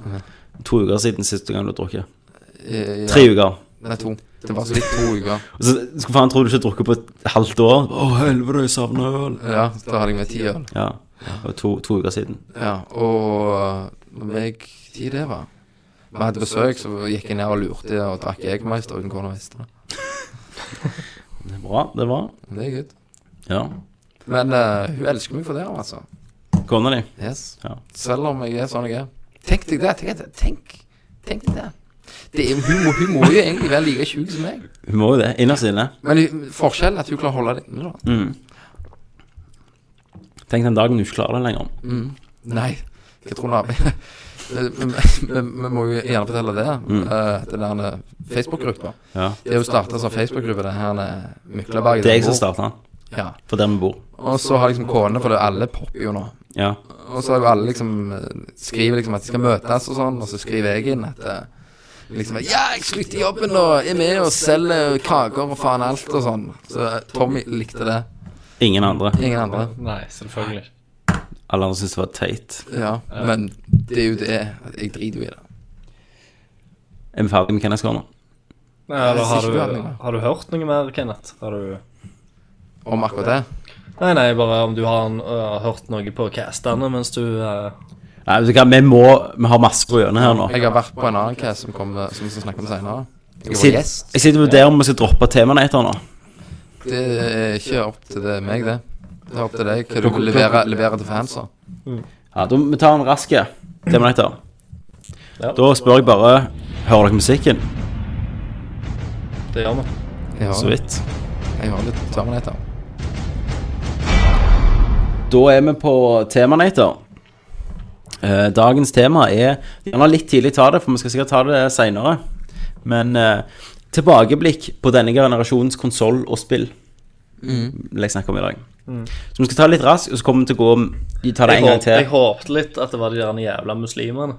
A: To uker siden siste gang du har drukket
E: Eh, ja.
A: Tre uker
E: Nei, to. Det var så vidt to uker.
A: Og så skulle faen tro du ikke har drukket på et halvt år Åh, helvete, jeg savner øl
E: Ja, da hadde jeg med ti øl.
A: Ja, det var to, to uker siden
E: Ja, og eh, når jeg tid det var Vi hadde besøk, så gikk jeg ned og lurte og drakk Egermeister uten kona visste det.
A: Det er bra, det er bra
E: Men Det er good.
A: Ja,
E: Men eh, hun elsker meg for det, altså.
A: kona di
E: Yes.
A: Ja.
E: Selv om jeg er sånn jeg er. Tenk deg det. Tenk, deg- tenk, tenk deg det. det er, hun, må, hun må jo egentlig være like sjuk som meg.
A: Hun må jo det, innerst inne Mm.
E: Men hun- forskjellen er at hun klarer å holde det inne, da.
A: Tenk den dagen du ikke klarer det lenger
E: Nei. Hva tror du hun arbeider Vi må jo gjerne fortelle det. eh, den der eh, Facebook-gruppa.
A: Mm. Ja
E: Det er jo starta som Facebook-gruppe, den her eh, Mykleberget.
A: Det er jeg som startet den
E: Ja.
A: For der vi bor
E: Og så har liksom kone, for det er alle popper jo nå.
A: Ja,
E: Og så har jo alle liksom eh, skriver liksom at de skal møtes og sånn, og så skriver jeg inn at eh, liksom Ja, jeg slutter jobben og er med og selger kaker og faen alt og sånn. Så eh, Tommy likte det.
A: ingen andre
E: Ingen andre.
C: Nei, selvfølgelig.
A: Alle andre synes det var teit
E: Ja, men det er jo det. Jeg driter jo i det.
A: Er vi ferdige med Kenneth Corner?
C: Nei, eller har
E: Jeg synes ikke
C: du,
E: vi har noe.
C: har du hørt noe mer, Kenneth? Har du
E: Om akkurat det.
C: Nei, nei, bare om du har øh, hørt noe på castene mens du øh,
A: Nei, vet du hva, vi må Vi har masse på hjørnet her nå.
E: Jeg har vært på en annen case som, kom, som vi skal snakke om seinere. Jeg var
A: Sitt-
E: gjest.
A: Jeg sitter og vurderer om vi skal droppe temaene etter nå.
E: Det er ikke opp til det, meg, det. Det er opp til deg hva du vil levere, levere til fanser.
A: Ja, da Vi tar en rask temaene etter.
C: Ja.
A: Da spør jeg bare Hører dere musikken?
C: Det gjør vi.
E: Jeg
A: Så
E: har,
A: vidt.
E: jeg har litt terminator.
A: Da er vi på Temanator. Eh, dagens tema er Gjerne litt tidlig ta det, for vi skal sikkert ta det seinere. Men eh, tilbakeblikk på denne generasjonens konsoll og spill
C: Mm.
A: vil jeg snakke om i dag. Så vi skal ta det litt raskt, og så kommer vi til å gå vi tar det
C: Jeg,
A: en gang
C: håp, jeg
A: til.
C: håpte litt at det var de der jævla muslimene.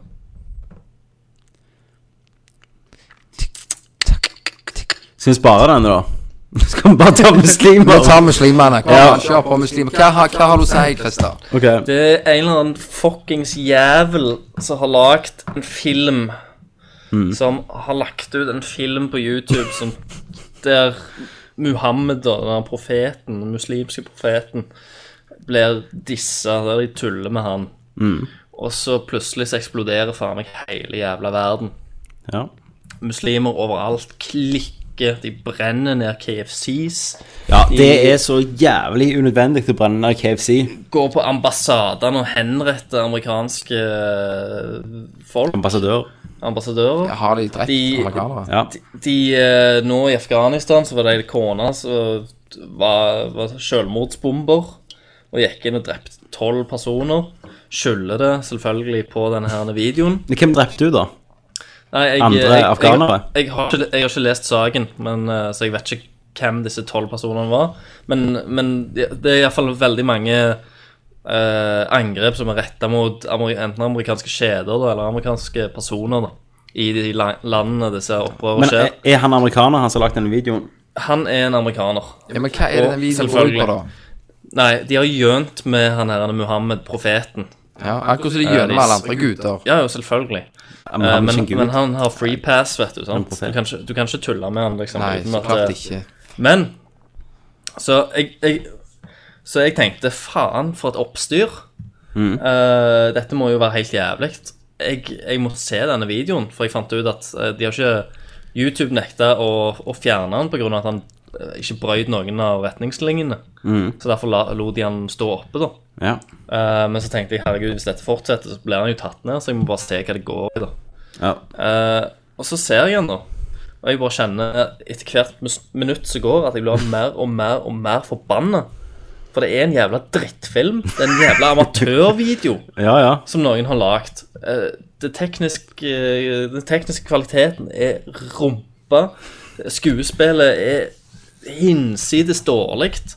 A: Skal vi spare den, da? Skal vi bare ta muslimer?
E: Nå tar muslimene. Kom,
A: Ja.
E: ja. kjør på muslimer. Hva, har- hva har du å si, Christer?
A: Ok.
C: Det er en eller annen fuckings jævel som har lagd en film Som har lagt ut en film på YouTube som der Muhammed, da, den her profeten, den muslimske profeten, blir dissa der de tuller med han. Og så plutselig så eksploderer faen meg hele jævla verden.
A: Ja.
C: Muslimer overalt klikker, de brenner ned KFCs.
A: ja, det er så jævlig unødvendig å brenne ned KFC.
C: Går på ambassadene og henretter amerikanske folk,
A: Ambassadør.
C: ambassadører.
E: Ja, Har de drept
C: De-
E: amerikanere?
A: Ja.
C: De, de, eh, nå i Afghanistan så var det en kone som var, var selvmordsbomber og gikk inn og drepte tolv personer. Skylder det selvfølgelig på denne her videoen.
A: Men Hvem drepte du, da?
C: Nei, jeg,
A: Andre
C: jeg- jeg-
A: afghanere?
C: Jeg, har ikke, jeg har ikke lest saken, men, eh, så jeg vet ikke hvem disse tolv personene var. Men, men det det er iallfall veldig mange eh, angrep som er retta mot amer, enten amerikanske kjeder da, eller amerikanske personer da, i de la- landene disse opprørene
A: Men eh,
C: skjer.
A: er, er han amerikaner, han som har lagt denne videoen?
C: Han er en amerikaner.
E: Ja, men hva er det den videoen går ut
C: Selvfølgelig.
E: på, da?
C: Nei, de har gjønt med han her Muhammed, profeten.
E: Ja, akkurat som de gjør med alle andre guder.
C: Ja, jo, selvfølgelig.
A: Ja,
C: Eh,
A: han er
C: Men,
A: ikke en gud.
C: men han har free pass, vet du. sant?
A: profet.
C: Du kan, ikke, du kan ikke tulle med han, liksom.
E: Nei,
C: uten
E: så
C: at, eh,
E: klart ikke.
C: Men så jeg, jeg, så jeg tenkte faen, for et oppstyr. Eh, dette må jo være helt jævlig. Jeg, jeg må se denne videoen, for jeg fant ut at eh, de har ikke YouTube nekta å, å fjerne den pga. at han eh, ikke brøt noen av retningslinjene. Så derfor la, lot de han stå oppe, da.
A: Ja.
C: Eh, men så tenkte jeg herregud, hvis dette fortsetter, så blir han jo tatt ned, så jeg må bare se hva det går i, da.
A: ja.
C: Eh, og så ser jeg han da Og jeg bare kjenner etter hvert mus- minutt som går At jeg blir mer og mer og mer forbannet For det er en jævla drittfilm Det er en jævla amatørvideo
A: ja, ja.
C: Som noen har lagt Eh, det tekniske, eh, Den tekniske kvaliteten er rumpa Skuespillet er hinsides dårligt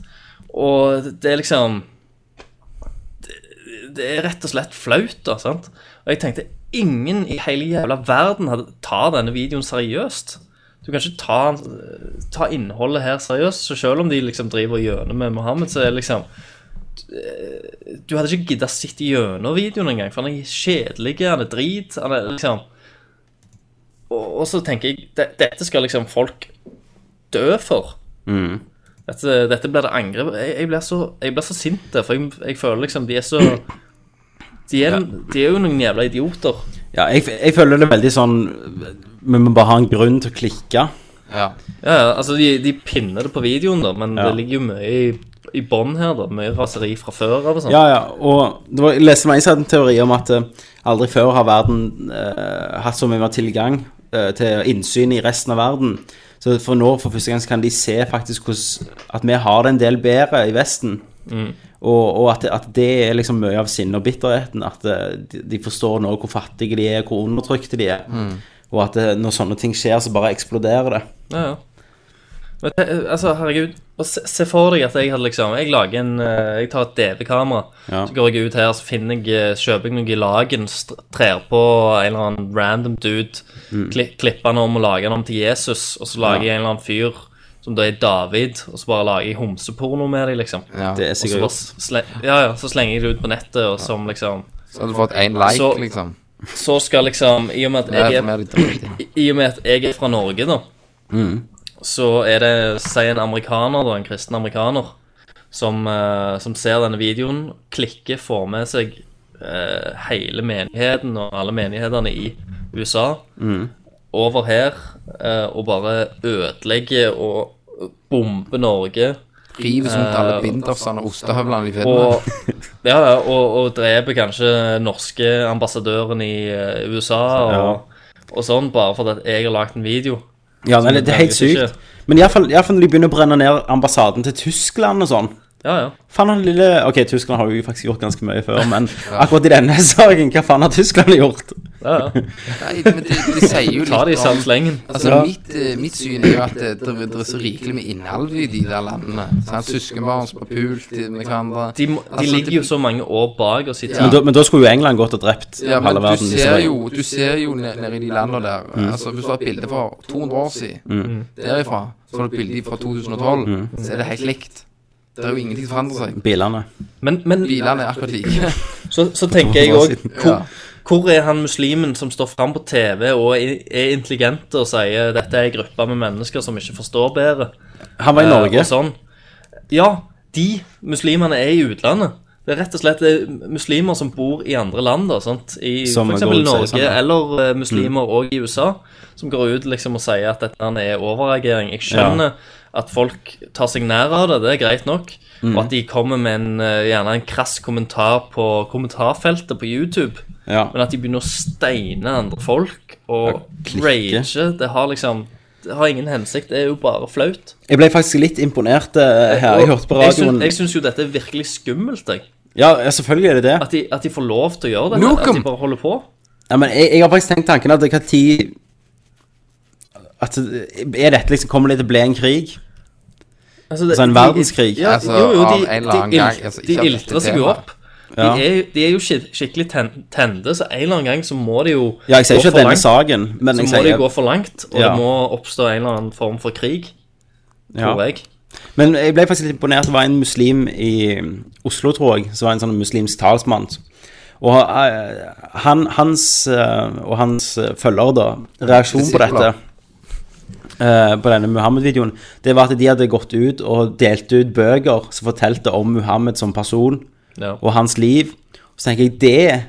C: Og det er liksom det er rett og slett flaut, da, sant? Og jeg tenkte, ingen i hele jævla verden hadde, tar denne videoen seriøst. Du kan ikke ta, ta innholdet her seriøst, så selv om de liksom driver gjennom med Mohammed, så er det liksom Du hadde ikke giddet å sitte gjennom videoen engang, for han er kjedelig, han er drit, han er liksom Og, og så tenker jeg, de, dette skal liksom folk dø for. Dette, dette blir det angrep jeg, jeg, blir så, jeg blir så sint, for jeg, jeg føler liksom de er så de er, de er jo noen jævla idioter.
A: ja jeg, jeg føler det veldig sånn Vi må bare ha en grunn til å klikke.
E: Ja.
C: Ja, ja, altså de, de pinner det på videoen, da, men
A: Ja.
C: det ligger jo mye i, i bånn her, da. Mye raseri fra før av og sånn.
A: Ja, ja. Og det var, jeg leste meg en teori om at eh, aldri før har verden eh, hatt så mye mer tilgang eh, til innsyn i resten av verden. Så for nå, for første gang, så kan de se faktisk hvordan At vi har det en del bedre i Vesten. Og, og at, at det er liksom mye av sinnet og bitterheten. At eh, de, de forstår nå hvor fattige de er, hvor undertrykte de er. Og at eh, når sånne ting skjer, så bare eksploderer det.
C: Ja, ja. Men, te- altså, herregud, og se, se for deg at jeg hadde liksom Jeg lager en eh, Jeg tar et DV-kamera,
A: Ja.
C: så går jeg ut her, så finner jeg eh, kjøper jeg noe lagen, trer på en eller annen random dude,
A: Mm.
C: kli, klipper han om og lager han om til Jesus, og så lager jeg en eller annen fyr som da er David, og så bare lager jeg homseporno med dem, liksom.
E: ja.
A: Det er
C: Og så
A: sikkert
C: bare sle ja, ja, så slenger jeg det ut på nettet, og som liksom
E: Så hadde du fått én like,
C: Så-
E: liksom.
C: Så skal liksom I og med at
E: Det
C: jeg
E: er
C: er,
E: mer dritt. i.
C: i- i og med at jeg er fra Norge, da, så er det si en amerikaner, da, en kristen amerikaner, som, eh, som ser denne videoen, klikker, får med seg eh, hele menigheten og alle menighetene i USA over her eh, og bare ødelegger og bomber Norge.
E: Rives mot alle
C: Eh,
E: bindersene og ostehøvlene i Finland.
C: Og, ja, ja, og, og dreper kanskje norske ambassadøren i eh, USA og, og sånn, bare fordi at jeg har lagt en video.
A: Ja, nei, det, det er helt
C: Ikke-
A: sykt. Men iallfall når de begynner å brenne ned ambassaden til Tyskland og sånn.
C: Ja, ja.
A: Faen, han lille Ok, Tyskland har jo faktisk gjort ganske mye før, men akkurat i denne saken, hva faen har Tyskland gjort?
C: ja, ja.
E: Nei, men de, de sier jo litt
C: Ta det i
E: om-
C: samme slengen.
E: Altså,
A: Ja.
E: mitt, eh, mitt syn er jo at det, det, det er så rikelig med innhold i de der landene. Sånn, Søskenbarn som har pult i- med hverandre.
C: De, må- de
E: Altså,
C: ligger
E: det-
C: jo så mange år bak oss i tid.
A: Men, da, men da skulle jo England gått og drept
E: Ja, men
A: halve
E: du
A: verden. liksom. Mm. hvis det
E: ser
A: var-
E: jo, du ser jo ned- nede i de landene der altså, Hvis du har et bilde fra 200 år siden,
A: Mm.
E: derifra, så har du et bilde fra 2012, så er det helt likt. Det er jo ingenting som forandrer seg.
A: Bilene.
C: Men, men
E: Bilene er akkurat like.
C: så, så tenker jeg òg
E: Ja.
C: hvor, hvor er han muslimen som står fram på TV og er er intelligent og sier dette er en gruppe med mennesker som ikke forstår bedre?
A: Han var i
C: Eh,
A: Norge.
C: Og sånn. Ja, de muslimene er i utlandet. Det er rett og slett eh, muslimer som bor i andre land, da, sant? i
A: Som
C: f.eks.
A: går ut og sier
C: Norge,
A: sånn, ja.
C: eller eh, muslimer òg i USA, som går ut liksom og sier at dette her er overreagering. Jeg skjønner at folk tar seg nær av det, det er greit nok.
A: Mm.
C: Og at de kommer med en, eh, gjerne en krass kommentar på kommentarfeltet på YouTube.
A: Ja.
C: Men at de begynner å steine andre folk og
A: klikke.
C: rage, det har liksom Det har ingen hensikt. Det er jo bare flaut.
A: Jeg ble faktisk litt imponert eh, her. Jeg
C: Og
A: hørte på
C: jeg syns-
A: radioen.
C: Jeg syns jo dette er virkelig skummelt, jeg.
A: Ja, ja, selvfølgelig er det det.
C: At de, at de får lov til å gjøre det. At de
E: Nukem!
C: bare holder på.
A: Ja, men jeg, jeg har faktisk tenkt tanken at hva tid At er dette liksom Kommer det til å bli en krig?
C: det,
A: Altså en
C: de-
A: verdenskrig.
C: Ja,
E: Altså,
C: jo, jo, de,
E: av en eller annen
C: de, il-
E: gang, altså, ikke av
C: de
E: dette
C: iltrer seg jo
E: temaet.
C: opp.
A: Ja.
C: De, er, de er jo skik- skikkelig ten- tende, så en eller annen gang så må de jo
A: Ja, jeg sier
C: gå
A: ikke
C: for
A: denne
C: langt.
A: saken, men
C: Så
A: jeg
C: må de
A: sier
C: gå for langt, og
A: Ja.
C: det må oppstå en eller annen form for krig,
A: ja.
C: tror jeg.
A: Men jeg ble faktisk litt imponert. Det var en muslim i Oslo, tror jeg, som var en sånn muslimsk talsmann. Og eh, han, hans eh, og hans eh, følgere, da, reaksjon på dette eh, på denne Muhammed-videoen, det var at de hadde gått ut og delt ut bøker som fortalte om Muhammed som person
C: Ja.
A: og hans liv. Så tenker jeg det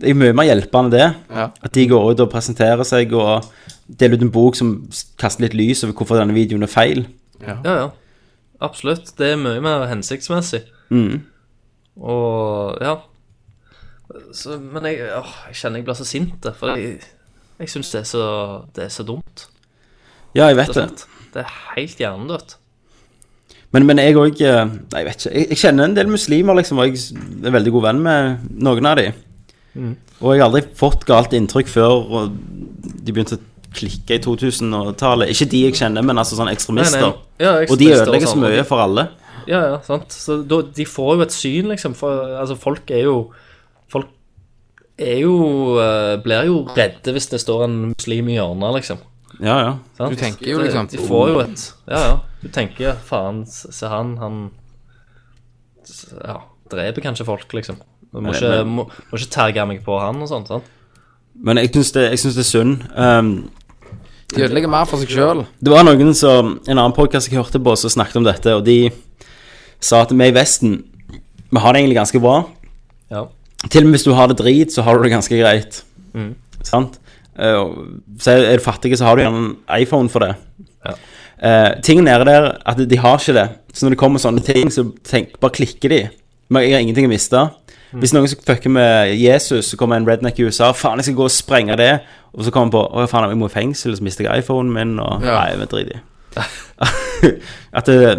A: Det er mye mer hjelpende, det.
E: Ja.
A: At de går ut og presenterer seg og deler ut en bok som kaster litt lys over hvorfor denne videoen er feil.
C: Ja, ja. Absolutt. Det er mye mer hensiktsmessig.
A: Mm.
C: Og ja. Så, men jeg, åh, jeg kjenner jeg blir så sint, for jeg, jeg syns det, er så- det er så dumt.
A: Ja, jeg vet
C: rett og
A: det.
C: slett. Det er helt hjernedødt.
A: Men, men jeg òg Nei, jeg vet ikke. Jeg, jeg kjenner en del muslimer, liksom, og jeg er veldig god venn med noen av de. Og jeg har aldri fått galt inntrykk før og de begynte å klikke i 2000-tallet. Ikke de jeg kjenner, men altså sånn ekstremister.
C: Ja, ekstremister
A: Og de ødelegger så
C: sånn.
A: mye for alle.
C: Ja, ja, sant. Så da, de får jo et syn, liksom. For, altså, folk er jo Folk er jo eh, Blir jo redde hvis det står en muslim i hjørnet, liksom.
A: Ja, ja.
C: Sant?
E: Du tenker jo
C: Det-
E: liksom-
C: De får jo et Ja, ja. Du tenker faen, s- se han, han s- Ja, dreper kanskje folk, liksom. Du må
A: Men-
C: ikke,
A: men-
C: må, må ikke terge meg på han og sånt, sant?
A: Men jeg syns det, jeg synes det er synd. Um,
E: De ødelegger mer for seg sjøl.
A: Det var noen som En annen podkast jeg hørte på, som snakket om dette, og de sa at vi i Vesten Vi har det egentlig ganske bra.
C: Ja.
A: Til og med hvis du har det drit, så har du det ganske greit.
C: Mm.
A: Sant? Eh, og- Så er du fattig, så har du gjerne en iPhone for det.
C: Ja.
A: Eh, ting nede der, at de har ikke det. Så når det kommer sånne ting, så tenk, bare klikker de. Men jeg har ingenting å miste.
C: Mm.
A: Hvis noen skal fucke med Jesus, så kommer en redneck i USA. Faen, jeg skal gå og sprenge det. Og så kommer han på Å, faen, jeg må i fengsel, så mister jeg iPhonen min, og
E: Ja.
A: Nei, vi driter i At eh,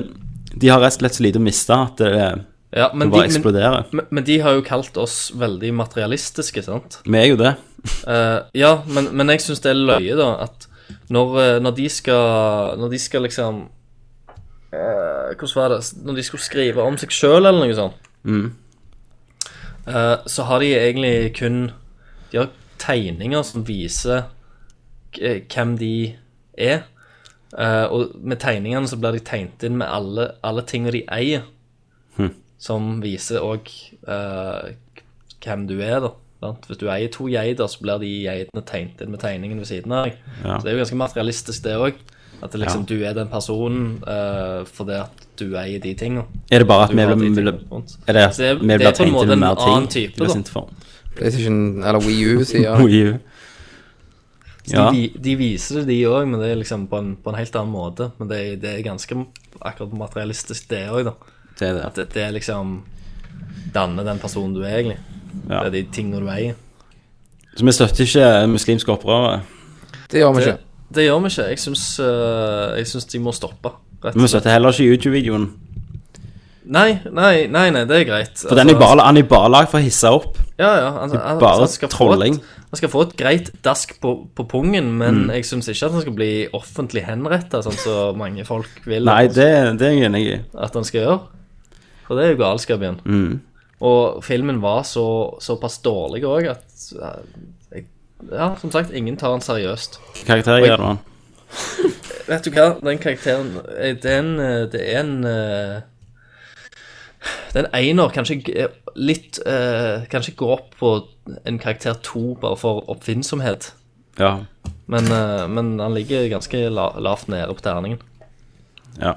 A: de har rett og slett så lite å miste at det,
C: ja men,
A: det
C: de,
A: bare
C: men,
A: eksploderer.
C: men, men de har jo kalt oss veldig materialistiske, sant?
A: Vi er jo det.
C: Eh, ja, men, men jeg syns det er løye, da, at når, eh, når de skal Når de skal liksom eh, Hvordan var det Når de skulle skrive om seg sjøl eller noe sånt, eh, så har de egentlig kun De har tegninger som viser k- eh, hvem de er. Eh, og med tegningene så blir de tegnet inn med alle, alle tingene de eier, som viser eh, òg hvem du er, da. Sant? Hvis du eier to geiter, så blir de geitene tegnet inn med tegningen ved siden av deg.
A: Ja.
C: Så det er jo ganske materialistisk, det òg. At det liksom, du er den personen eh, fordi at du eier de tingene.
A: Er det bare at
C: Du
A: vi
C: har de
A: blir
C: tingene, sant?
A: Er det at
C: Så det er-
A: vi
C: det er
A: blir
C: på en
A: tegnet
C: måte
A: inn med
C: en
A: mer ting?
C: annen type,
A: du blir
C: da.
A: sint for?
E: PlayStation eller Wii U sier
A: Oi, jo. Oh,
C: Så
A: Ja.
C: de, vi- de viser det, de òg, men det er liksom på en, på en helt annen måte. Men det, er- det er ganske akkurat materialistisk, det òg, da.
A: Det er
C: At
A: det.
C: det, det er liksom danne den personen du er, egentlig.
A: Ja.
C: Det er de tingene du eier.
A: Så vi støtter ikke muslimske opprørere.
E: Det gjør vi
C: Det,
E: ikke.
C: det gjør vi ikke. Jeg syns, eh, jeg syns de må stoppe. Rett
A: Men vi støtter heller ikke YouTube-videoen.
C: Nei, nei, nei, nei, det er greit. Altså,
A: For den er bare, han er bare lagd for å hisse opp.
C: Ja, ja. Han, han,
A: bare
C: han skal
A: trolling. Mm.
C: Få et, han skal få et greit dask på, på pungen, men jeg syns ikke at han skal bli offentlig henretta, sånn som mange folk vil
A: Nei,
C: at,
A: det, det er jeg enig i.
C: at han skal gjøre. For det er jo galskap igjen.
A: Mm.
C: Og filmen var så, såpass dårlig òg at eh, jeg, Ja, som sagt, ingen tar han seriøst.
A: Hvilken karakter gir du han?
C: Vet du hva, den karakteren eh, Det er en, eh, det er en eh, Det er en einer, kanskje g- litt eh, Kanskje gå opp på en karakter to bare for oppfinnsomhet.
A: Ja.
C: Men, eh, men han ligger ganske la, lavt nede på terningen.
A: ja.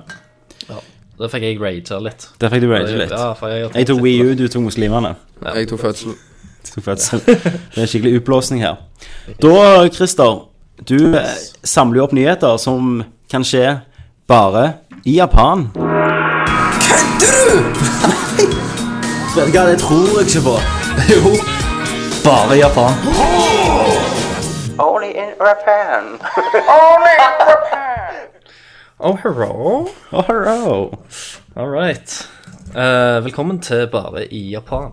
C: Da fikk jeg rata litt.
A: Der fikk du rage litt.
C: Ja, for jeg,
A: Jeg tok Wii U, du tok muslimene.
E: Jeg tok fødsel.
A: Tok fødsel. Det er en skikkelig utblåsning her. Da, Christer, du eh, samler jo opp nyheter som kan skje bare i Japan. Kødder du?! Vet du hva, det tror jeg ikke på. Jo. Bare i Japan.
C: Oh, hello.
A: Oh, hello.
C: All right. Eh, velkommen til Bare i Japan.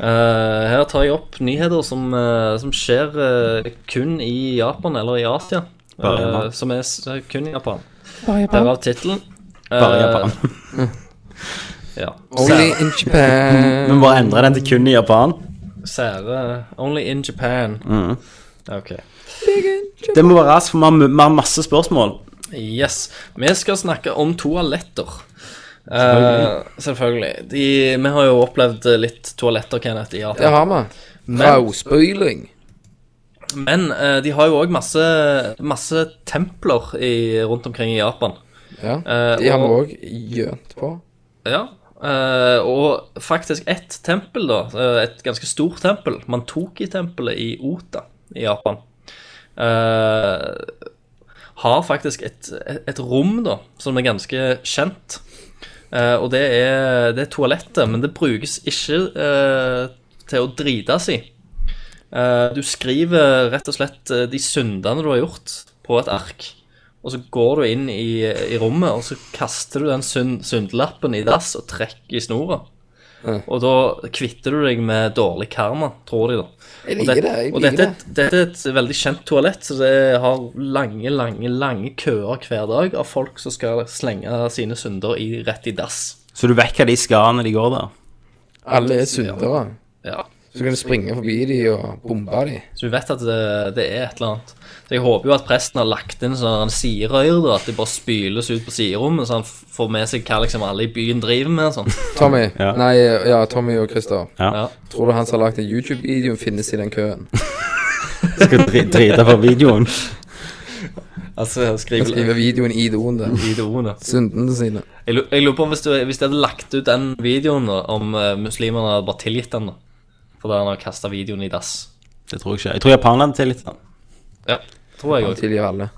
C: Eh, her tar jeg opp nyheter som, eh, som skjer eh, kun i Japan eller i Asia.
A: Bare i
C: eh,
A: Japan.
C: som er s- kun i Japan. Derav tittelen. Eh,
A: Bare i Japan.
C: Ja.
E: Only
C: Sære,
E: in Japan.
A: Vi må bare endre den til kun i Japan.
C: sære Only in Japan.
A: Mm.
C: Ok.
A: Det må være raskt, for vi har mu- vi har masse spørsmål.
C: Yes. Vi skal snakke om toaletter. Eh, selvfølgelig. De, vi har jo opplevd eh, litt toaletter, Kenneth, i Japan.
E: Det har vi. Rausbøyling.
C: Men eh, de har jo òg masse, masse templer i, rundt omkring i Japan.
E: Ja.
C: Eh,
E: De har vi
C: og-
E: òg gjønt på.
C: Ja. eh, og faktisk ett tempel, da. eh, et ganske stort tempel. Mantoki-tempelet i Ota i Japan. eh, har faktisk et, et rom, da, som er ganske kjent. Eh, og det er, det er toalettet, men det brukes ikke eh, til å drite i. Eh, du skriver rett og slett eh, de syndene du har gjort, på et ark. Og så går du inn i, i rommet, og så kaster du den synd, syndlappen i dass og trekker i snora. Og da kvitter du deg med dårlig karma, tror de, da.
E: Jeg
C: Og, det,
E: liker det. jeg
C: og
E: liker
C: dette, er
E: det.
C: et- dette er et veldig kjent toalett, så det har lange, lange lange køer hver dag av folk som skal slenge sine synder i, rett i dass.
A: Så du vet hva de skal når de går der.
E: Alle er syndere.
C: Ja.
E: Så kan du springe forbi de og bombe de.
C: Så du vet at det, det er et eller annet. Så Jeg håper jo at presten har lagt inn sånn siderøyer, da, at de bare spyles ut på siderommet, så han f- får med seg hva liksom alle i byen driver med. og sånn.
E: Tommy.
A: Ja.
E: Nei, ja, Tommy og Christer.
C: Ja.
E: Tror du han som har lagd den YouTube-videoen, finnes i den køen?
A: Skal dri- drite på videoen.
C: Altså,
E: Han
C: skriv
E: skriver videoen i doen der.
C: i doene.
E: Syndene sine.
C: Jeg lu- jeg lurer på om hvis, du, hvis de hadde lagt ut den videoen, da, om eh, muslimene hadde bare tilgitt den, da. Fordi han har kasta videoen i dass.
A: Det tror jeg ikke. Jeg tror Japan hadde til litt. da.
C: Ja, tror jeg òg.
E: Tilgir alle.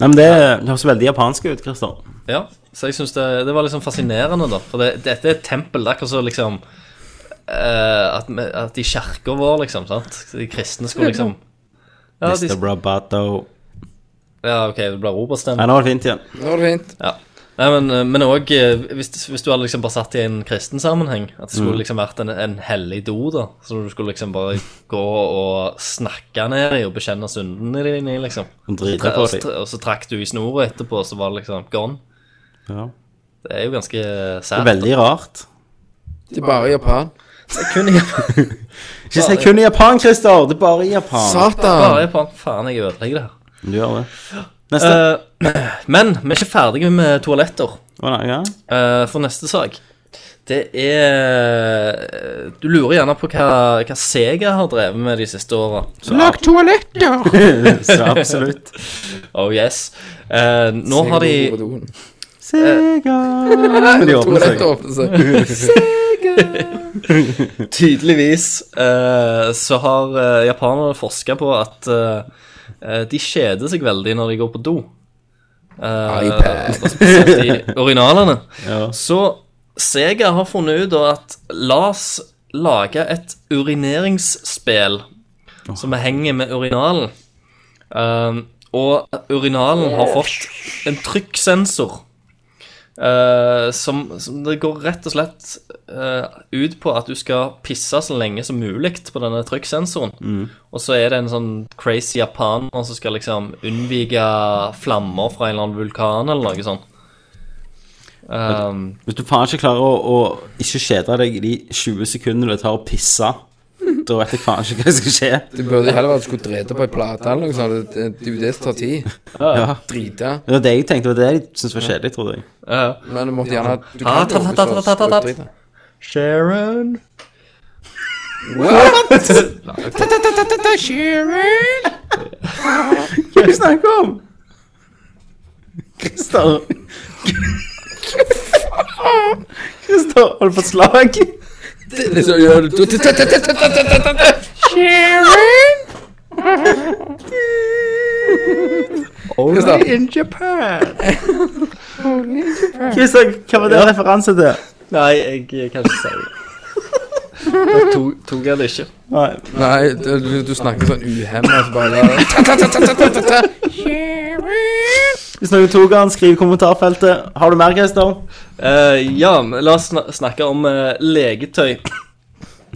A: Nei, men Det det høres veldig japansk ut, Christer.
C: Ja, så jeg synes det, det var liksom fascinerende da For det, dette er et tempel, det er akkurat så liksom eh, at, vi- at de kjerker vår liksom, sant? De kristne skulle liksom Ja, de,
A: Mr. Brabato.
C: ja ok, det ble
A: Nei,
C: roberstemme
A: nå var det fint igjen.
E: Nå er det fint.
C: ja. Nei, men, eh, men også eh, hvis, hvis du hadde liksom bare satt i en kristen sammenheng At det
A: Mm.
C: skulle liksom vært en, en hellig do da Så du skulle liksom bare gå og snakke ned i Og bekjenne syndene dine i, liksom
A: Og drite
C: Tre-
A: på
C: og så
A: dem.
C: tre- Og så trakk du i snoret etterpå Så var det liksom gone
A: Ja.
C: Det er jo ganske
A: Det er
C: sært
A: veldig rart.
E: Det er bare i Japan.
C: Kun i
A: Ikke si kun i Japan, Christer! Det er bare i Japan.
E: Satan!
C: Bare på faen, jeg ødelegger det. her.
A: Du gjør det. Neste.
C: Eh, men vi er ikke ferdige med toaletter.
A: Å, nei, ja.
C: Eh, for neste sak Det er eh, Du lurer gjerne på hva, hva Sega har drevet med de siste åra.
D: Lag toaletter!
A: Så absolutt.
C: Oh yes. Eh, nå har de
A: Sega De åpner seg.
E: Toalettet åpner seg.
C: Tydeligvis eh, så har eh, japanerne forska på at eh, eh, de kjeder seg veldig når de går på do. Eh,
E: iPad.
C: og spesielt i originalene.
A: Ja.
C: Så Sega har funnet ut da at la oss lage et urineringsspill som henger med Um, urinalen. Eh, og urinalen har fått en trykksensor. eh, som, som det går rett og slett eh, ut på at du skal pisse så lenge som mulig på denne trykksensoren. Og så er det en sånn crazy japaner som skal liksom unnvike flammer fra en eller annen vulkan eller noe sånt. Ehm,
A: Hvis du faen ikke klarer å, å ikke kjede deg i de 20 sekundene det tar å pisse, da vet jeg faen ikke hva som skal skje.
E: Det burde heller vært at du skulle drete på ei plate eller noe sånt. Det, det, det er jo det som tar tid.
A: Ja.
E: Drite.
A: Det var det jeg tenkte, det var det jeg syntes var kjedelig, trodde jeg.
C: ja.
E: Men du måtte gjerne Du
C: Ah,
E: kan jo
C: ta, ta, ta, ta, ta, ta.
E: drite.
C: Sharon
A: Hva
E: What?
A: er det du snakker om? Christer Christer, har du fått slag?
E: Det er så- ja, du- du- du- du- du- du- Kristian.
C: in Japan.
A: Christer, hva var det referanse til?
C: Nei, jeg, jeg kan ikke si det. Jeg tok, tok jeg det ikke.
A: Nei.
E: Nei, du, du- du snakker sånn uhemma. Så bare
A: Hvis noen tok han, skriv i kommentarfeltet. Har du mer, Christer?
C: Eh, ja, men la oss sna snakke om eh, legetøy.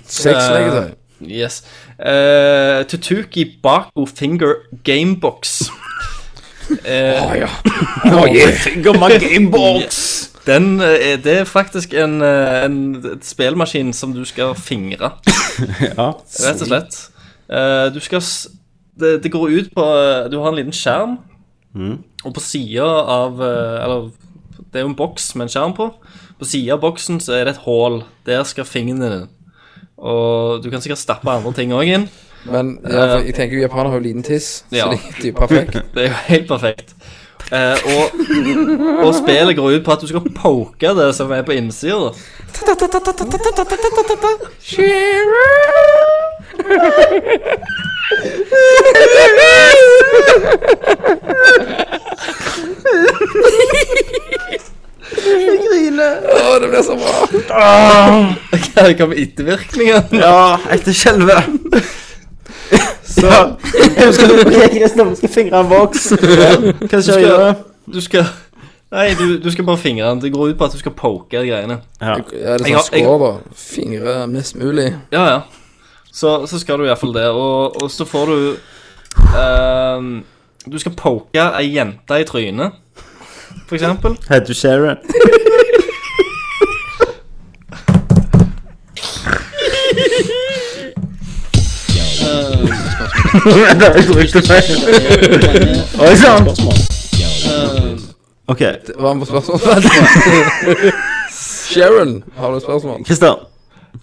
E: Sexlegetøy.
C: Yes. Eh, Tutuki Bako Finger Gamebox. Uh,
E: Å ja.
A: Gamma Gamebox.
C: den eh, er- det er faktisk en, eh, en et spillmaskin som du skal fingre,
A: Ja.
C: rett og slett. Eh, du skal s det, det går ut på eh, Du har en liten skjerm, og på sida av eh, Eller det er jo en boks med en skjerm på. På sida av boksen så er det et hull. Der skal fingrene dine. Og du kan sikkert stappe andre ting òg inn.
E: Men ja, for jeg tenker jo japanere har jo liten tiss,
C: Ja.
E: så det det er jo perfekt.
C: Det er jo helt perfekt. Eh, og, og spillet går ut på at du skal poke det som er på innsida.
E: Å, det blir så bra.
C: Hva kommer ettervirkningene?
A: Ja, etter skjelvet. Så Jeg husker du Christer skal fingre en boks. Hva skjer
C: skal-
A: videre?
C: Du skal Nei, du, du skal bare fingre den. Det går ut på at du skal poke greiene.
A: Ja.
E: Ja, det er
C: Jeg har-
E: sånn skår, da. Fingre mest mulig.
C: Ja, ja. Så, så skal du iallfall det. Og, og så får du ehm, Du skal poke ei jente i trynet, for eksempel.
A: Head to Sharon. Oi sann! OK,
E: Det var på spørsmål. Sharon, har du et spørsmål?
A: Christer.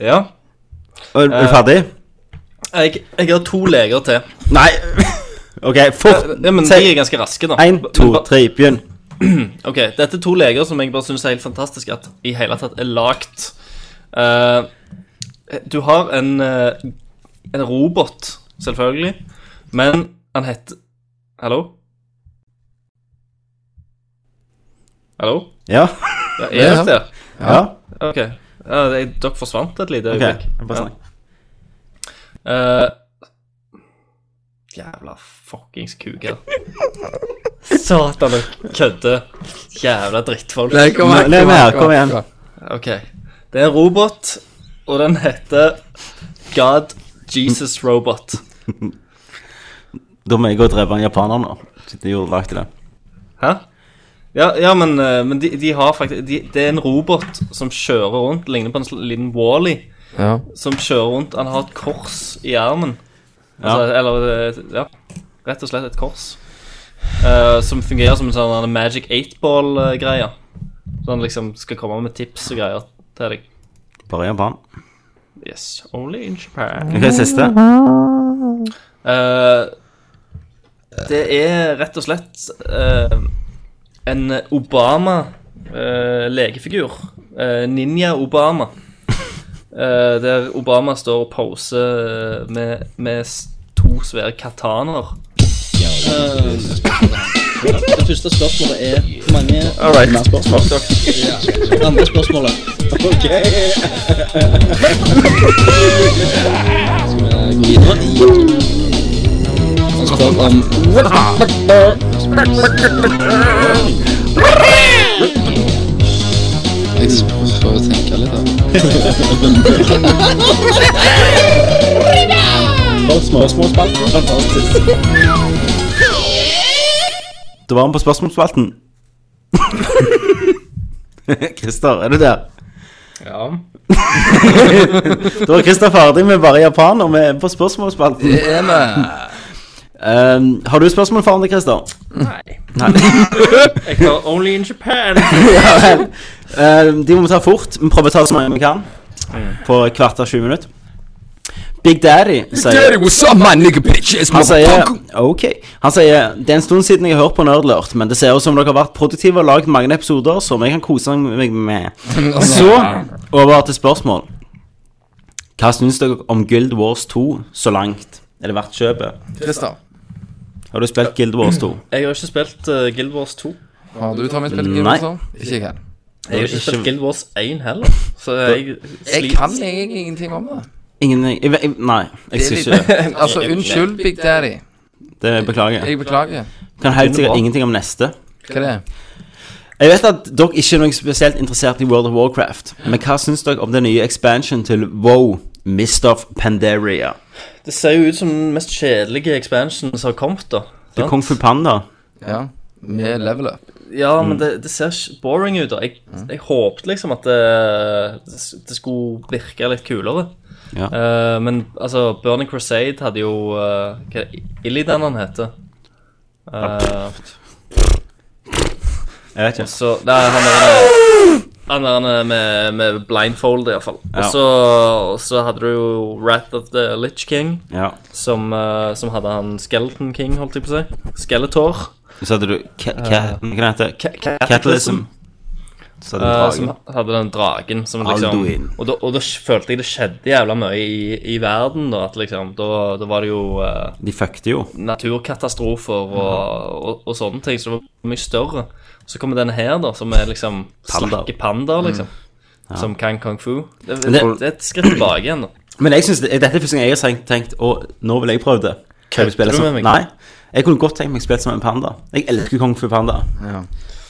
C: Ja.
A: Er er du ferdig?
C: Jeg, jeg har to leger til.
A: Nei. OK, fort.
C: Ja, men de er ganske raske, da.
A: Én, to,
C: Men ba-
A: tre, begynn.
C: Ok, dette er to leger som jeg bare synes er helt fantastisk at i hele tatt er lagt. Eh, du har en, eh, en robot, selvfølgelig, men han heter Hallo? Hallo?
A: Ja.
C: Ja, er dere der?
A: ja.
C: Ok. Ja, det- dere forsvant et lite
A: OK.
C: øyeblikk.
A: Bare snakk.
C: Eh, jævla fuckings kuker. Satan, dere kødder. Jævla drittfolk.
E: Nei, kom her,
A: Nei,
E: kom
A: men
E: her,
A: her, kom igjen.
C: Ok. Det er en robot, og den heter God Jesus Robot.
A: Da må jeg gå og drepe en japaner nå. Siden jeg gjorde lagde det.
C: Hæ? Ja, ja men, eh, men de, de har faktisk de, Det er en robot som kjører rundt, ligner på en sl- liten Wally,
E: Ja.
C: som kjører rundt Han har et kors i armen. Altså, Eller eh, Ja. Rett og slett et kors. Eh, som fungerer som en sånn Magic 8-ball-greie. Så han liksom skal komme med tips og greier til deg.
A: Bare japan.
C: Yes, only in Japan.
A: OK, siste.
C: Eh, det er rett og slett eh, en Obama-legefigur. Eh, Ninja Obama. Eh, der Obama står og poser eh, med, med s- to svære katanaer.
H: Det første spørsmålet er hvor mange
A: Alright.
H: andre spørsmålet. Ok. Skal vi gå videre? Han spør om prøve å tenke litt her. Spørsmålsspalten, fantastisk.
A: Da var vi på spørsmålsspalten. Christer, er du der?
C: Ja.
A: Da var Christer ferdig med bare Japan, og vi er på spørsmålsspalten.
E: Det er vi.
A: Ehm, har du spørsmål foran deg, Christer?
C: Nei.
A: Nei.
C: Jeg var only in Japan.
A: ja, vel. Ehm, de må vi ta fort. Vi prøver å ta så mange vi kan på et kvarter 20 minutter. Big Daddy sier
E: what's up, my nigga bitches?
A: Han sier Ok. Han sier Det er en stund siden jeg har hørt på Nerdlurt, men det ser ut som dere har vært produktive og laget mange episoder som jeg kan kose meg med. Så over til spørsmål. Hva syns dere om Guild Wars 2 så langt? Er det verdt kjøpet?
E: Christer,
A: Har du spilt Guild Wars
E: Mm.
A: 2?
C: Jeg har ikke spilt eh, Guild Wars 2.
E: har du Tommy spilt
A: Nei.
E: Game of Ikke jeg heller.
C: Jeg har
A: Ikke-
C: ikke spilt Guild Wars 1 heller. Så jeg
E: Jeg
C: sliter.
E: kan egentlig ingenting om det.
A: Ingen jeg, jeg, Nei, jeg
E: Det er
A: syns
E: litt-
A: ikke
E: altså, unnskyld, Big Daddy.
A: det. Beklager.
E: Jeg beklager.
A: Kan helt sikkert ingenting om neste.
E: Hva er det?
A: Jeg vet at dere ikke er noe spesielt interessert i World of Warcraft, men hva syns dere om den nye expansion til WoW, Mist of Pandaria?
C: Det ser jo ut som den mest kjedelige expansionen som har kommet, da.
A: Det er Kung Fu Panda.
E: Ja, med level up.
C: Ja,
A: Mm.
C: men det, det ser ikke boring ut. da Jeg, jeg håpet liksom at det, det skulle virke litt kulere.
A: Ja.
C: Eh, men altså, Burning Crusade hadde jo uh, Hva er det Illidan han heter? Eh,
A: Jeg vet ikke.
C: så Nei, han er han er med, med blindfold, iallfall.
A: Ja.
C: Og så og så hadde du jo Wrath of the Litch King,
A: Ja.
C: som, eh, som hadde han Skeleton King, holdt jeg på å si. Skeletor.
A: Så hadde du Ka- Ka- Hva heter det? Ka- Catalism. Så hadde du
C: Eh. Eh,
A: dragen.
C: som hadde den dragen som liksom
A: Alduin.
C: og da, og da følte jeg det skjedde jævla mye i, i verden, da. At liksom Da, da var det jo eh,
A: De fuckte jo.
C: naturkatastrofer og, og, og sånne ting, så det var mye større. Så kommer denne her, da, som er liksom
A: Panda. Mm.
C: slakke pandaer, liksom. Som kan kung fu. Det,
A: Men
C: det,
A: det-
C: det er et skritt tilbake igjen, da.
A: Men jeg synes det, dette er første gang jeg har tenkt, tenkt Å, nå vil jeg prøve det. Kødder
C: du med meg?
A: Nei. Jeg kunne godt tenkt meg å spille som en panda. Jeg elsker Kung Fu Panda.
E: Ja.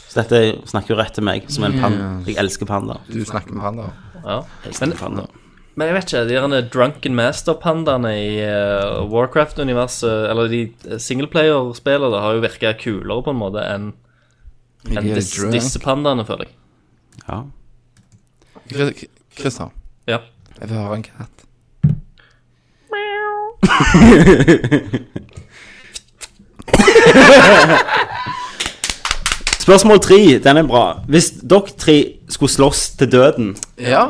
A: Så dette snakker jo rett til meg som en panda. Jeg elsker panda.
E: Du snakker med han, da.
C: Ja.
A: Jeg elsker panda.
C: Men jeg vet ikke, de derne Drunken Master-pandaene i eh, Warcraft-universet, eller de eh, singleplayer-spillene, da, har jo virka kulere på en måte enn enn
E: Jeg er
C: dis-
E: drunk.
C: disse pandaene, føler jeg.
A: Ja.
E: Chris- Christer,
C: Ja.
E: jeg vil høre en katt.
A: Spørsmål tre, den er bra. Hvis dere tre skulle slåss til døden,
E: Ja.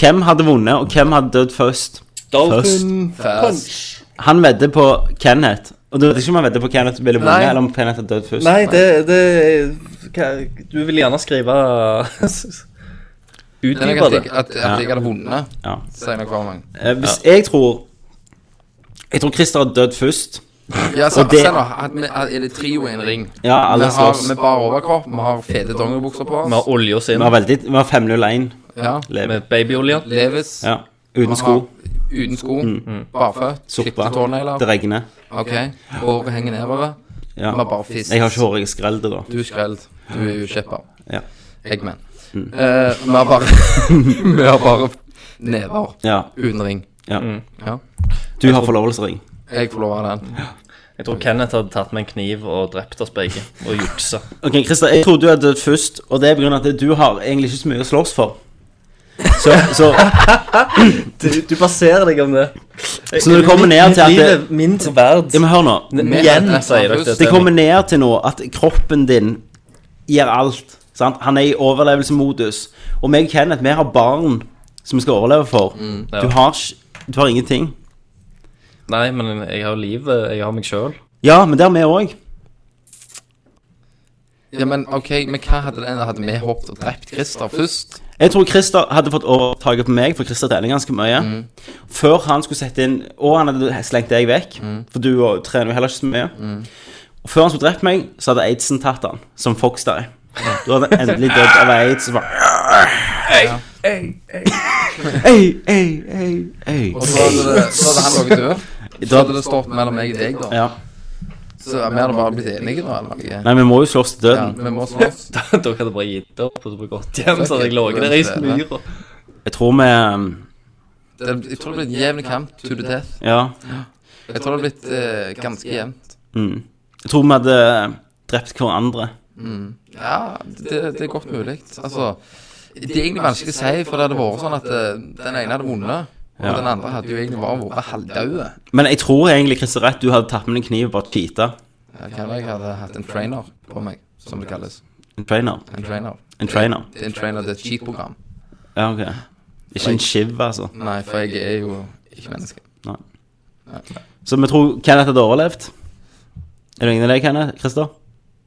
A: hvem hadde vunnet, og hvem hadde dødd først? Dolphin
E: Fast.
A: Han vedder på Kenneth. Og du vet ikke om han vedder på Kenneth ville vunnet,
E: Nei.
A: eller om Kenneth hadde dødd først.
C: Nei, det, det hva- Du vil gjerne skrive
E: Det er
C: Utdype
E: at
C: det.
E: jeg, at, at jeg hadde vunnet,
A: Ja.
E: sier jeg hver gang.
A: Eh, Hvis jeg tror Jeg tror Christer hadde dødd først.
E: Ja, så,
A: Og det-
E: se nå, at vi, at, er det trio i en ring?
A: Ja,
E: Vi
A: alle
E: har,
A: slåss.
E: vi bare overkropp, vi har fete dongeribukser på
C: Vi
E: oss.
C: har olje oss inn
A: Vi har veldig Vi har 501
E: Ja.
A: lever.
C: med babyolje.
E: Levis.
A: Ja. Uten sko.
E: Uten sko. Barføtt.
A: Suppa.
E: Klippte tånegler.
A: Det regner.
E: Ok. Håret henger nedover.
A: Ja.
E: Vi har bare fist.
A: Jeg har ikke hår, jeg er skrell det, da.
E: Du er skrelt. Du er jo skipper.
A: Ja. Mm.
E: Eggman. Eh, vi har bare Vi har bare never
A: Ja.
E: uten ring.
A: ja.
E: Ja.
A: Du har forlovelsesring.
E: Jeg får lov av den.
C: Jeg tror Kenneth hadde tatt med en kniv og drept oss begge og juksa.
A: Ok, Christer, jeg tror du hadde dødd først, og det er på grunn av at du har egentlig ikke så mye å slåss for. Så, så,
C: Du, du baserer deg om det.
A: Så når det kommer ned til at
C: Mitt liv
A: det-
C: er mindre verd.
A: ja, men hør nå.
C: N-
E: Men-
C: Igjen, sier dere.
A: Det kommer ned til nå at kroppen din gjør alt. Sant? Han er i overlevelsesmodus. Og meg og Kenneth, vi har barn som vi skal overleve for.
C: ja.
A: Du har ikke Du har ingenting.
C: Nei, men jeg har livet. Jeg har meg sjøl.
A: Ja, men det har vi òg.
E: Ja, men OK, men hva hadde den? Hadde vi håpet og drept Christer først?
A: Jeg tror Christer hadde fått overtaket på meg, for Christer trener ganske mye. Før han skulle sette inn Og han hadde slengt deg vekk, for du og- trener jo heller ikke så mye. Og før han skulle drept meg, så hadde aidsen tatt han, som Fox der. Da hadde han endelig dødd av aids. Og bare ei, ei, ei, ei.
E: Og så hadde, det, så hadde han ligget død.
A: Da-
E: Så hadde det stått mellom meg og deg, da.
A: Ja.
E: Så vi hadde bare blitt enige da, eller noe.
A: Nei, vi må jo slåss til
E: Ja,
A: døden.
E: vi må slåss.
C: Da da hadde jeg bare gitt opp og så bare gått hjem. Så hadde jeg ligget der i smyra.
A: Jeg tror vi um,
E: Det, jeg tror det blir en jevn kamp to the death.
A: Ja.
E: Jeg tror det har blitt eh, ganske jevnt.
A: Mm. Jeg tror vi hadde drept hverandre.
E: Ja, det, det er godt mulig. Altså, det er egentlig vanskelig å si, for det hadde vært sånn at eh, den ene hadde vunnet, og
A: Ja.
E: den andre hadde jo egentlig bare vært halvdaue.
A: Men jeg tror egentlig, Christer, rett, du hadde tatt med en kniv og bare cheata.
E: Jeg kan jeg hadde hatt en trainer på meg, som det kalles.
A: En trainer.
E: En trainer.
A: En trainer.
E: Det er en trainer, det er et cheat-program.
A: Ja, ok. Ikke en shiv, altså.
E: Nei, for jeg er jo ikke menneske.
A: Så vi tror Kenneth hadde overlevd. Er du enig i det, Kenneth? Christer?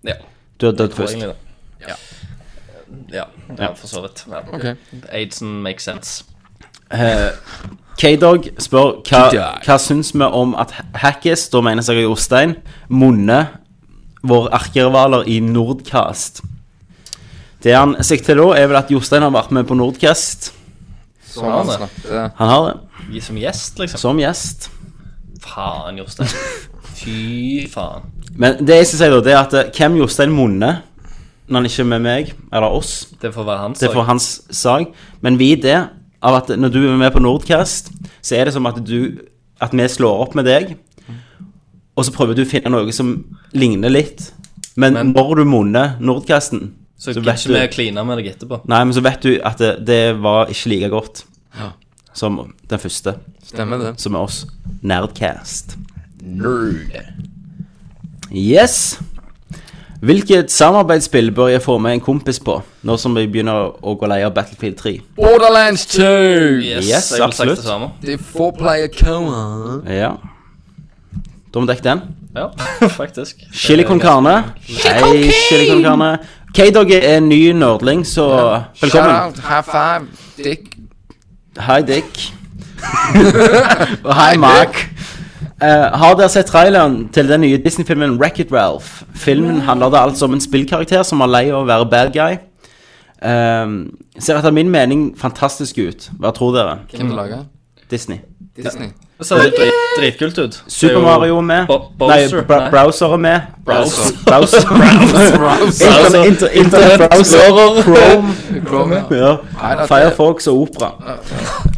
C: Ja.
A: Du hadde dødd
C: tror
A: først.
C: egentlig det.
E: Ja.
C: Ja, ja, for så vidt. Ja.
E: Ok.
C: Aidsen makes sense.
A: Eh, K-Dog spør hva, hva syns vi om at Ha- Hackis, da mener seg Jostein, munner våre erkerivaler i Nordcast. Det han sikter til da, er vel at Jostein har vært med på Nordcast.
E: Som han snakket
A: Han har det.
C: Som gjest, liksom.
A: Som gjest.
C: Faen, Jostein. Fy faen.
A: Men det jeg skal si da, det er at eh, hvem Jostein munner når han ikke er med meg, eller oss,
C: Det får være hans
A: det er for hans sak, men vi det, av at når du er med på Nordcast, så er det som at du, at vi slår opp med deg, og så prøver du å finne noe som ligner litt, men,
C: Men-
A: når du munner Nordcasten,
C: Så
A: så
C: gidder
A: vet
C: ikke vi å
A: du,
C: kline med deg etterpå.
A: nei, men så vet du at det, det var ikke like godt som den første,
E: Stemmer det.
A: som er oss, Nerdcast.
E: Nerd.
A: Yes. Hvilket samarbeidsspill bør jeg få med en kompis på, nå som vi begynner å gå lei av Battlefield 3?
E: Borderlands 2!
A: Yes,
C: Yes, jeg ville sagt
A: absolutt.
C: det samme.
E: Det er four player coma.
A: Ja. Domdekk den.
C: Ja, faktisk.
A: Chili con carne. Hei, chili con carne. K-Dog er en ny nerdling, så velkommen.
E: Shout out, high five, dick.
A: Hei, Dick. Og hei, Mark. Eh, har dere sett traileren til den nye Disney-filmen Racket Ralph? Filmen handler det altså om en spillkarakter som er lei av å være bad guy. Ehm, ser etter min mening fantastisk ut. Hva tror dere?
E: Hvem du lager?
A: Disney.
E: Disney.
C: Det ser litt drit, dritkult ut.
A: Super Mario er med.
C: Bo-
A: nei,
C: Bowser,
A: bra
C: nei.
A: Browser er med.
E: Browser.
A: Browser. Internet- inter- Internet Browser. Chrome.
E: Chrome. ja.
A: Ja.
E: Nei, det er-
A: Firefox og Opera.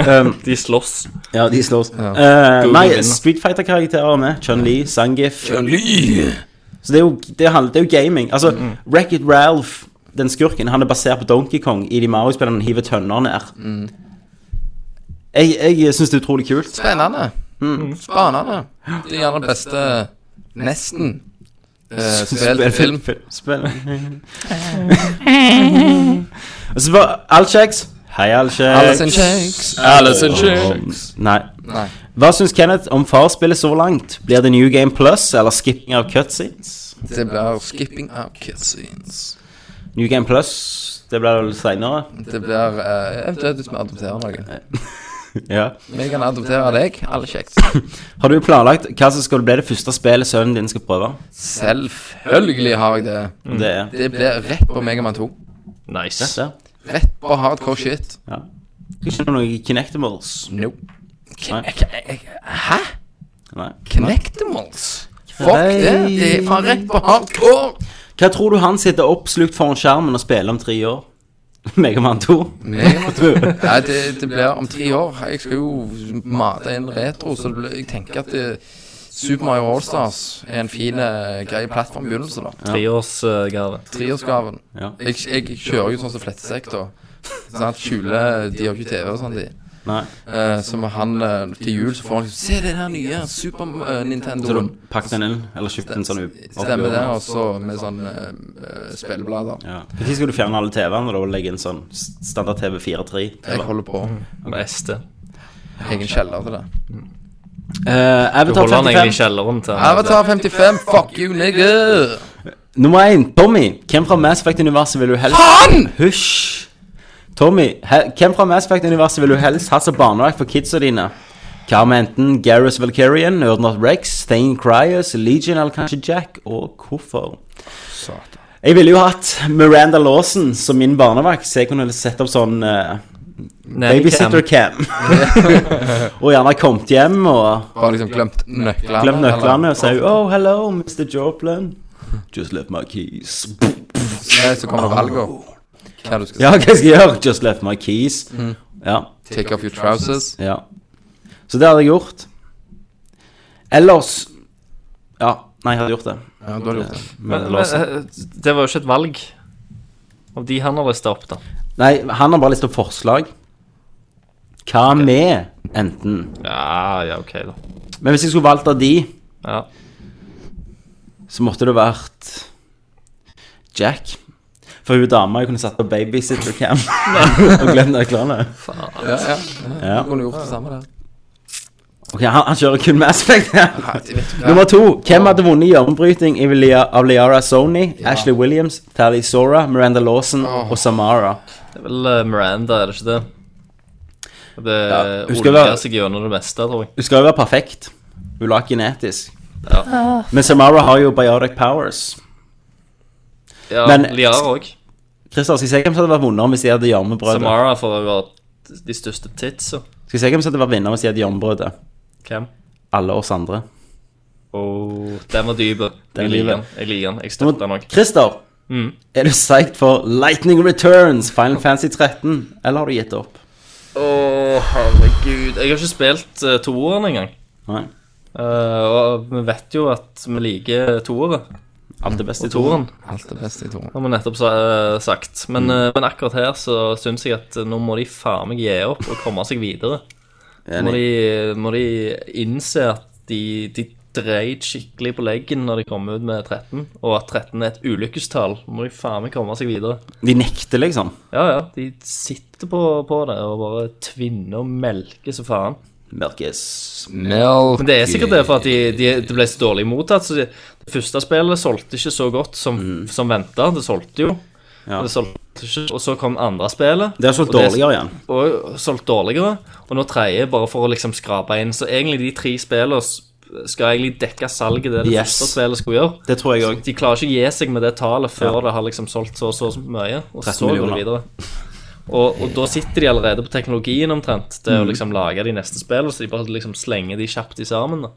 A: Um,
C: De slåss.
A: ja, de slås.
E: Ja.
A: Eh, nei,
C: vinner.
A: Street Fighter-karakterer er med. Chun-Li, Sangif. Så det er jo, det handler, det er jo gaming. Altså,
E: Mm,
A: Wreck-It Ralph, den skurken, han er basert på Donkey Kong i de Mario-spillene han hiver tønner ned.
E: Mm.
A: Jeg, jeg syns det er utrolig kult.
E: Spennende.
A: Mm.
E: Spennende. Mm. Det er gjerne det beste Nesten.
A: Eh,
E: Uh, spill, film.
A: Spill. Og så bare Alchex. Hei,
E: Alice
A: Alchex.
E: in Chains.
A: Alice in Chicks. Nei.
E: Nei.
A: Hva syns Kenneth om farspillet så langt? Blir det New Game Plus eller skipping av cutscenes?
E: Det blir skipping out cutscenes.
A: New Game Plus, det blir vel seinere.
E: Det blir eh, eventuelt hvis vi adopterer noen.
A: Ja.
E: Vi kan adoptere deg. Alle kjekt.
A: Har du planlagt hva som skal bli det første spillet sønnen din skal prøve?
E: Selvfølgelig har jeg det.
A: Det er
E: Det blir rett på Megaman 2.
C: Nice.
A: det.
E: Rett på hardcore shit.
A: Ja. Ikke noe Kinectimals.
E: No.
A: Nei.
E: Hæ?
A: Nei.
E: Connectimals? Fuck det. Det er faen rett på hardcore.
A: Hva tror du han sitter oppslukt foran skjermen og spiller om tre år? Megaman 2?
E: Megaman 2. Nei, det, det blir om tre år. Jeg skal jo mate inn retro, så det blir, jeg tenker at det, Super Mario Allstars er en fin, eh, grei plattformbegynnelse, da.
C: Treårsgave.
E: Treårsgaven.
A: Ja.
E: Jeg, jeg kjører jo sånn som flettsekk, da. Sånn at skjule De har ikke TV og sånn, de.
A: Nei.
E: Eh, så må han eh, til jul så får han Se det der nye Super eh,
A: Så du
E: Nintendo.
A: pakket den inn, eller kjøpte en sånn opp-
E: Stemmer det,
A: oppgjør?
E: og så med sånn eh, eh, spilleblader.
A: Ja. Når skal du fjerne alle TV-ene og da legge inn sånn s- standard TV 4.3?
E: Jeg holder på.
C: Beste.
E: Egen kjeller til det.
A: Uh,
C: Du
A: Avatar
C: holder han egentlig
A: 55.
C: i kjelleren til
E: Avatar 55, fuck you, nigger!
A: Nummer 1. Tommy. Hvem fra Mass Effect-universet vil du helst
E: Faen!
A: Hysj! Tommy, he hvem fra Mass Effect-universet vil du helst ha som barnevakt for kidsa dine? Hva med enten Gareth Valkyrian, Urdnot Rex, Thane Cryos, Legion eller kanskje Jack? Og hvorfor? Jeg ville jo hatt Miranda Lawson som min barnevakt, så jeg kunne sett opp sånn eh, Babysitter cam. og gjerne kommet hjem og
E: Bare liksom glemt nøklene.
A: glemt nøklene
E: eller-
A: og sier Oh, hello, Mr. Joplin. Just left my keys.
E: Nei, så kommer valget. Hva du skal
A: Ja, hva skal jeg gjøre? Mm. Just left my keys. Ja,
E: si. Take off your trousers.
A: ja. Så det hadde jeg gjort. Ellers Ja, nei, jeg hadde gjort det.
E: Ja, du har gjort det.
A: Men,
C: Men,
A: ellers,
C: men, eh, det var jo ikke et valg av de han har lista opp, da.
A: nei, han har bare lyst til forslag. Hva med enten
C: Ja, ja, ok, da.
A: Men hvis jeg skulle valgt av de,
C: Ja.
A: så måtte det vært Jack. For hun dama jeg kunne satt på babysitter-cam og glemt nøklene.
E: Ja, ja.
A: Ja.
E: Du kunne gjort det samme der.
A: Ok, han, han kjører kun Mass Effect her.
E: Nei, vet du hva?
A: Nummer to. Hvem hadde vunnet i armbryting i Lia- av Liara Sony, Ashley Williams, Tally Sora, Miranda Lawson og Samara?
C: Det er vel eh, Miranda, er det ikke det? Det ja,
A: hun skal
C: oljer
A: være-
C: seg gjennom det meste, tror jeg.
A: Hun skal jo være perfekt. Hun la genetisk. Men Samara har jo biotic powers.
C: Ja,
A: Men-
C: Liara òg.
A: Christer, skal jeg si hvem som hadde vært vinneren hvis de hadde jarmebrødet?
C: Samara får jo være de største titsa.
A: Skal jeg si hvem som hadde vært vinneren hvis de hadde jarmebrødet?
C: Hvem?
A: Alle oss andre.
C: Oh, den var dyp.
A: Den
C: Jeg liker
A: dype.
C: den. Jeg liker den. Jeg støtter den
A: Nummer-
C: òg.
A: Christer,
C: Mm.
A: er du psyched for Lightning Returns, Final Fantasy 13, eller har du gitt opp?
C: Å, herregud. Jeg har ikke spilt uh, toeren engang.
A: Nei.
C: Eh, og vi vet jo at vi liker toeret.
A: Alt det beste i toeren.
C: Toeren,
E: Alt det beste i to.
C: har vi nettopp sa, eh, sagt. Men, eh, men akkurat her så syns jeg at eh, nå må de faen meg gi opp og komme seg videre. Må
A: Enig.
C: de, må de innse at de, de dreit skikkelig på leggen når de kom ut med 13, og at 13 er et ulykkestall. Må de faen meg komme seg videre.
A: De nekter, liksom.
C: Ja, ja, de sitter på, på det og bare tvinner og melker så faen.
A: Mørkes.
E: Milk.
C: Men det er sikkert det for at de, de, det ble så dårlig mottatt. Så de, det første spillet solgte ikke så godt som, som venta. Det solgte jo.
A: Mm. Ja.
C: Det solgte ikke, og så kom andre spillet.
A: Det har solgt
C: og det-
A: dårligere igjen.
C: Og solgt dårligere. Og nå tredje, bare for å liksom skrape inn. Så egentlig de tre spillene s- skal egentlig dekke salget det det
A: Yes.
C: første spillet skulle gjøre.
A: Det tror jeg òg.
C: De klarer ikke å gi seg med det tallet før det har liksom solgt så og så mye. Og
A: 13
C: så går det
A: millioner.
C: videre. Og, og da sitter de allerede på teknologien omtrent til
A: Mm.
C: å liksom lage de neste spillene, så de bare liksom slenger de kjapt i sammen. da.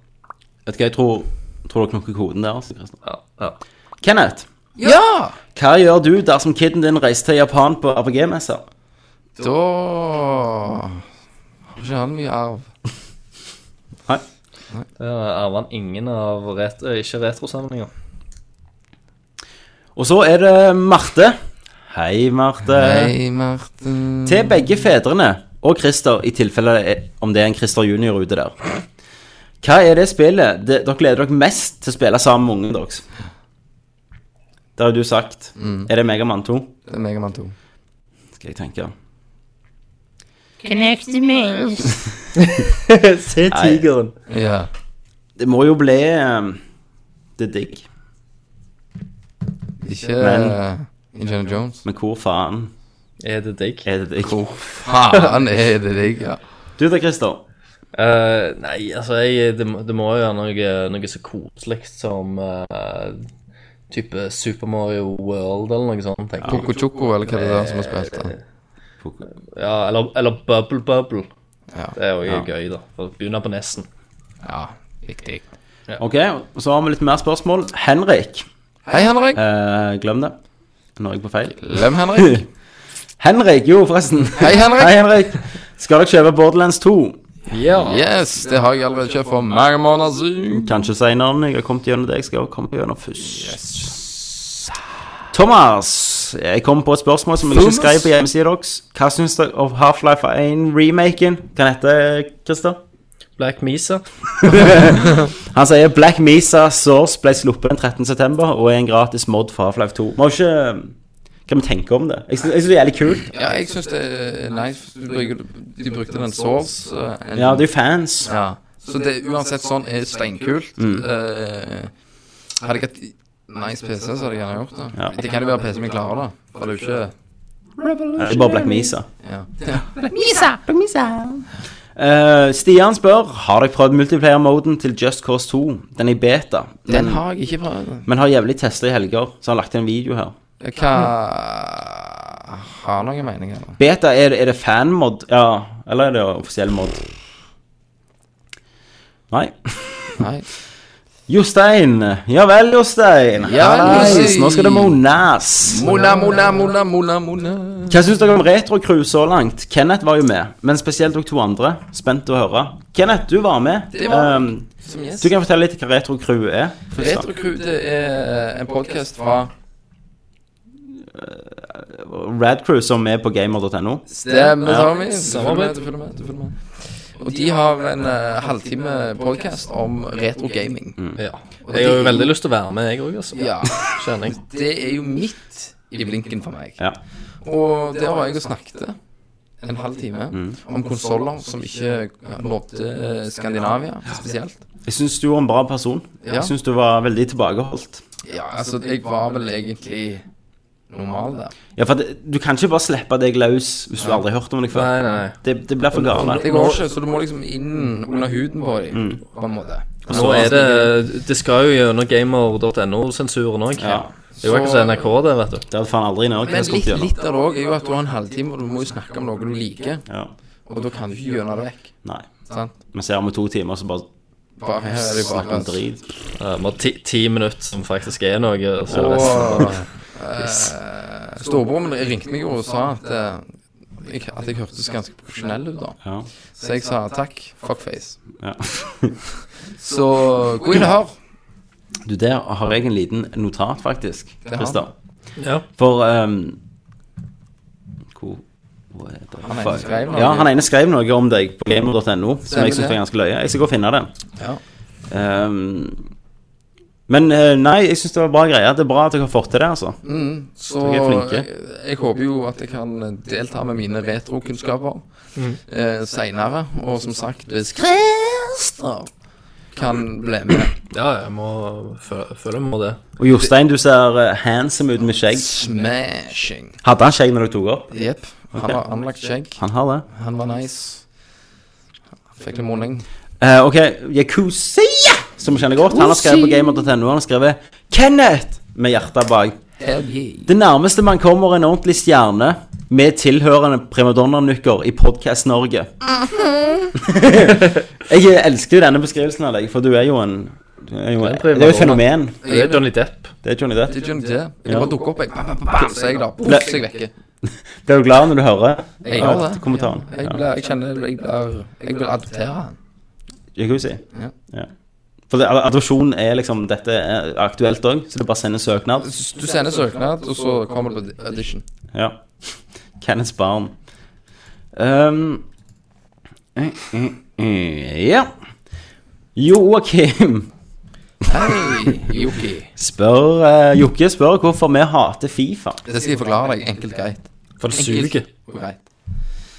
A: Vet du hva, jeg tror, tror dere knokker koden der. altså, Christer.
C: Ja, ja.
A: Kenneth,
E: Ja!
A: hva gjør du dersom kiden din reiser til Japan på RPG-messa?
E: Da har ikke han mye arv.
A: Eh.
C: Arver han ingen av ret eh, ikke retrosamlinger?
A: Og så er det Marte. Hei, Marte.
E: Hei, Martin.
A: Til begge fedrene og Christer, i tilfelle det er- om det er en Christer junior ute der. Hva er det spillet det, dere gleder dere mest til å spille sammen med ungen deres? Det har jo du sagt. Er det Megamann 2?
E: Det er Megaman 2.
A: Skal jeg tenke.
D: Connect the mails.
C: Se tigeren.
E: Ja.
A: Det må jo bli um, Det er digg.
E: Ikke
A: Men-
E: eh, Indiana Jones.
A: Men hvor faen
C: Er det digg?
A: er det digg?
E: Faen, er det deg, ja.
A: Du da, Christer.
C: Eh, nei, altså jeg, det, må- det må jo være noe, noe så koselig som eh, type Super Mario World eller noe sånt, tenker jeg.
E: Coco Choco, eller hva det der som har spilt det.
C: Ja, eller, eller Bubble Bubble.
E: Ja.
C: Det er jo
A: Ja.
C: gøy, da. For å begynne på nesen.
E: Ja, viktig.
A: Ok, og så har vi litt mer spørsmål. Henrik.
E: Hei, Henrik.
A: Eh, glem det. Nå er jeg på feil.
E: Lem, Henrik.
A: Henrik, jo, forresten.
E: Hei, Henrik.
A: Hei, Henrik. Skal dere kjøpe Borderlands 2?
E: Yes, det har jeg allerede kjøpt for mange måneder siden.
A: Kanskje senere. Jeg har kommet gjennom det jeg skal komme gjennom først. Thomas, jeg kom på et spørsmål som jeg ikke
E: Thomas?
A: skrev på hjemmesida deres. Hva syns dere om Half-Life 1-remaken? Hva heter Christer?
C: Black Mesa.
A: Han sier Black Mesa Source ble sluppet den 13.9. og er en gratis mod for Half-Life 2. Må ikke Hva vi tenker om det? Jeg syns jeg syns det er jævlig kult.
E: Ja, jeg syns det er nice. Du bruker- De brukte den source. eh, en-
A: Ja, det er jo fans.
E: Ja. Så det uansett sånn er steinkult.
A: Mm.
E: Eh, hadde jeg hatt nice PC, så hadde jeg gjerne gjort det.
A: Ja.
E: Det kan jo være PC vi klarer, da. For det er jo ikke
A: Det er bare Black Mesa.
E: Ja.
D: Misa.
A: Eh, Stian spør Har dere prøvd multiplayer-moden til Just Cause 2. Den er i beta,
E: Den
A: men,
E: har jeg ikke prøvd.
A: men har jævlig tester i helger, så har han lagt inn en video her.
E: Hva har noen mening heller.
A: Beta, er, det- er det fanmod? Ja, eller er det offisiell mod? Nei.
E: Nei.
A: Jostein. Ja vel, Jostein.
E: Ja vel,
A: Hallais,
E: Jostein.
A: Nå skal det monas.
E: Mona, Mona, Mona, Mona, Mona.
A: Hva syns dere om retrocruise så langt? Kenneth var jo med, men spesielt dere to andre. Spent å høre. Kenneth, du var med.
E: Det var-
A: Um,
E: Som gjest.
A: du kan fortelle litt hva retrocrew er. først da.
E: Retrocrew det er en podkast fra
A: Radcrew, som er på gamer.no.
E: Stemmer,
A: Ja.
E: Tommy. Du følger
C: Samarbeid.
E: med, du følger med. Du følger med. Og de har en eh, halvtime podkast om retrogaming.
C: Ja. Jeg har jo veldig lyst til å være med, jeg òg, altså.
E: Ja.
C: Skjønner jeg.
E: Det er jo midt i blinken for meg.
A: Ja.
E: Og der var jeg og snakket en halv time om konsoller som ikke nådde eh, Skandinavia spesielt.
A: Jeg syns du var en bra person.
E: Ja.
A: Jeg syns du var veldig tilbakeholdt.
E: Ja, altså, jeg var vel egentlig normal der.
A: Ja, for det, Du kan ikke bare slippe deg løs hvis du aldri har hørt om deg før.
C: Nei, nei, nei.
A: Det, det blir for gale.
E: Det går ikke, så du må liksom inn under huden på dem, på en måte.
C: Nå er det Det skal jo gjennom gamer.no-sensuren òg.
A: Ja.
C: Det er jo ikke så NRK, det, vet du.
A: Det hadde faen aldri Norge
E: Men
A: kommet
E: litt,
A: gjennom.
E: litt av det òg er jo at du har en halvtime, og du må jo snakke om noe du liker.
A: Ja.
E: Og da kan du ikke gjøre det vekk.
A: Nei.
E: Sant?
A: Vi ser om to timer, så bare
E: Bare her er det jo
A: snakker
E: bare
A: om drit.
C: Ja, Vi har Eh, ti, ti minutter som faktisk er noe. Så
E: Og
C: resten.
E: eh, storebroren min ringte meg jo og sa at, eh, jeg, at jeg hørtes ganske profesjonell ut, da.
A: Ja.
E: Så jeg sa takk, fuckface.
A: ja.
E: Så gå inn og hør.
A: Du, der har jeg en liten notat, faktisk.
E: har
A: Christer.
C: Ja.
A: For ehm, Hvor hvor er det?
E: Han ene skrev noe.
A: Ja, han ene skrev noe om deg på gamer.no, som
E: Stemmer
A: jeg syns
E: det.
A: var ganske løye. Jeg skal gå og finne det.
E: Ja.
A: Ehm, men eh, nei, jeg syns det var bra greier. Det er bra at dere har fått til det, altså.
E: Så
A: Dere er flinke.
E: jeg, jeg håper jo at jeg kan delta med mine retrokunnskaper
A: Mm.
E: eh, seinere. Og som sagt, hvis Christer kan bli med
C: ja, jeg må føle, føle med det.
A: Og Jostein, du ser eh, handsome ut med skjegg.
E: Smashing.
A: Hadde han skjegg når dere tok opp?
E: Jepp. Han har anlagt skjegg.
A: Han har det.
E: Han var nice. Han Fikk litt morning.
A: Eh, ok, Yakuza, som vi kjenner godt, han har skrevet på gamer.no. Han har skrevet 'Kenneth' med hjertet bak.
E: Hell yeah.
A: Det nærmeste man kommer en ordentlig stjerne med tilhørende primadonna-nukker i Podcast Norge. jeg elsker jo denne beskrivelsen av deg, for du er jo en du er jo, det er
C: en
A: jo et
C: primadonna.
A: fenomen.
C: Det er Johnny Depp.
A: Det er Johnny Depp.
E: Det er Johnny Depp. Jeg
A: Ja.
E: bare dukker opp, jeg. Bam, bam, bam, bam, Så er jeg der. Boom,
A: Nei.
E: så er jeg vekke.
A: Blir du glad når du hører
E: Jeg gjør det.
A: kommentaren?
E: Jeg,
A: Ja.
E: blir, jeg kjenner Jeg blir Jeg vil adoptere han.
A: Jacuzzi?
E: Ja.
A: Ja. For det, adopsjon er liksom Dette er aktuelt òg, så det er bare å sende søknad.
E: Du sender søknad, og så kommer du på audition.
A: Ja. Kenneths barn. Um, eh, eh, eh, ja. Joakim.
E: Hei, Yuki.
A: Spør, eh, Jokke spør hvorfor vi hater Fifa.
E: Det skal jeg forklare deg enkelt greit.
C: For det
E: Enkelt
C: suger.
E: og greit.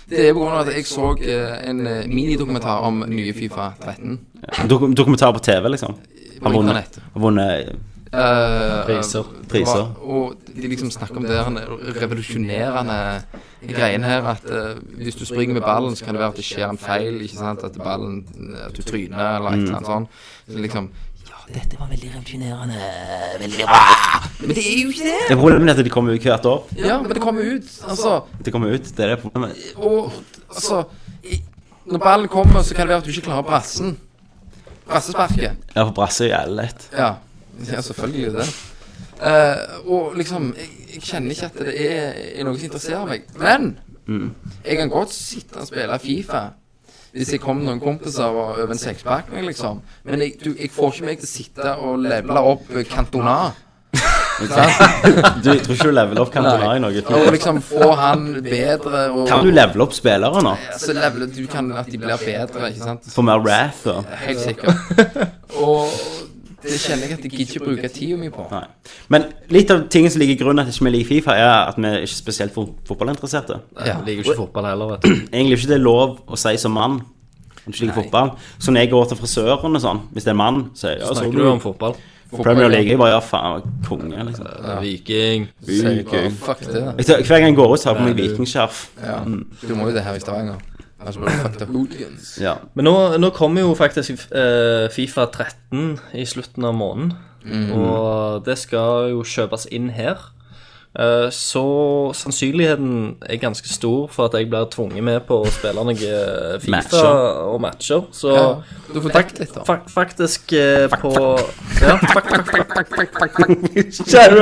E: Det er på grunn av at jeg så eh, en eh, minidokumentar om nye Fifa 13
A: Dok dokumentar på TV, liksom.
E: på internett.
A: Har vunnet
E: Eh,
C: Priser.
A: Priser.
E: det var- Og de liksom snakker om det her revolusjonerende greien her at eh, hvis du springer med ballen, så kan det være at det skjer en feil, ikke sant? At ballen At du tryner eller et eller annet sånt. Så liksom Ja, dette var veldig revolusjonerende. Veldig bra. Men det er jo ikke det.
A: Det er problemet at de kommer ut hvert år.
E: Ja, men det kommer ut. Altså
A: De kommer ut, det er det problemet.
E: Og altså i, Når ballen kommer, så kan det være at du ikke klarer brassen. Brassesparket.
A: Ja, for Brasse er jævlig lett.
E: Ja, ja selvfølgelig er det det. Eh, og liksom, jeg, jeg kjenner ikke at det er, er noe som interesserer meg. Men jeg kan godt sitte og spille Fifa hvis jeg kommer med noen kompiser og over en sekspakning, liksom. Men jeg, du, jeg får ikke meg til å sitte og levele opp Cantona. Sant?
A: Du, jeg tror ikke du leveler opp Cantona i
E: Og
A: noe.
E: liksom få han bedre og
A: Kan du levele opp spillere nå?
E: Så leveler du kan at de blir bedre, ikke sant?
A: For mer wrath og
E: Helt sikkert. Og det kjenner jeg at jeg gidder ikke bruke tida mi på.
A: Nei. Men litt av tingen som ligger i grunnen at ikke vi liker Fifa, er at vi er ikke spesielt fo- fotballinteresserte.
C: Jeg liker jo ikke fotball heller, vet du.
A: Egentlig er ikke det lov å si som mann om du ikke liker fotball. Så når jeg går til frisøren og sånn, hvis det er en mann, så er jeg, ja, så
C: Snakker du om fotball? Eh,
A: Premier League. Jeg bare ja, faen, konge, liksom.
C: Viking.
E: Sier jeg bare, Fuck det.
A: Jeg tar, hver gang jeg går ut, så har jeg på meg vikingskjerf.
E: Ja. Du må jo det her i Stavanger. Altså bare fuck the hooligans.
A: Ja.
C: Men nå, nå kommer jo faktisk eh, Fifa Mm. 13 i slutten av måneden. Og det skal jo kjøpes inn her. eh, så sannsynligheten er ganske stor for at jeg blir tvunget med på å spille noen Fifa
A: Matcher.
C: og matcher. Så
E: Ja, Du får takt litt, da.
C: fa faktisk eh, på Ja, fak fak fak fak fak fak fak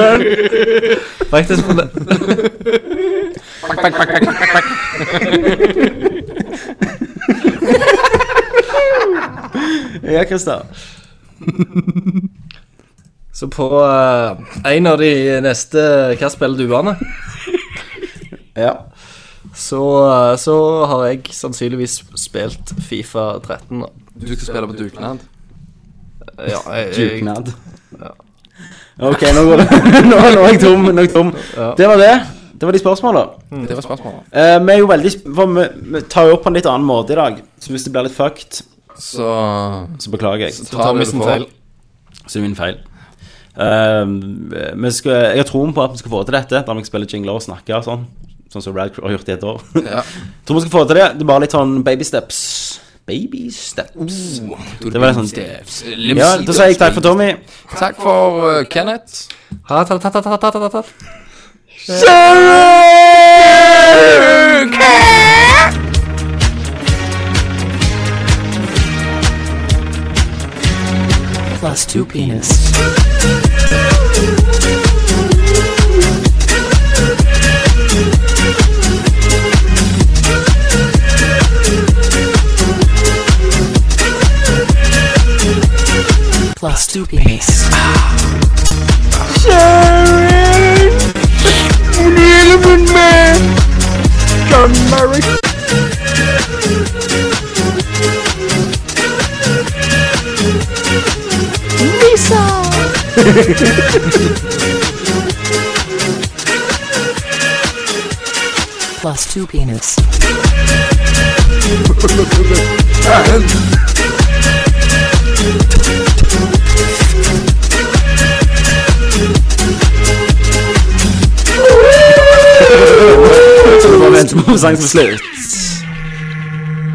C: Faktisk på den
A: Ja, Christer.
C: Så på eh, en av de neste Hva spiller duene?
A: Ja.
C: Så, eh, så har jeg sannsynligvis spilt Fifa 13. da.
E: Du skal spille på dugnad.
C: Ja, jeg, jeg,
A: Dugnad. OK, nå går det. Nå, nå er jeg tom. Nå er jeg tom.
C: Ja.
A: Det var det. Det var de spørsmålene.
E: Mm, Det var spørsmålet.
A: Eh, vi er jo veldig sp- for vi, vi tar jo opp på en litt annen måte i dag, så hvis det blir litt fucked,
E: Så
A: så beklager jeg.
E: tar vi sin feil.
A: Så det er min feil. Eh, vi skal, jeg har troen på at vi skal få til dette, der vi ikke spiller jingler og snakker og sånn. Sånn som Radcrow har gjort i et år.
E: Ja.
A: Tror vi skal få til det. Det er bare litt sånn baby steps. Baby steps. Det var litt sånn Ja, da sier jeg takk for Tommy.
E: Takk for uh, Kenneth.
C: Ha, ta, ta, ta, ta, ta, ta, ta.
I: Plus two penis.
A: Så vi bare venter på sangen som slutt.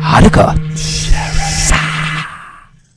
I: Hanukkah.